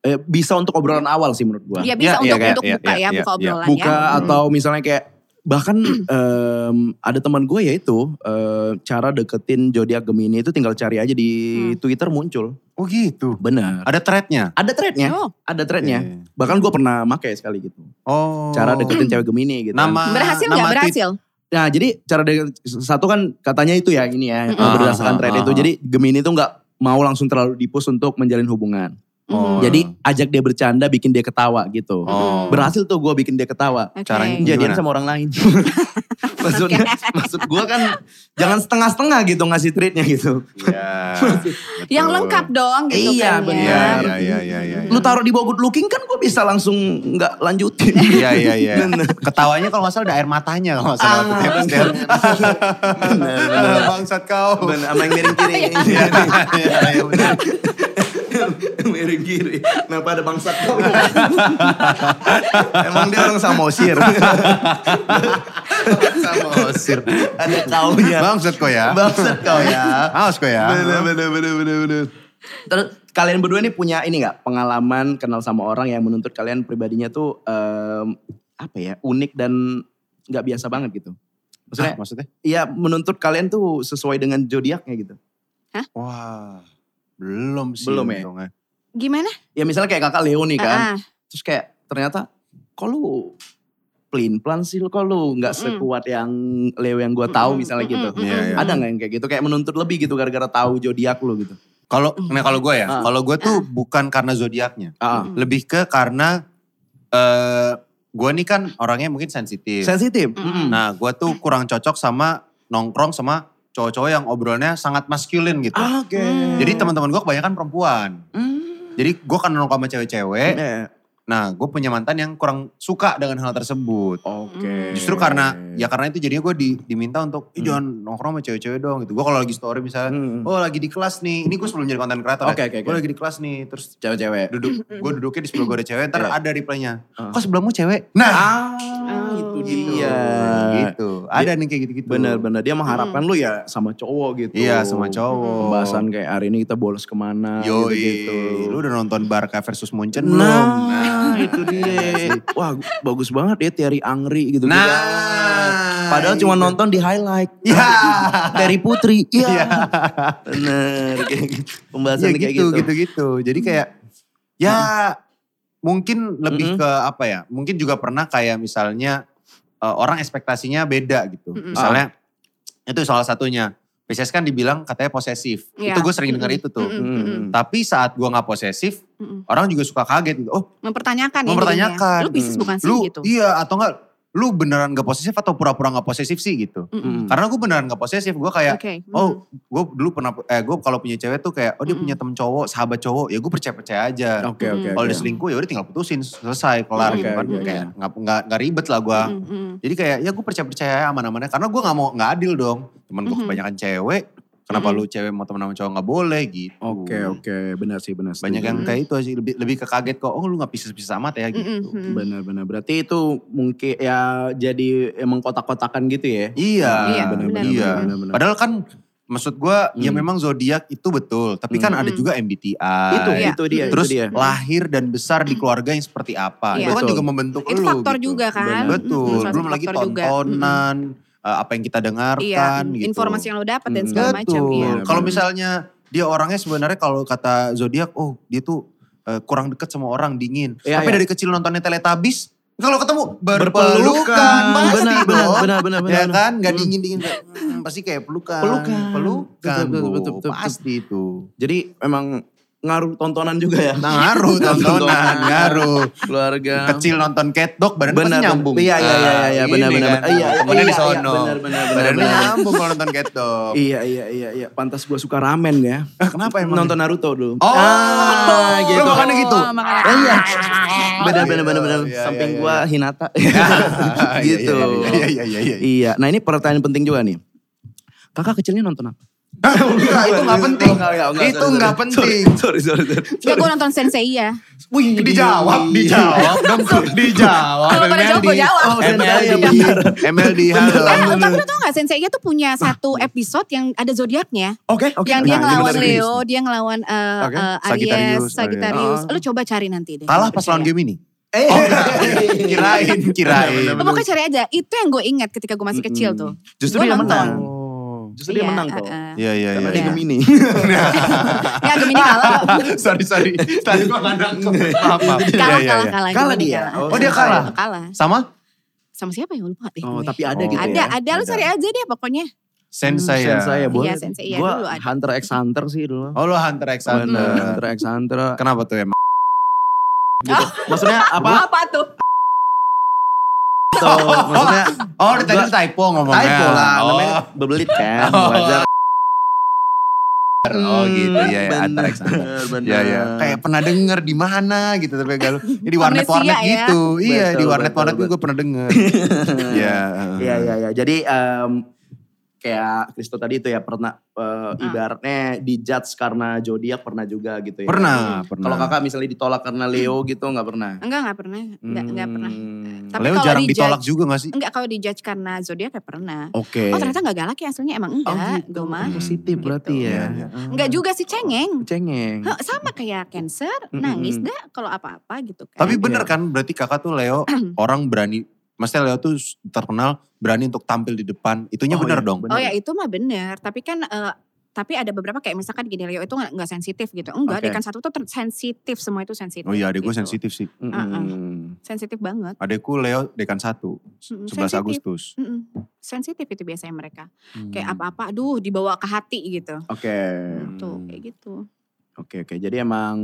Speaker 1: eh, bisa untuk obrolan awal sih menurut gua.
Speaker 2: Ya bisa
Speaker 3: iya,
Speaker 2: untuk
Speaker 3: kayak-
Speaker 2: untuk
Speaker 3: iya,
Speaker 2: buka
Speaker 3: iya,
Speaker 2: ya,
Speaker 3: iya,
Speaker 2: buka
Speaker 3: iya.
Speaker 2: obrolan ya.
Speaker 1: Buka atau misalnya kayak bahkan em, ada teman gue ya itu eh, cara deketin zodiak Gemini itu tinggal cari aja di Twitter muncul.
Speaker 3: Oh gitu.
Speaker 1: Benar.
Speaker 3: Ada threadnya.
Speaker 1: Ada threadnya,
Speaker 2: Oh.
Speaker 1: ada threadnya. Bahkan gue pernah make sekali gitu.
Speaker 3: Iya. Oh.
Speaker 1: Cara deketin cewek Gemini gitu.
Speaker 3: Nama.
Speaker 2: Berhasil nggak
Speaker 3: nama tit-
Speaker 2: berhasil?
Speaker 1: Nah jadi cara deket, satu kan katanya itu ya ini ya
Speaker 2: Mm-mm.
Speaker 1: berdasarkan
Speaker 3: Ah,
Speaker 1: thread
Speaker 3: ah,
Speaker 1: itu.
Speaker 3: ah.
Speaker 1: Jadi Gemini tuh nggak mau langsung terlalu dipus untuk menjalin hubungan.
Speaker 3: Oh.
Speaker 1: Jadi ajak dia bercanda, bikin dia ketawa gitu.
Speaker 3: Oh.
Speaker 1: Berhasil tuh gue bikin dia ketawa.
Speaker 2: Oke.
Speaker 3: caranya
Speaker 2: Oke.
Speaker 1: jadian
Speaker 3: Gimana?
Speaker 1: sama orang lain. Maksudnya, maksud gue kan jangan setengah-setengah gitu ngasih treatnya gitu.
Speaker 3: Iya.
Speaker 2: Yang lengkap dong gitu
Speaker 1: Iya,
Speaker 2: kan ya.
Speaker 3: Iya,
Speaker 1: benar.
Speaker 3: iya, iya, iya, iya.
Speaker 1: Lu taruh di bawah good looking kan gue bisa langsung nggak lanjutin.
Speaker 3: Iya, iya, iya.
Speaker 1: Bener.
Speaker 3: Ketawanya kalau nggak salah ada air matanya kalau nggak salah.
Speaker 1: Ah,
Speaker 3: Tiap step.
Speaker 1: Bener, bener.
Speaker 3: Bangsat kau.
Speaker 1: Bener, sama yang miring kiri.
Speaker 3: Iya, iya, iya, bener.
Speaker 1: Iya, miring kiri. Kenapa ada bangsa kau? Emang dia orang Samosir.
Speaker 3: Sama osir.
Speaker 1: ada kaunya.
Speaker 3: Bangsat kau ya.
Speaker 1: Bangsat kau ya.
Speaker 3: Awas kau ya.
Speaker 1: Bener, bener, bener, bener, bener. Terus kalian berdua nih punya ini nggak pengalaman kenal sama orang yang menuntut kalian pribadinya tuh em, apa ya unik dan nggak biasa banget gitu.
Speaker 3: Ah, Maksudnya?
Speaker 1: Maksudnya ya menuntut kalian tuh sesuai dengan zodiaknya gitu.
Speaker 3: Wah. Belum sih.
Speaker 1: Belum ya?
Speaker 3: untungnya.
Speaker 2: Gimana?
Speaker 1: Ya misalnya kayak kakak Leo nih kan,
Speaker 2: Ah,
Speaker 1: terus kayak ternyata kok lu pelin plan sih lu kok lu nggak
Speaker 2: Mm-mm.
Speaker 1: sekuat yang Leo yang gue tahu
Speaker 2: Mm-mm,
Speaker 1: misalnya
Speaker 2: mm-mm,
Speaker 1: gitu.
Speaker 2: mm-mm.
Speaker 3: Iya, iya.
Speaker 1: Ada nggak yang kayak gitu kayak menuntut lebih gitu gara-gara tahu zodiak lu gitu.
Speaker 3: Kalau nah kalau gue ya,
Speaker 1: Ah.
Speaker 3: kalau gue tuh bukan karena zodiaknya,
Speaker 1: Ah.
Speaker 3: lebih ke karena eh gue nih kan orangnya mungkin sensitif.
Speaker 1: Sensitif.
Speaker 2: Mm-mm.
Speaker 1: Mm-mm.
Speaker 3: Iya. Nah gue tuh kurang cocok sama nongkrong sama cowok-cowok yang obrolannya sangat maskulin gitu.
Speaker 1: Ah, Oke.
Speaker 2: Hmm.
Speaker 3: Jadi teman-teman gue kebanyakan perempuan.
Speaker 1: Hmm.
Speaker 3: Jadi gue kan nongkrong sama cewek-cewek.
Speaker 1: Eh,
Speaker 3: Nah gue punya mantan yang kurang suka dengan hal tersebut.
Speaker 1: Oke.
Speaker 3: Justru karena ya karena itu jadinya gue di, diminta untuk
Speaker 1: Iya, Hmm.
Speaker 3: "Ih, jangan nongkrong sama cewek-cewek dong gitu. Gue kalau lagi story misalnya,
Speaker 1: Hmm.
Speaker 3: oh lagi di kelas nih. Ini gue sebelum jadi konten kreator.
Speaker 1: Oke, oke, oke.
Speaker 3: Gue lagi di kelas nih. Terus
Speaker 1: cewek-cewek.
Speaker 3: duduk gue duduknya di sebelah gue ada cewek ntar
Speaker 1: Iya.
Speaker 3: ada reply-nya
Speaker 1: Ah.
Speaker 3: kok sebelahmu cewek nah
Speaker 1: Ah,
Speaker 2: Oh,
Speaker 1: itu
Speaker 2: gitu.
Speaker 1: dia.
Speaker 3: gitu ada nih kayak gitu gitu
Speaker 1: Bener-bener Iya. dia mengharapkan
Speaker 2: Mm.
Speaker 1: lu ya sama cowok gitu.
Speaker 3: iya sama cowok
Speaker 1: Pembahasan kayak hari ini kita bolos kemana
Speaker 3: yo
Speaker 1: gitu.
Speaker 3: lu udah nonton Barca versus Munchen
Speaker 1: Nah,
Speaker 3: belum
Speaker 1: itu dia. Iya Wah bagus banget ya Terry Angri gitu.
Speaker 3: nah
Speaker 1: Padahal cuma nonton di highlight.
Speaker 3: Gitu. ya
Speaker 1: Terry Putri. Iya.
Speaker 3: Iya.
Speaker 1: Bener. Kayak gitu.
Speaker 3: ya
Speaker 1: Pembahasan kayak
Speaker 3: gitu gitu gitu jadi kayak ya mungkin lebih
Speaker 1: Mm-mm.
Speaker 3: ke apa ya mungkin juga pernah kayak misalnya eh, orang ekspektasinya beda gitu
Speaker 2: Mm-mm.
Speaker 3: misalnya itu salah satunya Pisces kan dibilang katanya posesif
Speaker 2: Iya.
Speaker 3: itu gue sering dengar
Speaker 2: Mm-mm.
Speaker 3: itu tuh Mm.
Speaker 2: Mm-mm, mm-mm.
Speaker 1: Hmm.
Speaker 3: Tapi saat gua nggak posesif,
Speaker 2: Mm-mm.
Speaker 3: orang juga suka kaget gitu. Oh,
Speaker 2: Mempertanyakan ya
Speaker 3: Mempertanyakan.
Speaker 2: jadinya. Lu bisnis bukan sih
Speaker 3: lu
Speaker 2: gitu.
Speaker 3: iya atau enggak? Lu beneran gak posesif atau pura-pura gak posesif sih gitu?
Speaker 1: Mm.
Speaker 2: Mm-mm.
Speaker 3: Karena gue beneran gak posesif, gue kayak
Speaker 2: Oke.
Speaker 3: Oh, gue dulu pernah, eh gue kalau punya cewek tuh kayak, oh dia
Speaker 2: Mm-mm.
Speaker 3: punya temen cowok, sahabat cowok, ya gue percaya-percaya aja.
Speaker 1: Oke oke.
Speaker 3: Kalau
Speaker 1: oke.
Speaker 3: dia selingkuh ya udah tinggal putusin, selesai, kelar
Speaker 1: Oke,
Speaker 3: gitu kan.
Speaker 1: oke, oke.
Speaker 3: Kayak nggak nggak nggak ribet lah gue.
Speaker 2: Mm-mm, mm-mm.
Speaker 3: Jadi kayak ya gue percaya-percaya aman-amannya, karena gue gak mau nggak adil dong. Temen gue
Speaker 2: Mhm.
Speaker 3: kebanyakan cewek, kenapa
Speaker 2: Mm-mm.
Speaker 3: lu cewek mau temen sama cowok gak boleh gitu.
Speaker 1: Oke oke. Benar sih benar.
Speaker 3: banyak
Speaker 1: setuju.
Speaker 3: yang kayak itu sih lebih lebih ke kaget kok oh lu nggak pisah-pisah amat ya gitu
Speaker 2: Mm-mm, mm-mm.
Speaker 1: Benar-benar. Mm. Berarti itu mungkin ya jadi emang kotak-kotakan gitu ya.
Speaker 3: iya
Speaker 2: Iya,
Speaker 1: benar-benar.
Speaker 2: benar,
Speaker 1: Iya.
Speaker 3: iya padahal kan maksud gua ya
Speaker 1: Hmm.
Speaker 3: memang zodiak itu betul tapi kan
Speaker 1: Hmm.
Speaker 3: ada
Speaker 2: Hmm.
Speaker 3: juga MBTI
Speaker 1: Itu,
Speaker 2: Iya.
Speaker 1: itu dia.
Speaker 3: terus
Speaker 1: itu dia.
Speaker 3: lahir dan besar di keluarga yang seperti apa
Speaker 2: Hmm. Iya.
Speaker 3: itu kan
Speaker 1: Betul.
Speaker 3: juga membentuk
Speaker 2: Itu
Speaker 3: lu
Speaker 2: faktor
Speaker 3: gitu.
Speaker 2: juga kan.
Speaker 1: Benar.
Speaker 3: betul
Speaker 2: Mm-mm, salah
Speaker 3: belum
Speaker 2: satu
Speaker 3: lagi
Speaker 2: faktor juga.
Speaker 3: tontonan eh, apa yang kita
Speaker 2: Mm-mm. Iya,
Speaker 3: dengarkan gitu
Speaker 2: informasi yang lo dapat dan
Speaker 1: Mm.
Speaker 2: segala macam. Iya.
Speaker 1: Iya,
Speaker 3: Kalau
Speaker 1: bener.
Speaker 3: misalnya dia orangnya sebenarnya kalau kata zodiak, oh dia tuh eh, kurang dekat sama orang dingin.
Speaker 1: Iya,
Speaker 3: Tapi
Speaker 1: iya.
Speaker 3: dari kecil nontonnya Teletubbies, kalau ketemu berpelukan,
Speaker 1: Berpelukan.
Speaker 3: pasti
Speaker 1: Benar, benar,
Speaker 3: dong.
Speaker 1: benar, benar,
Speaker 3: ya
Speaker 1: benar.
Speaker 3: kan, nggak
Speaker 1: Hmm.
Speaker 3: dingin dingin, pasti kayak pelukan,
Speaker 1: Pelukan.
Speaker 3: pelukan,
Speaker 1: Betul, betul,
Speaker 3: Bu.
Speaker 1: betul, betul,
Speaker 3: pasti itu.
Speaker 1: Jadi emang ngaruh tontonan juga ya.
Speaker 3: Nah, ngaruh tontonan, ngaruh.
Speaker 1: Keluarga.
Speaker 3: Kecil nonton cat dog,
Speaker 1: Iya.
Speaker 3: badan
Speaker 1: Benar,
Speaker 3: pasti
Speaker 1: benar.
Speaker 3: nyambung.
Speaker 1: Iya, iya, iya, iya,
Speaker 3: Ini
Speaker 1: benar, benar, benar.
Speaker 3: kan,
Speaker 1: Iya, iya,
Speaker 3: Temennya
Speaker 1: iya,
Speaker 3: di
Speaker 1: iya,
Speaker 3: sono.
Speaker 1: benar, benar, benar,
Speaker 3: Badannya
Speaker 1: benar.
Speaker 3: nyambung kalau nonton cat dog.
Speaker 1: Iya iya iya iya. Pantas gue suka ramen ya.
Speaker 3: Eh, Kenapa emang?
Speaker 1: Nonton Naruto dulu.
Speaker 3: Oh,
Speaker 1: Ah,
Speaker 3: lu
Speaker 1: gitu.
Speaker 3: makannya gitu?
Speaker 1: Oh, iya. Benar benar benar benar.
Speaker 3: Iya, iya,
Speaker 1: Samping
Speaker 3: iya,
Speaker 1: gua Hinata. gitu.
Speaker 3: Iya iya iya iya.
Speaker 1: Iya. Nah ini pertanyaan penting juga nih. Kakak kecilnya nonton apa?
Speaker 3: Ah, Enggak, itu enggak penting.
Speaker 1: Oh, enggak, enggak, enggak,
Speaker 3: Itu
Speaker 1: sorry,
Speaker 3: enggak
Speaker 1: sorry.
Speaker 3: penting.
Speaker 1: Sorry sorry sorry.
Speaker 2: Enggak gue nonton Sensei
Speaker 3: Iya.
Speaker 2: ya.
Speaker 3: Wih, dijawab, dijawab dong. Dijawab.
Speaker 2: Kalau pada jawab, gua jawab.
Speaker 1: Oh,
Speaker 3: MLD,
Speaker 1: Zendaya, benar.
Speaker 3: MLD, halo.
Speaker 2: Eh, tapi lu tau gak Sensei ya tuh punya satu episode yang ada zodiaknya.
Speaker 1: Oke oke.
Speaker 2: yang dia
Speaker 1: Nah,
Speaker 2: ngelawan
Speaker 1: benar.
Speaker 2: Leo, dia ngelawan eh,
Speaker 3: Oke.
Speaker 2: eh,
Speaker 3: Sagittarius, Oh,
Speaker 2: Aries, Sagittarius.
Speaker 1: Aries.
Speaker 2: Lu coba cari nanti deh.
Speaker 3: Kalah pas lawan game ini. Oh, iya.
Speaker 1: Eh.
Speaker 3: kirain, kirain.
Speaker 1: Bener-bener.
Speaker 2: Oh, Pokoknya cari aja. Itu yang gue ingat ketika gue masih kecil
Speaker 1: Mm-mm.
Speaker 2: tuh.
Speaker 1: Justru
Speaker 2: Gua
Speaker 1: dia
Speaker 2: nonton.
Speaker 1: menang.
Speaker 3: Oh.
Speaker 1: Justru dia
Speaker 2: Iya,
Speaker 1: menang Gitu. kok.
Speaker 2: uh-uh.
Speaker 3: Iya, iya,
Speaker 1: Karena
Speaker 3: iya. Ah,
Speaker 1: dia Gemini.
Speaker 2: Ya Gemini kalah.
Speaker 3: sorry, sorry. Tadi gua gak nangkep. Maaf, maaf.
Speaker 2: Kalah,
Speaker 3: Iya, iya,
Speaker 2: kalah,
Speaker 3: iya.
Speaker 2: kalah.
Speaker 1: Kalah
Speaker 2: Gemini
Speaker 1: dia? Oh,
Speaker 3: dia kalah?
Speaker 2: Kalah.
Speaker 3: Sama?
Speaker 2: Sama siapa ya? Lupa deh
Speaker 1: Oh,
Speaker 2: gue.
Speaker 1: tapi ada
Speaker 3: Oh.
Speaker 1: gitu
Speaker 2: ada,
Speaker 1: ya.
Speaker 2: ada. Lu
Speaker 3: Ada.
Speaker 2: cari aja deh pokoknya.
Speaker 1: Hmm,
Speaker 3: Sensei ya.
Speaker 1: Sensei ya, boleh.
Speaker 2: Iya, Sensei. Iya,
Speaker 1: Gua
Speaker 2: dulu ada. Hmm.
Speaker 1: Hunter x Hunter sih dulu.
Speaker 3: Oh lo Hunter x Hunter.
Speaker 1: Hunter x Hunter. Gitu.
Speaker 3: Kenapa tuh emang?
Speaker 1: Maksudnya apa?
Speaker 2: Apa? Apa tuh?
Speaker 1: Tuh, maksudnya
Speaker 3: Oh udah tadi typo ngomongnya.
Speaker 1: typo lah, namanya
Speaker 3: Oh,
Speaker 1: bebelit kan,
Speaker 3: Oh.
Speaker 1: wajar.
Speaker 3: oh gitu ya, ya
Speaker 1: Bener,
Speaker 3: Hunter x Hunter.
Speaker 1: bener.
Speaker 3: Ya ya. Kayak pernah denger di mana gitu tapi galuh. Ini di warnet-warnet
Speaker 2: Amnesia ya.
Speaker 3: gitu. iya, di
Speaker 1: Betul,
Speaker 3: warnet-warnet
Speaker 1: betul,
Speaker 3: gue pernah denger. Iya.
Speaker 1: Iya iya iya. Jadi em, kayak Kristo tadi itu ya pernah
Speaker 2: Ah.
Speaker 1: eh, ibaratnya dijudge karena zodiak pernah juga gitu ya.
Speaker 3: Pernah, pernah.
Speaker 1: Kalau kakak misalnya ditolak karena Leo gitu nggak pernah.
Speaker 2: Enggak, enggak pernah. Enggak, enggak pernah.
Speaker 1: Hmm.
Speaker 2: Tapi
Speaker 3: Leo
Speaker 2: kalau Eh,
Speaker 3: jarang
Speaker 2: di-judge-
Speaker 3: ditolak juga gak sih?
Speaker 2: Enggak kalau dijudge karena zodiak ya pernah.
Speaker 1: Oke.
Speaker 2: Oh ternyata enggak galak ya aslinya emang
Speaker 1: Oh,
Speaker 2: enggak.
Speaker 1: gitu.
Speaker 2: Gue mah.
Speaker 1: positif
Speaker 2: Gitu.
Speaker 1: berarti ya.
Speaker 3: Iya, iya.
Speaker 2: Enggak juga sih cengeng.
Speaker 1: Cengeng.
Speaker 2: Heh, sama kayak cancer,
Speaker 1: Mm-mm.
Speaker 2: nangis dah kalau apa-apa gitu kan.
Speaker 3: Tapi bener kan berarti kakak tuh Leo orang berani. Maksudnya Leo tuh terkenal berani untuk tampil di depan. Itunya
Speaker 1: Oh,
Speaker 3: bener
Speaker 1: iya,
Speaker 3: dong.
Speaker 1: bener.
Speaker 2: Oh ya itu mah bener, tapi kan eh, tapi ada beberapa kayak misalkan gini Leo itu nggak nggak sensitif gitu. Enggak,
Speaker 1: Oke.
Speaker 2: dia kan satu tuh ter- sensitif, semua itu sensitif.
Speaker 3: Oh iya adek gue
Speaker 2: gitu.
Speaker 3: sensitif sih.
Speaker 1: Mm-mm.
Speaker 2: Sensitif banget.
Speaker 3: Adekku Leo dekan 1, 11
Speaker 2: Mm-mm, sensitif.
Speaker 3: Agustus.
Speaker 2: Mm-mm, Sensitif itu biasanya mereka.
Speaker 3: Hmm.
Speaker 2: Kayak apa-apa, aduh dibawa ke hati gitu.
Speaker 1: Hmm. Oke. Hmm.
Speaker 2: Tuh kayak gitu.
Speaker 1: Oke oke. Jadi emang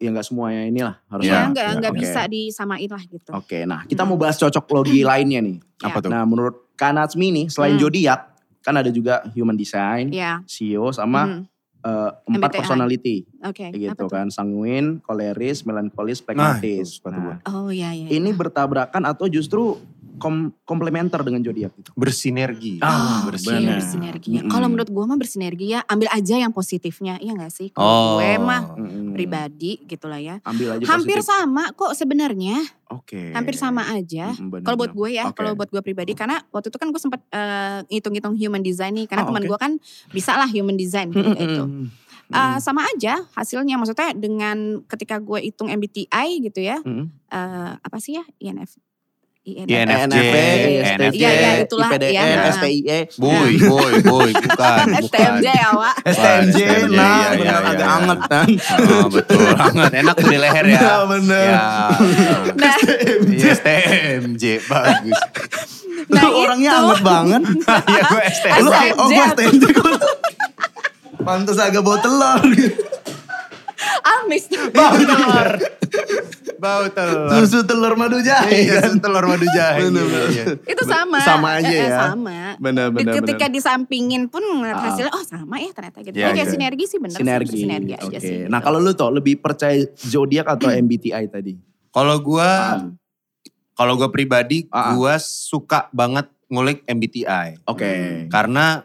Speaker 1: ya nggak semuanya inilah harus.
Speaker 3: Iya,
Speaker 2: Ya,
Speaker 1: ada.
Speaker 2: nggak nggak
Speaker 1: Oke.
Speaker 2: bisa disamain lah gitu.
Speaker 1: Oke, nah kita mau bahas cocok logi lainnya nih.
Speaker 2: Ya.
Speaker 3: Apa tuh?
Speaker 1: Nah, menurut Kanatsmi nih selain
Speaker 2: Hmm.
Speaker 1: zodiak kan ada juga human design,
Speaker 2: Ya.
Speaker 1: CEO sama
Speaker 2: mm,
Speaker 1: eh, empat
Speaker 2: MBTI.
Speaker 1: personality
Speaker 2: Oke.
Speaker 1: gitu
Speaker 2: apa tuh?
Speaker 1: kan, sanguin, koleris, melankolis,
Speaker 3: Nah, itu
Speaker 1: pragmatis.
Speaker 3: sepatu
Speaker 1: Nah,
Speaker 3: gua.
Speaker 2: Oh iya iya.
Speaker 1: ini bertabrakan atau justru kom- komplementer dengan zodiak gitu.
Speaker 3: bersinergi. Hmm,
Speaker 1: Ah,
Speaker 2: Iya,
Speaker 1: Bener.
Speaker 2: bersinergi.
Speaker 1: Mm-mm.
Speaker 2: Kalau menurut gue mah bersinergi ya ambil aja yang positifnya, iya gak sih? Kalau
Speaker 3: Oh.
Speaker 2: gue mah
Speaker 1: Mm-mm.
Speaker 2: pribadi gitulah ya.
Speaker 1: Ambil aja
Speaker 2: Hampir
Speaker 1: positif.
Speaker 2: sama kok sebenarnya,
Speaker 1: Oke.
Speaker 2: hampir sama aja.
Speaker 1: Mm-mm, bener,
Speaker 2: Kalau buat
Speaker 1: bener.
Speaker 2: gue ya,
Speaker 1: Hmm. Oke.
Speaker 2: kalau buat gue pribadi karena waktu itu kan gue sempat eh, ngitung-ngitung human design nih, karena
Speaker 1: Oh,
Speaker 2: teman
Speaker 1: oke. Hmm,
Speaker 2: gue kan bisa lah human design gitu. itu.
Speaker 1: Mm-mm.
Speaker 2: Eh, sama aja hasilnya, maksudnya dengan ketika gue hitung MBTI gitu ya,
Speaker 1: Mm-mm.
Speaker 2: eh, apa sih ya INF,
Speaker 3: INFJ,
Speaker 1: NFP,
Speaker 3: NFJ,
Speaker 1: STJ,
Speaker 2: Iya, iya, itulah,
Speaker 1: IPDN,
Speaker 2: iya, nah.
Speaker 1: STIE.
Speaker 3: Boy,
Speaker 2: Iya.
Speaker 3: boy, boy, bukan, bukan.
Speaker 2: STMJ ya, Wak.
Speaker 3: STMJ,
Speaker 1: nah,
Speaker 3: iya, iya,
Speaker 1: benar,
Speaker 3: iya,
Speaker 1: agak
Speaker 3: iya.
Speaker 1: anget kan.
Speaker 3: Oh, betul, hangat, enak tuh di leher ya.
Speaker 1: Nah, bener. Eh,
Speaker 3: Ya.
Speaker 2: Nah,
Speaker 3: Iya, STMJ, bagus.
Speaker 2: nah
Speaker 1: Lu orangnya
Speaker 2: itu.
Speaker 1: anget banget.
Speaker 3: Iya, gue STMJ.
Speaker 1: Lu kayak, oh gue
Speaker 2: STMJ.
Speaker 1: STMJ. gua tuh. Pantes agak bau telur.
Speaker 2: Amis.
Speaker 3: Bau telur. Bau telur.
Speaker 1: Susu telur madu
Speaker 3: Iya,
Speaker 1: jahe.
Speaker 3: susu telur madu jahe.
Speaker 1: Bener,
Speaker 3: Iya,
Speaker 1: bener.
Speaker 3: iya.
Speaker 2: Itu sama.
Speaker 1: Sama aja
Speaker 2: Eh, eh,
Speaker 1: ya.
Speaker 2: Sama.
Speaker 1: Bener, bener,
Speaker 2: Ketika
Speaker 1: bener.
Speaker 2: disampingin pun ngeliat
Speaker 1: Ah.
Speaker 2: hasilnya, oh sama ya ternyata gitu.
Speaker 3: Iya,
Speaker 2: Oke
Speaker 3: gitu.
Speaker 2: sinergi sih bener. sih,
Speaker 1: Sinergi.
Speaker 2: Sinergi aja
Speaker 1: Oke.
Speaker 2: sih. gitu. Hmm.
Speaker 1: Nah kalau lu tuh lebih percaya zodiak atau MBTI tadi?
Speaker 3: Kalau gue, kalau gue pribadi,
Speaker 1: Ah, ah.
Speaker 3: gue suka banget ngulik MBTI.
Speaker 1: Oke.
Speaker 3: hmm. Karena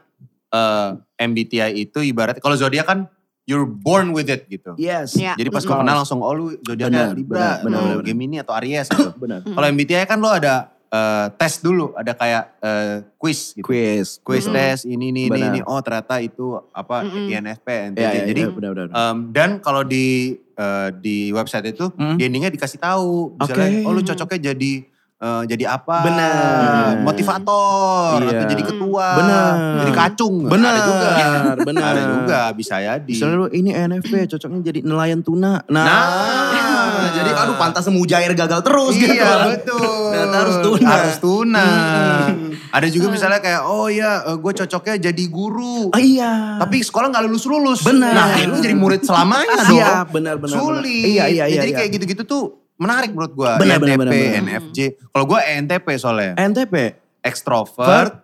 Speaker 3: eh, MBTI itu ibarat kalau zodiak kan you're born with it gitu.
Speaker 1: Yes.
Speaker 2: Iya.
Speaker 3: Jadi pas
Speaker 1: Mm.
Speaker 3: kau kenal langsung oh lu
Speaker 1: Benar,
Speaker 3: zodiaknya
Speaker 1: benar,
Speaker 3: Libra,
Speaker 1: benar,
Speaker 3: lu
Speaker 1: benar. Hmm.
Speaker 3: Gemini atau Aries gitu.
Speaker 1: Benar.
Speaker 3: kalau MBTI kan lo ada eh, tes dulu, ada kayak eh, quiz gitu.
Speaker 1: Quiz.
Speaker 3: Quiz
Speaker 1: Mm.
Speaker 3: tes ini ini ini
Speaker 1: Benar.
Speaker 3: ini oh ternyata itu apa
Speaker 2: Mm-mm.
Speaker 3: INFP NTJ.
Speaker 1: Iya, iya,
Speaker 3: Jadi eh,
Speaker 1: iya, benar, benar.
Speaker 3: em, dan kalau di eh, di website itu
Speaker 1: Mm.
Speaker 3: di endingnya dikasih tahu misalnya
Speaker 1: Oke.
Speaker 3: oh lu cocoknya jadi eh, jadi apa?
Speaker 1: Benar.
Speaker 3: Motivator
Speaker 1: Iya.
Speaker 3: atau jadi ketua.
Speaker 1: Benar.
Speaker 3: Jadi kacung. Ada juga.
Speaker 1: Benar, Iya, benar.
Speaker 3: Ada juga bisa jadi. Iya,
Speaker 1: Misalnya lu ini NFP cocoknya jadi nelayan tuna. Nah,
Speaker 3: Hmm. Nah.
Speaker 1: jadi aduh pantas mujair gagal terus gitu.
Speaker 3: iya
Speaker 1: kan.
Speaker 3: betul.
Speaker 1: Ternyata harus tuna.
Speaker 3: Harus tuna.
Speaker 1: Hmm.
Speaker 3: Ada juga misalnya kayak oh ya gue cocoknya jadi guru.
Speaker 1: Ah, iya.
Speaker 3: Tapi sekolah gak lulus-lulus.
Speaker 1: Benar.
Speaker 3: Nah lu jadi murid selamanya dong.
Speaker 1: Iya, benar, benar, benar.
Speaker 3: Sulit.
Speaker 1: Iya, iya, iya,
Speaker 3: Jadi
Speaker 1: iya.
Speaker 3: kayak gitu. gitu-gitu tuh menarik menurut gue.
Speaker 1: Benar,
Speaker 3: NTP,
Speaker 1: benar, benar, benar.
Speaker 3: NFJ. Kalau gue ENTP soalnya.
Speaker 1: NTP. Vert.
Speaker 3: Extrovert.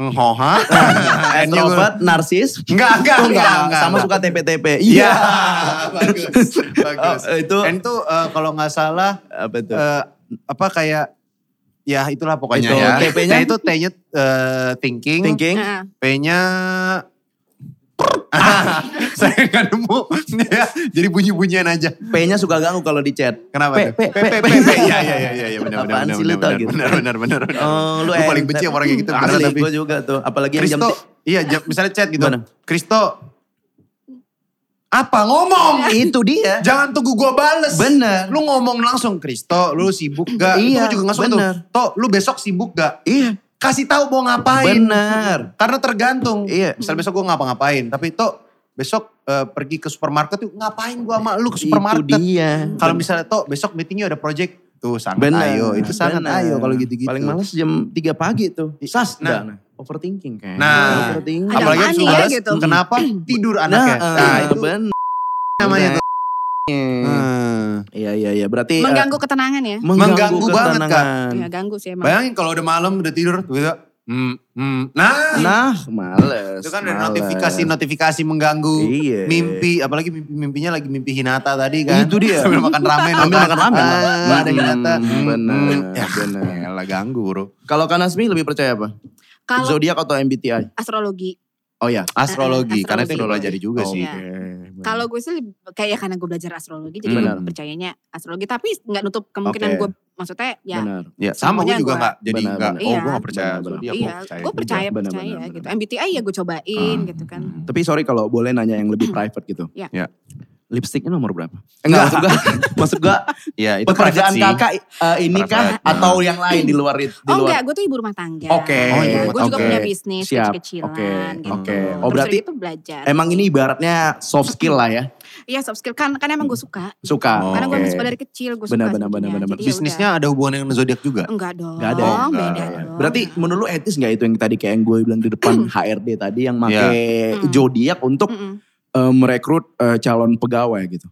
Speaker 3: Hoha.
Speaker 1: Introvert, narsis.
Speaker 3: Enggak, enggak,
Speaker 1: Oh,
Speaker 3: enggak, enggak.
Speaker 1: Sama suka TP-TP.
Speaker 3: Iya. bagus. Bagus.
Speaker 1: Oh, itu-
Speaker 3: Dan itu eh, kalau gak salah
Speaker 1: Apa tuh?
Speaker 3: eh apa kayak ya itulah pokoknya
Speaker 1: Itu,
Speaker 3: ya.
Speaker 1: TP-nya?
Speaker 3: Nah, itu T-nya eh, thinking,
Speaker 1: Thinking.
Speaker 2: Nah,
Speaker 3: P-nya saya nggak nemu ya, jadi bunyi-bunyian aja
Speaker 1: P-nya suka ganggu kalau di chat.
Speaker 3: kenapa
Speaker 1: P,
Speaker 3: tuh?
Speaker 1: P, P, P.
Speaker 3: ya ya ya ya ya benar benar
Speaker 1: Apaan
Speaker 3: benar
Speaker 1: sih lu
Speaker 3: benar
Speaker 1: tau
Speaker 3: benar
Speaker 1: gitu?
Speaker 3: benar benar benar benar.
Speaker 1: Oh, lu
Speaker 3: Eh, Gua paling
Speaker 1: NTP.
Speaker 3: benci orang kayak gitu beneran,
Speaker 1: Asli,
Speaker 3: tapi Iya,
Speaker 1: gue juga tuh. Apalagi yang jam
Speaker 3: Kristo iya jam, misalnya chat gitu
Speaker 1: Gimana?
Speaker 3: Kristo Apa ngomong?
Speaker 1: Itu dia.
Speaker 3: Jangan tunggu gua bales.
Speaker 1: Bener.
Speaker 3: Lu ngomong langsung, Kristo, lu sibuk gak?
Speaker 1: Iya,
Speaker 3: Lu juga nggak suka tuh.
Speaker 1: bener.
Speaker 3: Tok, lu besok sibuk gak?
Speaker 1: Iya.
Speaker 3: Kasih tahu mau ngapain.
Speaker 1: Bener.
Speaker 3: Karena tergantung.
Speaker 1: Iya.
Speaker 3: Misal besok gua ngapa-ngapain, tapi Tok besok eh, pergi ke supermarket yuk ngapain gua sama lu ke supermarket.
Speaker 1: Itu dia.
Speaker 3: Kalau misalnya Tok besok meetingnya ada project, tuh sangat
Speaker 1: Bener.
Speaker 3: ayo. Itu sangat
Speaker 1: Bener.
Speaker 3: ayo kalau gitu-gitu.
Speaker 1: Paling males jam 3 pagi tuh. Sas.
Speaker 3: gitu. Nah.
Speaker 1: dah. Overthinking kan.
Speaker 3: Nah.
Speaker 1: Overthinking.
Speaker 2: Ada
Speaker 3: Apalagi
Speaker 2: apaan
Speaker 3: harus
Speaker 2: nih ya
Speaker 3: balas,
Speaker 2: gitu.
Speaker 3: kenapa tidur
Speaker 1: Nah,
Speaker 3: anaknya. Nah,
Speaker 1: eh,
Speaker 3: itu Nah.
Speaker 1: bener.
Speaker 3: namanya tuh.
Speaker 1: Hmm. Iya, iya, iya. Berarti. eh,
Speaker 2: Mengganggu ketenangan ya?
Speaker 1: mengganggu
Speaker 3: Mengganggu banget, Kak.
Speaker 1: ketenangan.
Speaker 2: Ya ganggu sih emang.
Speaker 3: Bayangin kalau udah malam udah tidur, tiba-tiba, hmm, hmm. Nah,
Speaker 1: Nah, males.
Speaker 3: itu kan ada
Speaker 1: males.
Speaker 3: notifikasi-notifikasi mengganggu.
Speaker 1: Iya.
Speaker 3: Mimpi, apalagi mimpi-mimpinya lagi mimpi Hinata tadi kan.
Speaker 1: Itu dia.
Speaker 3: Sambil makan ramen.
Speaker 1: Sambil
Speaker 3: kan.
Speaker 1: makan ramen,
Speaker 3: Ah,
Speaker 1: Bang.
Speaker 3: ada Hinata.
Speaker 1: Hmm, benar,
Speaker 3: Ya,
Speaker 1: benar.
Speaker 3: elah, ganggu bro.
Speaker 1: Kalau Kanasmi lebih percaya apa?
Speaker 2: Kalau
Speaker 1: Zodiak atau MBTI?
Speaker 2: astrologi,
Speaker 1: Oh ya.
Speaker 3: Astrologi, karena
Speaker 2: astrologi.
Speaker 3: itu udah belajar juga
Speaker 2: Oh,
Speaker 3: sih.
Speaker 2: iya. Kalau gue sih lebih- kayak ya karena gue belajar astrologi jadi
Speaker 1: Benar.
Speaker 2: gue percayanya astrologi tapi nggak nutup
Speaker 1: Oke.
Speaker 2: kemungkinan gue maksudnya ya
Speaker 1: Benar.
Speaker 3: Ya, sama gue
Speaker 2: Semuanya
Speaker 3: juga
Speaker 2: gua-
Speaker 3: gak, jadi
Speaker 1: Benar,
Speaker 3: gak,
Speaker 1: benar.
Speaker 3: oh gue
Speaker 2: Iya.
Speaker 3: gak percaya. Hmm.
Speaker 1: Benar, benar.
Speaker 3: Zodiac, gua
Speaker 2: iya gue percaya
Speaker 1: Benar, benar,
Speaker 2: percaya
Speaker 1: benar,
Speaker 2: gitu
Speaker 1: benar. Ah.
Speaker 2: MBTI ya gue cobain gitu kan
Speaker 1: Tapi sorry kalau boleh nanya yang lebih private gitu.
Speaker 2: Iya.
Speaker 3: Iya.
Speaker 1: Lipstiknya nomor berapa? Enggak, maksud gue, maksud gue
Speaker 3: Iya, itu
Speaker 1: pekerjaan
Speaker 3: private sih.
Speaker 1: kakak eh, ini kah
Speaker 3: Private.
Speaker 1: atau yang lain di luar itu? Di luar.
Speaker 2: oh enggak gue tuh ibu rumah tangga
Speaker 1: Oke.
Speaker 3: Oh, ibu
Speaker 2: ya,
Speaker 3: rumah
Speaker 2: gue juga
Speaker 3: tangga.
Speaker 2: punya bisnis
Speaker 1: Siap.
Speaker 2: kecil-kecilan
Speaker 1: Oke,
Speaker 2: gitu
Speaker 1: oke.
Speaker 2: Terus
Speaker 1: Oh, berarti
Speaker 2: udah gitu belajar
Speaker 1: Emang ini ibaratnya soft skill lah ya.
Speaker 2: iya soft skill kan karena emang
Speaker 1: Hmm.
Speaker 2: gue suka
Speaker 1: Suka.
Speaker 3: Oh,
Speaker 2: karena gue
Speaker 1: Oke.
Speaker 2: emang suka dari kecil gue suka
Speaker 1: Benar, benar, benar,
Speaker 2: sebetulnya.
Speaker 1: benar, benar.
Speaker 2: Jadi ya
Speaker 3: Bisnisnya ada hubungannya dengan zodiak juga?
Speaker 2: udah. enggak dong
Speaker 1: Nggak ada ya?
Speaker 2: beda
Speaker 3: Enggak.
Speaker 2: dong
Speaker 1: Berarti menurut lu etis gak itu yang tadi kayak yang gue bilang di depan
Speaker 2: Hmm.
Speaker 1: HRD tadi yang make
Speaker 3: Iya.
Speaker 2: Mm.
Speaker 1: zodiak untuk
Speaker 2: Mm-mm.
Speaker 1: eh, merekrut eh, calon pegawai gitu.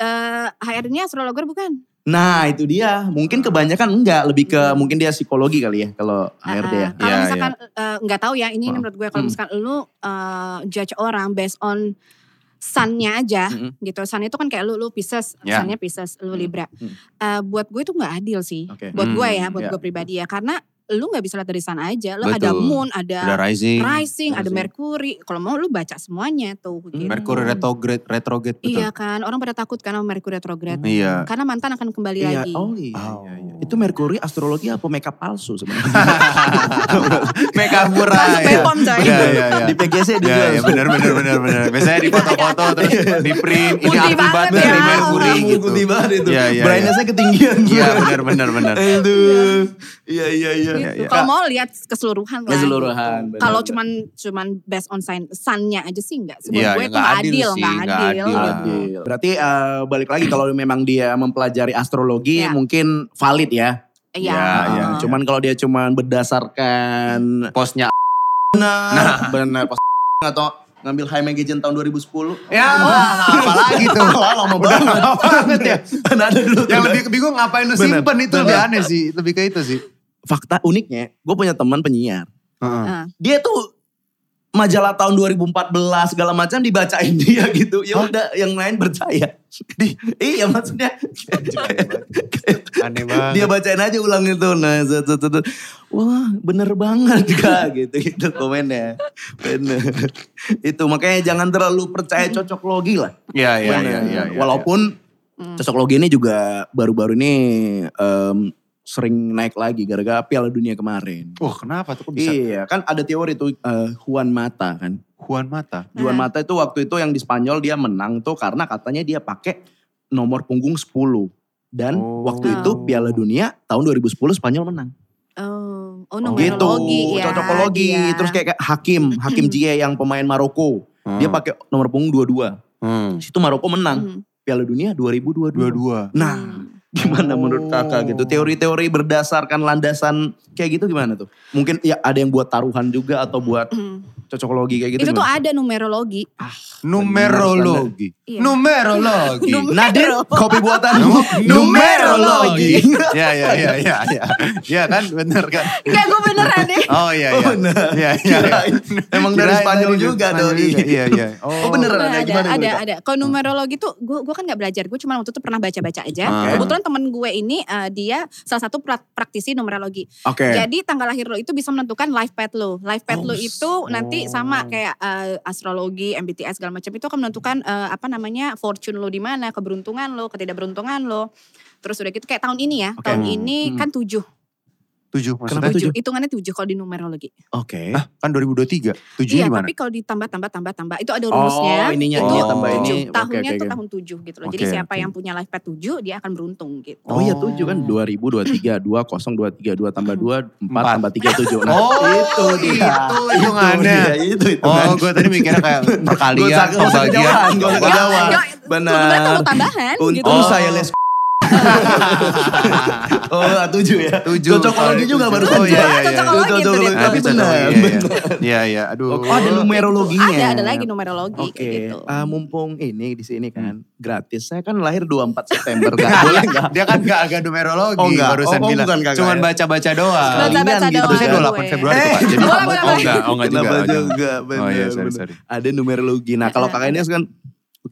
Speaker 2: Eh, HRD-nya astrologer bukan?
Speaker 1: Nah itu dia, mungkin kebanyakan enggak, lebih ke
Speaker 2: Hmm.
Speaker 1: mungkin dia psikologi kali ya kalau HRD ya.
Speaker 2: Eh, Kalau
Speaker 3: Iya,
Speaker 2: misalkan eh, nggak tahu ya, ini
Speaker 1: Hmm.
Speaker 2: menurut gue kalau
Speaker 1: Hmm.
Speaker 2: misalkan lu eh, judge orang based on sun-nya aja
Speaker 1: Mm-mm.
Speaker 2: gitu. Sun itu kan kayak lu lu Pisces,
Speaker 3: Ya.
Speaker 2: sun-nya Pisces, lu
Speaker 1: Hmm.
Speaker 2: Libra.
Speaker 1: Hmm.
Speaker 2: Eh, buat gue itu nggak adil sih.
Speaker 1: Oke.
Speaker 2: Buat gue ya,
Speaker 3: Hmm,
Speaker 2: buat
Speaker 1: ya.
Speaker 2: gue pribadi ya karena lu nggak bisa lihat dari sun aja. Lu ada
Speaker 3: Betul.
Speaker 2: moon,
Speaker 3: Ada
Speaker 2: ada
Speaker 3: rising,
Speaker 2: Iya. rising, ada
Speaker 1: Rising. Iya
Speaker 2: Mercury. Kalau mau lu baca semuanya tuh gitu.
Speaker 3: Mercury retrograde, retrograde betul.
Speaker 2: Iya kan, orang pada takut karena Mercury retrograde.
Speaker 3: Iya.
Speaker 2: Karena mantan akan kembali
Speaker 1: Iya,
Speaker 2: lagi.
Speaker 1: oh iya.
Speaker 3: Oh.
Speaker 1: iya, iya. Itu Merkuri astrologi apa makeup palsu sebenarnya?
Speaker 3: Makeup murah.
Speaker 2: Masuk
Speaker 3: ya.
Speaker 2: Bepom, coy.
Speaker 3: Iya, iya, iya.
Speaker 1: Di PGC
Speaker 3: Iya,
Speaker 1: juga.
Speaker 3: iya benar benar benar benar. Biasanya di foto-foto terus di print ini
Speaker 2: Putih
Speaker 3: aku
Speaker 2: banget
Speaker 3: Iya. banget dari
Speaker 2: ya.
Speaker 3: Mercury
Speaker 1: Merkuri
Speaker 3: gitu.
Speaker 1: itu.
Speaker 3: Iya, iya,
Speaker 1: Brightness-nya ketinggian.
Speaker 3: Iya, benar benar benar.
Speaker 1: Aduh. Iya, iya, iya.
Speaker 2: Gitu.
Speaker 3: Iya, iya.
Speaker 2: Kalau mau lihat keseluruhan lah.
Speaker 1: Keseluruhan,
Speaker 2: gitu.
Speaker 1: benar.
Speaker 2: Kalau cuman cuman based on sign sunnya aja sih enggak. Sebut
Speaker 3: Iya,
Speaker 2: gue
Speaker 3: ya
Speaker 2: itu
Speaker 3: nggak
Speaker 2: nggak
Speaker 3: adil
Speaker 2: adil,
Speaker 3: sih,
Speaker 2: nggak
Speaker 3: nggak
Speaker 2: adil.
Speaker 3: adil.
Speaker 2: gitu.
Speaker 1: Adil. Berarti eh, balik lagi kalau memang dia mempelajari astrologi
Speaker 2: Iya.
Speaker 1: mungkin valid ya.
Speaker 2: Iya.
Speaker 3: Iya, iya.
Speaker 2: heeh.
Speaker 1: Cuman kalau dia cuman berdasarkan
Speaker 3: Posnya
Speaker 1: benar,
Speaker 3: Nah,
Speaker 1: benar pas atau ngambil high magazine tahun 2010.
Speaker 3: ya apalagi tuh. Lama banget. Lama banget ya.
Speaker 1: Nah, ada dulu.
Speaker 3: Yang lebih bingung ngapain lu
Speaker 1: Benar,
Speaker 3: simpen itu lebih aneh sih. Lebih ke itu sih.
Speaker 1: fakta uniknya, gue punya teman penyiar.
Speaker 3: Heeh.
Speaker 2: Heeh.
Speaker 1: Dia tuh majalah tahun 2014 segala macam dibacain dia gitu. Ya udah, yang lain percaya. Di, iya maksudnya.
Speaker 3: Aneh banget.
Speaker 1: dia bacain aja ulang itu. Nah, set, set, set, set. Wah, bener banget kak gitu gitu komennya. Bener. itu makanya jangan terlalu percaya cocok logi lah.
Speaker 3: Iya, iya, iya,
Speaker 1: Bener.
Speaker 3: iya. iya.
Speaker 1: Walaupun cocok logi ini juga baru-baru ini em, sering naik lagi gara-gara Piala Dunia kemarin.
Speaker 3: Wah kenapa tuh kok bisa
Speaker 1: Iya, kan ada teori tuh eh, Juan Mata kan.
Speaker 3: Juan Mata?
Speaker 1: Juan
Speaker 2: Nah.
Speaker 1: Mata itu waktu itu yang di Spanyol dia menang tuh karena katanya dia pakai nomor punggung 10. Dan
Speaker 3: Oh.
Speaker 1: waktu itu Piala Dunia tahun 2010 Spanyol menang.
Speaker 2: Oh, oh
Speaker 1: gitu,
Speaker 2: numerologi ya.
Speaker 1: cocokologi.
Speaker 2: dia.
Speaker 1: Terus kayak kayak Hakim, Hakim Jie yang pemain Maroko. Dia
Speaker 3: pakai
Speaker 1: pakai nomor punggung 22. Situ Maroko menang
Speaker 2: Hmm.
Speaker 1: Piala Dunia 2022.
Speaker 3: dua-dua.
Speaker 1: Nah, gimana menurut kakak
Speaker 2: Oh.
Speaker 1: gitu? Teori-teori berdasarkan landasan kayak gitu gimana tuh? Mungkin ya ada yang buat taruhan juga atau buat
Speaker 2: Hmm.
Speaker 1: cocokologi kayak gitu.
Speaker 2: itu
Speaker 1: gimana?
Speaker 2: tuh ada numerologi.
Speaker 3: Numerologi.
Speaker 2: Iya.
Speaker 3: Numerologi.
Speaker 1: Nadir kopi buatan
Speaker 3: Numerologi. ya, ya, ya, ya, ya. Ya kan, bener kan.
Speaker 2: Enggak gue beneran ya. deh.
Speaker 3: Oh iya, iya.
Speaker 1: Bener.
Speaker 3: Iya, iya.
Speaker 1: Kirain. Emang dari
Speaker 3: Kirain
Speaker 1: Spanyol
Speaker 3: dari
Speaker 1: juga
Speaker 3: Spanyol
Speaker 1: doi.
Speaker 3: juga. Iya, iya.
Speaker 1: Oh beneran ada
Speaker 2: ada,
Speaker 1: gimana? Hmm.
Speaker 2: ada,
Speaker 1: gimana?
Speaker 2: ada. Kalau numerologi tuh, gue gue kan nggak belajar. Gue cuma waktu itu pernah baca-baca
Speaker 1: Ah.
Speaker 2: aja.
Speaker 3: Oke.
Speaker 2: Kebetulan temen gue ini eh, dia salah satu pra- praktisi numerologi.
Speaker 1: Oke.
Speaker 2: Jadi tanggal lahir lo itu bisa menentukan life path lo. Life path lo
Speaker 1: Oh,
Speaker 2: itu nanti sama kayak eh, astrologi, MBTI segala macam itu akan menentukan eh, apa namanya fortune lo di mana, keberuntungan lo, ketidakberuntungan lo. Terus udah gitu kayak tahun ini ya,
Speaker 1: Oke.
Speaker 2: tahun
Speaker 3: Hmm.
Speaker 2: ini
Speaker 1: Hmm.
Speaker 2: kan tujuh.
Speaker 3: Tujuh
Speaker 1: Kenapa
Speaker 3: maksudnya.
Speaker 1: tujuh?
Speaker 2: Tujuh, hitungannya tujuh kalau di numerologi.
Speaker 1: Oke.
Speaker 3: Hah, kan 2023.
Speaker 2: iya,
Speaker 3: Tujuhnya gimana?
Speaker 2: tapi kalau ditambah tambah tambah tambah itu ada
Speaker 1: Oh,
Speaker 2: rumusnya.
Speaker 1: ininya
Speaker 3: Oh.
Speaker 1: ini tambah ini.
Speaker 2: Tujuh.
Speaker 1: Oke,
Speaker 2: tahunnya
Speaker 1: oke,
Speaker 2: tuh
Speaker 1: oke.
Speaker 2: tahun tujuh gitu loh. Jadi
Speaker 3: Oke,
Speaker 2: siapa
Speaker 3: oke.
Speaker 2: yang punya life path tujuh dia akan beruntung gitu.
Speaker 1: Oh iya tujuh kan 2023 2 0 2 3 2 tambah 2 4 tambah 3 7. Nah, itu dia.
Speaker 3: Oh, Itu hitungannya.
Speaker 1: Itu itu.
Speaker 3: Iya, Oh, gue tadi mikirnya kayak perkalian, pembagian,
Speaker 1: oh, Jawa.
Speaker 2: Ya, Kebetulan
Speaker 1: Benar.
Speaker 2: perlu tambahan gitu.
Speaker 1: Untung saya les Oh, tujuh ya.
Speaker 3: tujuh.
Speaker 1: Cocokologi
Speaker 3: kali
Speaker 1: juga baru
Speaker 3: tujuh. Oh iya, iya, iya.
Speaker 2: Cocokologi
Speaker 1: Tujuh,
Speaker 2: itu
Speaker 1: tujuh,
Speaker 2: dia.
Speaker 1: tujuh. Tapi
Speaker 3: Iya,
Speaker 1: benar.
Speaker 3: iya, iya. Iya, iya. Aduh.
Speaker 1: Oh, ada numerologinya.
Speaker 2: Ada ada lagi numerologi
Speaker 1: Oke,
Speaker 2: kayak gitu.
Speaker 1: ah, mumpung ini di sini kan gratis. Saya kan lahir 24 September, gak boleh Iya, nggak?
Speaker 3: Dia kan gak agak numerologi
Speaker 1: Oh, enggak.
Speaker 3: barusan
Speaker 1: Oh, oh,
Speaker 3: bilang.
Speaker 1: bukan, kakak,
Speaker 3: Cuman
Speaker 1: ya.
Speaker 3: baca-baca doang.
Speaker 1: Sekali.
Speaker 2: Baca-baca
Speaker 1: Kalian gitu.
Speaker 2: doang.
Speaker 3: Harusnya
Speaker 2: gue. Eh,
Speaker 3: 28 Februari tuh, Pak. Jadi
Speaker 2: Boleh, boleh,
Speaker 3: oh
Speaker 2: boleh.
Speaker 3: enggak, oh enggak juga.
Speaker 1: Kenapa
Speaker 3: oh, jangan.
Speaker 1: juga?
Speaker 3: Oh iya,
Speaker 1: Benar,
Speaker 3: sorry,
Speaker 1: benar.
Speaker 3: sorry.
Speaker 1: Ada numerologi. Nah, kalau kakak ini kan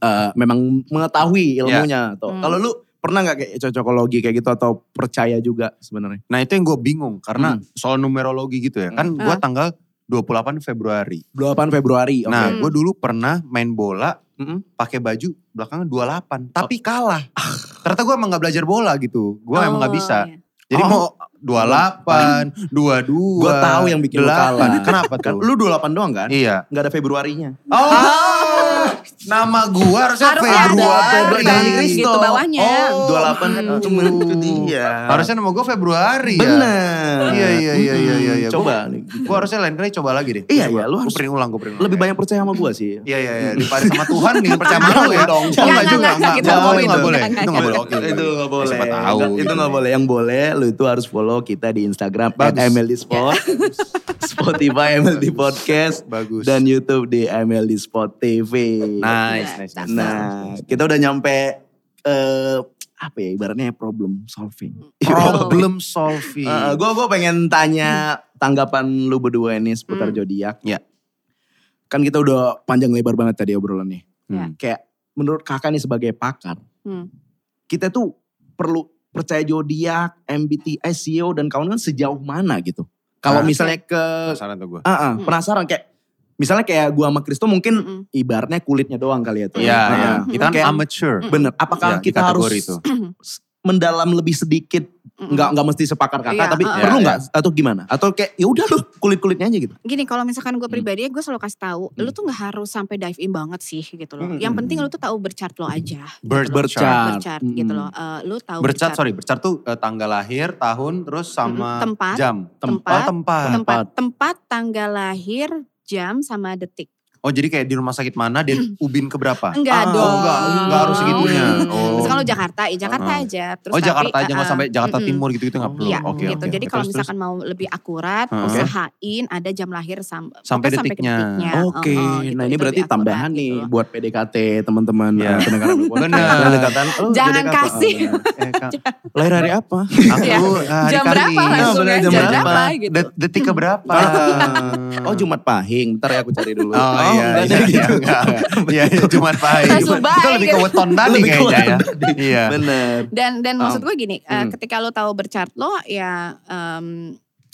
Speaker 1: eh, memang mengetahui ilmunya tuh.
Speaker 2: Hmm.
Speaker 1: Kalau lu pernah nggak kayak cocokologi kayak gitu atau percaya juga sebenarnya?
Speaker 3: Nah itu yang gue bingung karena soal numerologi gitu ya. Kan
Speaker 2: Ah.
Speaker 3: gue tanggal 28 Februari.
Speaker 1: 28 Februari. oke.
Speaker 3: Nah gue
Speaker 2: Hmm.
Speaker 3: dulu pernah main bola
Speaker 1: Mm-mm.
Speaker 3: pakai baju belakangnya 28. Tapi kalah. Ternyata gue emang gak belajar bola gitu. Gue emang gak
Speaker 2: Oh,
Speaker 3: bisa.
Speaker 2: iya.
Speaker 3: Jadi
Speaker 1: Oh.
Speaker 3: mau 28, 22.
Speaker 1: Gua tahu yang bikin lu
Speaker 3: delapan.
Speaker 1: kalah.
Speaker 3: Kenapa
Speaker 1: Kan
Speaker 3: tuh?
Speaker 1: lu 28 doang kan?
Speaker 3: Iya.
Speaker 1: Nggak ada Februarinya.
Speaker 3: Oh, nama gua
Speaker 2: Ah.
Speaker 3: harusnya
Speaker 2: Harusnya ada
Speaker 3: Februari.
Speaker 1: Februari.
Speaker 2: bahasa Inggris gitu bawahnya.
Speaker 3: Oh,
Speaker 1: 28 kan
Speaker 3: gitu.
Speaker 1: cuma itu dia.
Speaker 3: Harusnya nama gua Februari ya.
Speaker 1: Benar.
Speaker 3: Iya, iya, iya, iya, iya, iya.
Speaker 1: Coba nih.
Speaker 3: Gua harusnya lain kali coba lagi deh.
Speaker 1: Iya,
Speaker 3: Coba.
Speaker 1: iya, lu
Speaker 3: Gua
Speaker 1: harus-
Speaker 3: print ulang, gua print ulang.
Speaker 1: Lebih banyak percaya sama gua sih.
Speaker 3: Iya, iya, iya. Daripada sama Tuhan nih percaya sama lu ya.
Speaker 1: dong.
Speaker 3: Oh,
Speaker 2: Jangan,
Speaker 3: juga,
Speaker 2: jangan, kita
Speaker 3: nggak
Speaker 2: ngomongin
Speaker 3: nggak
Speaker 2: dong.
Speaker 3: boleh.
Speaker 2: Jangan,
Speaker 3: Itu nggak boleh.
Speaker 2: jangan.
Speaker 3: Oke,
Speaker 1: itu nggak boleh.
Speaker 3: Siapa tahu.
Speaker 1: Nggak- itu nggak boleh. Yang boleh lu itu harus follow kita di Instagram at
Speaker 3: Bagus.
Speaker 1: MLD Spot, Spotify MLD Podcast,
Speaker 3: Bagus.
Speaker 1: dan YouTube di MLD Spot TV.
Speaker 3: Nice, nice, nice.
Speaker 1: Nah, kita udah nyampe eh apa ya ibaratnya problem solving.
Speaker 3: Problem solving.
Speaker 1: gue gue pengen tanya tanggapan lu berdua ini seputar
Speaker 2: Hmm.
Speaker 1: zodiak.
Speaker 3: Ya.
Speaker 1: Kan kita udah panjang lebar banget tadi obrolannya.
Speaker 3: Hmm.
Speaker 2: Ya.
Speaker 1: Kayak menurut kakak nih sebagai pakar,
Speaker 2: Hmm.
Speaker 1: kita tuh perlu percaya zodiak, MBTI, CEO dan kawan-kawan kan sejauh mana gitu. Kalau
Speaker 3: Ah.
Speaker 1: misalnya ke
Speaker 3: Penasaran tuh gua.
Speaker 1: ah, ah,
Speaker 2: Hmm.
Speaker 1: penasaran kayak misalnya kayak gua sama Kristo mungkin
Speaker 2: Mm-mm.
Speaker 1: ibaratnya kulitnya doang kali ya tuh. Ah,
Speaker 3: Iya, iya.
Speaker 1: ah.
Speaker 3: Kita kan
Speaker 1: Kayak-
Speaker 3: amateur.
Speaker 1: Bener. Apakah
Speaker 3: Ya, di
Speaker 1: kita harus
Speaker 3: kategori itu.
Speaker 1: mendalam lebih sedikit?
Speaker 2: Mm-mm.
Speaker 1: Nggak nggak mesti sepakar kata,
Speaker 2: Iya,
Speaker 1: tapi
Speaker 2: uh-uh.
Speaker 1: perlu
Speaker 3: Iya,
Speaker 1: nggak atau gimana? Atau kayak ya udah loh kulit kulitnya aja gitu.
Speaker 2: Gini kalau misalkan gue pribadi gue selalu kasih tahu, lu
Speaker 1: Mm.
Speaker 2: tuh nggak harus sampai dive in banget sih gitu loh.
Speaker 1: Hmm.
Speaker 2: Yang penting lu tuh tahu berchart lo aja,
Speaker 3: Bird chart.
Speaker 1: Berchart.
Speaker 2: berchart
Speaker 1: Mm-mm.
Speaker 2: gitu loh. Eh, lu tahu
Speaker 3: Bercat,
Speaker 2: berchart
Speaker 3: sorry, bercat tuh eh, tanggal lahir, tahun, terus sama
Speaker 2: Mm-mm. Tempat.
Speaker 3: jam.
Speaker 2: Tempat.
Speaker 3: Oh, tempat.
Speaker 2: tempat tempat tanggal lahir, jam sama detik.
Speaker 3: Oh, jadi kayak di rumah sakit mana dan ubin ke berapa?
Speaker 2: Hmm. Enggak dong.
Speaker 3: Ah, Oh, enggak, enggak harus segitunya. Oh.
Speaker 2: Misalkan lu Jakarta, ya Jakarta
Speaker 3: Ah.
Speaker 2: aja. Terus
Speaker 3: oh,
Speaker 2: tapi,
Speaker 3: Jakarta aja nggak
Speaker 2: eh,
Speaker 3: sampai Jakarta
Speaker 2: mm-mm.
Speaker 3: Timur gitu-gitu nggak perlu.
Speaker 2: Iya,
Speaker 3: Oke,
Speaker 2: gitu.
Speaker 3: oke,
Speaker 2: Jadi
Speaker 3: oke.
Speaker 2: kalau
Speaker 3: Terus,
Speaker 2: misalkan mau lebih akurat,
Speaker 3: Heeh.
Speaker 2: usahain ada jam lahir sam-
Speaker 3: Sampai
Speaker 2: apa,
Speaker 3: detiknya.
Speaker 1: Oke,
Speaker 2: Oh, oh, gitu.
Speaker 1: nah ini
Speaker 2: Itu
Speaker 1: berarti
Speaker 2: lebih akurat
Speaker 1: tambahan
Speaker 2: gitu
Speaker 1: nih
Speaker 2: loh.
Speaker 1: buat PDKT teman-teman
Speaker 3: Iya.
Speaker 1: eh, pendengar Ambil Podcast.
Speaker 3: Bener.
Speaker 1: Pendekatan, oh,
Speaker 2: Jangan
Speaker 1: PDKT.
Speaker 2: kasih.
Speaker 1: Oh, bener.
Speaker 3: terus. Eh, Kak,
Speaker 1: Lahir hari apa?
Speaker 2: Iya.
Speaker 3: aku ah, hari
Speaker 2: Jam berapa
Speaker 3: Kamis.
Speaker 11: Oh,
Speaker 1: langsung?
Speaker 2: langsung
Speaker 1: bener,
Speaker 2: ya?
Speaker 1: jam
Speaker 2: Jam
Speaker 1: berapa?
Speaker 2: berapa gitu.
Speaker 3: Det- Detik ke berapa?
Speaker 1: Oh Jumat Pahing, ntar ya aku cari dulu.
Speaker 3: Oh, iya,
Speaker 1: enggak
Speaker 3: iya,
Speaker 1: deh,
Speaker 3: iya,
Speaker 1: gitu.
Speaker 3: enggak. iya, iya, Jumat pahit.
Speaker 2: Saya subai,
Speaker 3: Itu lebih ke
Speaker 2: gitu.
Speaker 3: weton tadi
Speaker 1: Lebih ke
Speaker 3: kayaknya ya.
Speaker 1: weton
Speaker 3: Iya.
Speaker 1: Bener.
Speaker 2: Dan dan
Speaker 1: Um,
Speaker 2: maksud gue gini, eh,
Speaker 1: hmm.
Speaker 2: ketika lo tahu berchart lo ya em,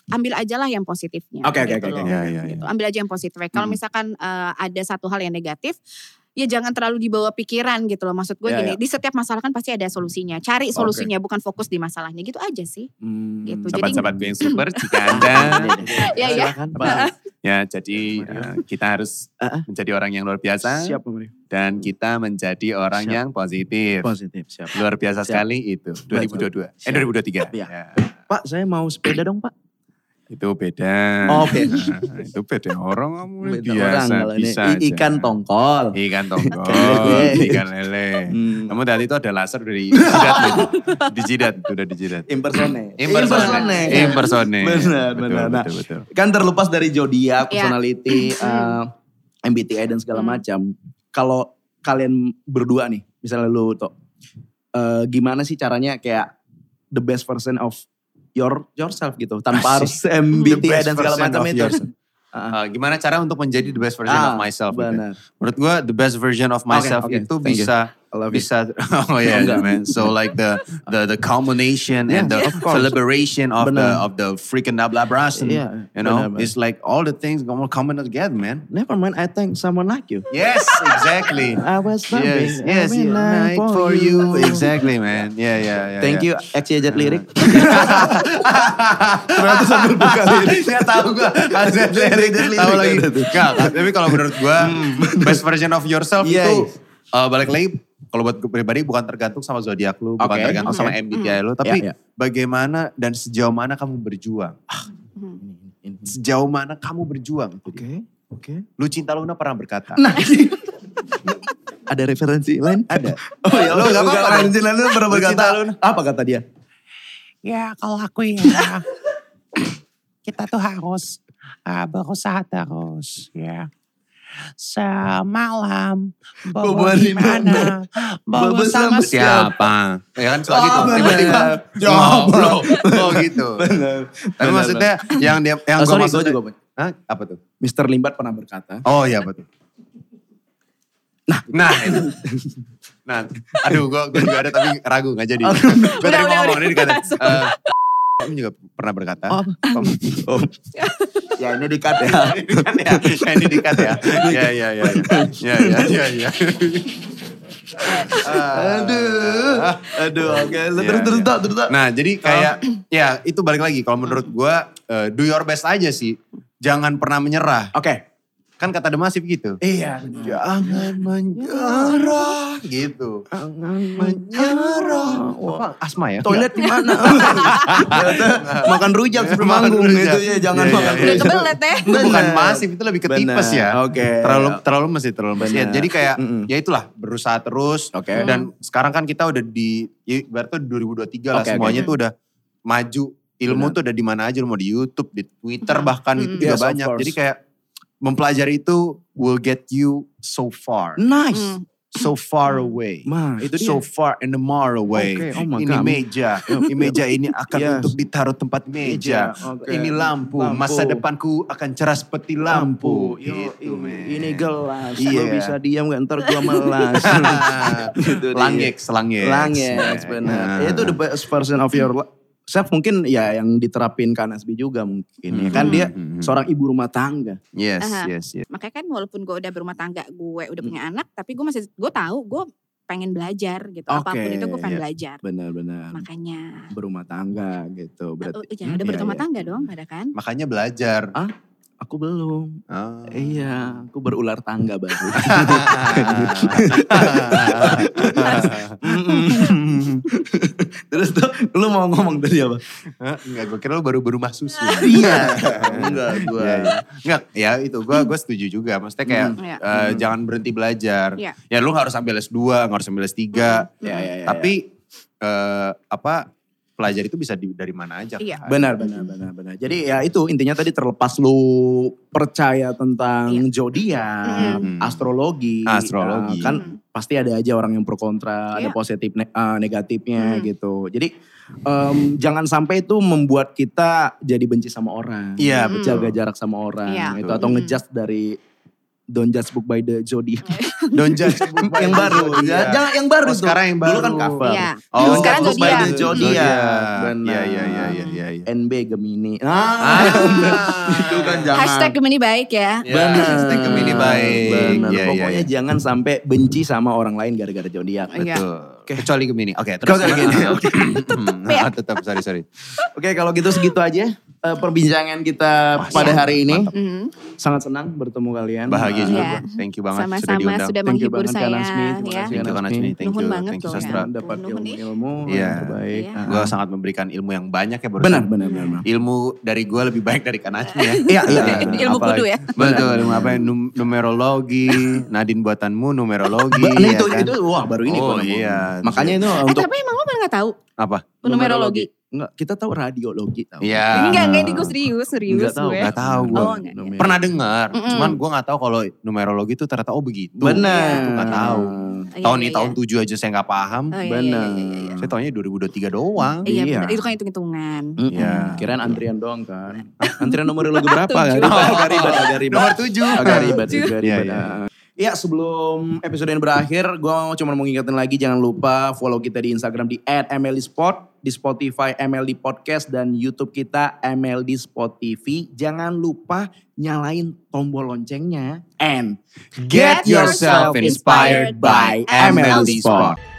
Speaker 2: ambil aja lah yang positifnya.
Speaker 1: Oke, oke,
Speaker 2: gitu
Speaker 1: oke, Ya,
Speaker 2: loh.
Speaker 1: oke.
Speaker 3: Iya, iya, iya.
Speaker 2: Gitu, Ambil aja yang positif. Kalau
Speaker 3: Hmm.
Speaker 2: misalkan eh, ada satu hal yang negatif, ya jangan terlalu dibawa pikiran gitu loh. Maksud gue
Speaker 1: Ya,
Speaker 2: gini, di setiap masalah kan pasti ada solusinya. Cari solusinya bukan fokus di masalahnya gitu aja sih.
Speaker 1: Hmm.
Speaker 2: Gitu. Jadi-
Speaker 11: Sahabat-sahabat gue yang super, jika Anda
Speaker 1: Iya,
Speaker 2: Ya ya.
Speaker 1: Silakan.
Speaker 11: ya jadi eh, kita harus
Speaker 1: Ah, ah.
Speaker 11: menjadi orang yang luar biasa
Speaker 1: Siap, Om Rio.
Speaker 11: dan kita menjadi orang
Speaker 1: Hmm. Siap.
Speaker 11: yang positif.
Speaker 1: Positif, siap.
Speaker 11: Luar biasa
Speaker 1: Siap.
Speaker 11: sekali itu. 2022.
Speaker 1: Siap.
Speaker 11: Eh 2023.
Speaker 1: Iya.
Speaker 11: Ya,
Speaker 1: Pak, saya mau sepeda dong, Pak.
Speaker 11: itu beda.
Speaker 1: Oh, beda.
Speaker 11: Nah, itu beda orang kamu ini
Speaker 1: Beda
Speaker 11: biasa
Speaker 1: kalau ini.
Speaker 11: bisa.
Speaker 1: I- Ikan
Speaker 11: aja.
Speaker 1: tongkol.
Speaker 11: Ikan tongkol,
Speaker 1: Lele.
Speaker 11: ikan lele.
Speaker 1: Hmm.
Speaker 11: Kamu tadi itu ada laser dari jidat, tuh. dijidat, itu udah dijidat.
Speaker 1: Impersonate.
Speaker 11: Impersonate. Impersonate.
Speaker 1: Benar,
Speaker 11: Betul,
Speaker 1: benar. Nah,
Speaker 11: Betul, betul.
Speaker 1: kan terlepas dari zodiak,
Speaker 2: Iya.
Speaker 1: personality, eh, MBTI dan segala
Speaker 2: Hmm.
Speaker 1: macam. Kalau kalian berdua nih, misalnya lu Tok, eh, gimana sih caranya kayak the best version of your yourself gitu, tanpa harus MBTI dan segala macam itu.
Speaker 11: Eh, gimana cara untuk menjadi the best version
Speaker 1: Ah,
Speaker 3: ya.
Speaker 11: of myself? gitu?
Speaker 1: Benar.
Speaker 11: Menurut gue the best version of myself
Speaker 1: oke.
Speaker 11: itu
Speaker 1: Thank you.
Speaker 11: bisa
Speaker 3: Bisa. Oh yeah,
Speaker 1: Enggak.
Speaker 3: man. So like the the the culmination and
Speaker 1: Yeah,
Speaker 3: the
Speaker 1: of course.
Speaker 3: celebration of the
Speaker 1: Benar.
Speaker 3: of the freaking ablabration.
Speaker 1: Yeah,
Speaker 3: you know,
Speaker 1: Iya, benar, benar.
Speaker 3: it's like all the things come- coming together, man.
Speaker 1: Never mind, I thank someone like you.
Speaker 3: Yes, exactly.
Speaker 1: I was something.
Speaker 3: yes, yes,
Speaker 1: every
Speaker 3: yeah,
Speaker 1: night
Speaker 3: night for you. Exactly, man. Yeah, yeah, yeah.
Speaker 1: Thank you, XYZ Lirik.
Speaker 3: Ternyata sambil buka lirik. Saya tahu gue Hazard lirik. Tahu lagi. Enggak, tapi kalau menurut gue
Speaker 1: Hmm.
Speaker 3: best version of yourself
Speaker 1: Iya,
Speaker 3: itu eh, balik lagi kalau buat gue pribadi bukan tergantung sama zodiak lu, bukan
Speaker 1: Oke.
Speaker 3: tergantung sama
Speaker 1: Oke.
Speaker 3: MBTI lu, tapi
Speaker 1: Iya, iya.
Speaker 3: bagaimana dan sejauh mana kamu berjuang. Sejauh mana kamu berjuang.
Speaker 1: Oke, oke.
Speaker 3: Lucinta Luna pernah berkata.
Speaker 1: Ada referensi lain? Ada. Oh
Speaker 3: ya, lu nggak apa-apa.
Speaker 1: Referensi lain lu Oh, pernah
Speaker 3: Lucinta
Speaker 1: berkata. Apa kata dia?
Speaker 12: Ya kalau aku ya kita tuh harus uh, berusaha terus ya. Semalam
Speaker 3: Bobo
Speaker 12: bobo
Speaker 3: di
Speaker 12: di mana? Bobo sama siapa?
Speaker 3: siapa? Ya kan suka
Speaker 12: Oh,
Speaker 3: gitu.
Speaker 12: bener.
Speaker 3: Tiba-tiba jomblo. Oh gitu. Tapi
Speaker 1: Benar,
Speaker 3: maksudnya yang dia yang
Speaker 1: Oh,
Speaker 3: gue
Speaker 1: sorry,
Speaker 3: maksud
Speaker 1: gua juga, Bang.
Speaker 3: Hah? Apa tuh?
Speaker 1: Mr. Limbat pernah berkata.
Speaker 3: Oh iya betul. Nah, nah, itu. nah, aduh, gue gue juga ada tapi ragu nggak jadi. gue tadi mau ngomong ini dikata. eh, Om juga pernah berkata.
Speaker 1: Oh.
Speaker 3: Om.
Speaker 1: Ya ini dikat ya.
Speaker 3: Ini kan ya, ya, ini dikat ya.
Speaker 1: Iya,
Speaker 3: Ya, ya, ya, ya, ya, ya, ya.
Speaker 1: aduh. Aduh, oke. Terus,
Speaker 3: Ah. Iya,
Speaker 1: terus,
Speaker 3: iya.
Speaker 1: tak, terus, tak.
Speaker 3: Nah, jadi kayak ya itu balik lagi kalau menurut gua eh, do your best aja sih. Jangan pernah menyerah.
Speaker 1: Oke.
Speaker 3: Kan kata The Massive gitu.
Speaker 1: Iya.
Speaker 3: Jangan menyerah gitu. Jangan menyerah. Apa? Asma ya?
Speaker 1: Toilet di mana? Ya, makan rujak sebelum
Speaker 3: Makan
Speaker 1: manggung
Speaker 3: rujak.
Speaker 1: gitu ya. Jangan
Speaker 3: Iya, iya,
Speaker 1: makan
Speaker 3: iya.
Speaker 1: rujak.
Speaker 2: Kebelet ya.
Speaker 3: Itu bukan
Speaker 1: Bener.
Speaker 3: masif, itu lebih ke tipes
Speaker 1: Bener,
Speaker 3: ya.
Speaker 1: oke.
Speaker 3: Terlalu terlalu masih terlalu masif. Ya,
Speaker 1: Bener.
Speaker 3: jadi kayak
Speaker 1: Mm-mm.
Speaker 3: ya itulah berusaha terus.
Speaker 1: Oke.
Speaker 3: Dan sekarang kan kita udah di ya, berarti 2023 lah
Speaker 1: Oke, oke.
Speaker 3: semuanya tuh udah maju. Ilmu
Speaker 1: Bener.
Speaker 3: tuh udah di mana aja lu mau di YouTube, di Twitter bahkan
Speaker 1: Mm-mm.
Speaker 3: itu juga
Speaker 1: Hmm. Yes, of
Speaker 3: banyak.
Speaker 1: course.
Speaker 3: Jadi kayak mempelajari itu will get you so far.
Speaker 1: Nice.
Speaker 2: Hmm.
Speaker 3: So
Speaker 1: Hmm.
Speaker 3: far away.
Speaker 1: Ma, Mm. iya. itu dia.
Speaker 3: So far and more away.
Speaker 1: Oke, oh my
Speaker 3: ini
Speaker 1: God.
Speaker 3: meja, ini meja ini akan
Speaker 1: Yes.
Speaker 3: untuk ditaruh tempat meja.
Speaker 1: Meja, oke.
Speaker 3: Ini lampu. masa
Speaker 1: Lampu.
Speaker 3: depanku akan cerah seperti lampu.
Speaker 1: Yo,
Speaker 3: Gitu, men.
Speaker 1: Ini gelas. Lu
Speaker 3: Iya.
Speaker 1: bisa diam gak? Ntar gua melas. Gitu dia.
Speaker 3: Langek, selangek. Nah.
Speaker 1: Langit, benar. Ya, Itu the best version of your life. Saya mungkin ya yang diterapin ke Anas B juga mungkin. ya Kan dia
Speaker 3: Mhm.
Speaker 1: seorang ibu rumah tangga.
Speaker 3: Yes,
Speaker 2: Aha.
Speaker 3: yes, yes.
Speaker 2: Makanya kan walaupun gue udah berumah tangga, gue
Speaker 1: Hmm.
Speaker 2: udah punya anak, tapi gue masih gue tahu gue pengen belajar gitu.
Speaker 1: Oke,
Speaker 2: Apapun itu gue
Speaker 1: iya.
Speaker 2: pengen belajar.
Speaker 1: Benar-benar.
Speaker 2: Makanya.
Speaker 1: Berumah tangga gitu.
Speaker 2: Oh,
Speaker 1: Berarti,
Speaker 2: jangan ada
Speaker 1: Iya,
Speaker 2: berumah
Speaker 1: iya.
Speaker 2: tangga dong, ada kan?
Speaker 3: Makanya belajar.
Speaker 1: Ah, aku belum.
Speaker 3: Ah.
Speaker 1: Iya, aku berular tangga baru. Mm-mm. Terus tuh lu mau ngomong tadi apa?
Speaker 3: Hah? Enggak, gue kira lu baru berumah susu.
Speaker 1: Oh.
Speaker 2: Nah.
Speaker 1: Iya. Enggak,
Speaker 3: Gua, Enggak, ya itu gue gue setuju juga. Maksudnya kayak
Speaker 1: Mm-hmm.
Speaker 2: Hmm, iya.
Speaker 3: eh, jangan berhenti belajar.
Speaker 2: Iya. Mm-hmm.
Speaker 3: Ya lu nggak harus ambil S2, nggak harus ambil S3.
Speaker 1: Ya, ya, ya,
Speaker 3: Tapi eh, apa pelajar itu bisa di- dari mana aja.
Speaker 2: Iya.
Speaker 3: kan?
Speaker 1: Benar, benar, benar, benar. Jadi ya itu intinya tadi terlepas lu percaya tentang zodiak, Hmm.
Speaker 3: Mm.
Speaker 1: astrologi, uh,
Speaker 3: Astrologi.
Speaker 1: kan
Speaker 2: Hmm.
Speaker 1: pasti ada aja orang yang pro kontra, ada
Speaker 2: Iya.
Speaker 1: positif ne- uh, negatifnya
Speaker 2: Mm.
Speaker 1: gitu. Jadi em, jangan sampai itu membuat kita jadi benci sama orang,
Speaker 2: Mm-hmm.
Speaker 3: Iya,
Speaker 1: Mm.
Speaker 3: betul.
Speaker 1: jaga jarak sama orang,
Speaker 2: Iya.
Speaker 1: itu
Speaker 3: Betul.
Speaker 1: atau
Speaker 2: Mm.
Speaker 1: ngejudge dari Don't judge book by the zodiak
Speaker 3: Don't judge a book by
Speaker 1: yang
Speaker 3: the
Speaker 1: baru,
Speaker 3: zodiac.
Speaker 1: ya. jangan yang baru
Speaker 3: Oh,
Speaker 1: tuh.
Speaker 3: sekarang yang
Speaker 1: Dulu kan
Speaker 3: baru.
Speaker 1: cover.
Speaker 2: Iya.
Speaker 3: Oh,
Speaker 2: Dulu sekarang
Speaker 3: Book by
Speaker 2: zodiak.
Speaker 3: the
Speaker 1: Zodiak.
Speaker 3: Iya,
Speaker 1: Benar.
Speaker 3: iya, iya, iya, iya, iya.
Speaker 1: NB Gemini.
Speaker 3: Ah.
Speaker 1: itu kan jangan.
Speaker 2: Hashtag Gemini baik ya.
Speaker 3: Ya, hashtag Gemini baik.
Speaker 1: Benar.
Speaker 3: Iya, iya,
Speaker 1: Ah, Pokoknya ya.
Speaker 3: iya.
Speaker 1: jangan sampai benci sama orang lain gara-gara zodiak.
Speaker 2: Iya.
Speaker 3: Betul. Kecuali Gemini. Oke, terus
Speaker 1: Kecuali
Speaker 3: gimana?
Speaker 1: Gemini,
Speaker 3: Ah,
Speaker 2: ya.
Speaker 3: ah, tetap, sorry, sorry.
Speaker 1: Oke, kalau gitu segitu aja eh, perbincangan kita
Speaker 3: Wah,
Speaker 1: pada
Speaker 3: iya.
Speaker 1: hari ini.
Speaker 2: Mhm.
Speaker 1: Sangat senang bertemu kalian.
Speaker 3: Bahagia
Speaker 1: Eh,
Speaker 3: juga
Speaker 2: Iya.
Speaker 3: gua. Thank you banget sudah
Speaker 2: Sama-sama
Speaker 3: diundang.
Speaker 2: sudah
Speaker 1: Thank you
Speaker 2: menghibur
Speaker 1: banget
Speaker 2: saya.
Speaker 1: Kanan Smith. Terima
Speaker 2: ya.
Speaker 1: kasih
Speaker 3: Thank you, Kanan Smith. Thank
Speaker 2: Nuhun
Speaker 3: you.
Speaker 2: banget
Speaker 3: Thank you,
Speaker 2: loh ya.
Speaker 3: Sastra.
Speaker 1: Dapat
Speaker 2: Nuhun nih.
Speaker 1: ilmu-ilmu
Speaker 3: Iya.
Speaker 1: yang terbaik.
Speaker 2: Iya.
Speaker 1: Ah.
Speaker 3: Gue sangat memberikan ilmu yang banyak ya barusan.
Speaker 1: Benar, benar, benar. benar.
Speaker 3: Ilmu dari gue lebih baik dari Kanajmi ya.
Speaker 1: Iya, iya.
Speaker 2: Ilmu kudu ya.
Speaker 3: Betul, ilmu apa ya, num- numerologi, Nadine buatanmu numerologi.
Speaker 1: Ba-
Speaker 3: ya
Speaker 1: itu,
Speaker 3: kan?
Speaker 1: itu, wah baru ini. gua
Speaker 3: Oh,
Speaker 1: nemu.
Speaker 3: iya.
Speaker 1: Makanya itu
Speaker 2: Eh
Speaker 1: untuk
Speaker 2: tapi emang lo pernah gak tahu
Speaker 3: Apa?
Speaker 2: numerologi?
Speaker 1: Enggak, kita tahu radiologi tahu.
Speaker 3: Iya.
Speaker 2: Enggak, enggak ini gue serius, serius
Speaker 1: Enggak tahu,
Speaker 2: gue.
Speaker 3: Gak tahu gue.
Speaker 2: Oh, enggak, enggak.
Speaker 3: Pernah dengar,
Speaker 2: Mm-mm.
Speaker 3: cuman gue gak tahu kalau numerologi itu ternyata oh
Speaker 1: iya,
Speaker 3: begitu.
Speaker 1: Benar.
Speaker 3: Itu gak tahu.
Speaker 2: Iya,
Speaker 3: tahun
Speaker 2: iya,
Speaker 3: ini
Speaker 2: iya.
Speaker 3: tahun 7 aja saya gak paham.
Speaker 2: Oh, iya,
Speaker 1: Benar.
Speaker 2: iya, iya, iya.
Speaker 3: Saya tahunya 2023 doang.
Speaker 2: Iya,
Speaker 1: Iya.
Speaker 2: benar. itu kan hitung-hitungan.
Speaker 1: Mm-mm.
Speaker 3: Iya.
Speaker 1: Kirain antrian doang kan. Antrian nomor lu berapa kan?
Speaker 2: Tujuh. Oh.
Speaker 1: Agak ribet, agak ribet.
Speaker 3: Nomor 7.
Speaker 1: Agak ribet, agak
Speaker 3: Iya,
Speaker 1: ribet.
Speaker 3: iya.
Speaker 1: Ah. Iya sebelum episode ini berakhir, gue cuma mau ngingetin lagi jangan lupa follow kita di Instagram di @mldspot, di Spotify MLD Podcast dan YouTube kita MLD Spot TV. Jangan lupa nyalain tombol loncengnya and
Speaker 3: Get yourself inspired by MLD Spot.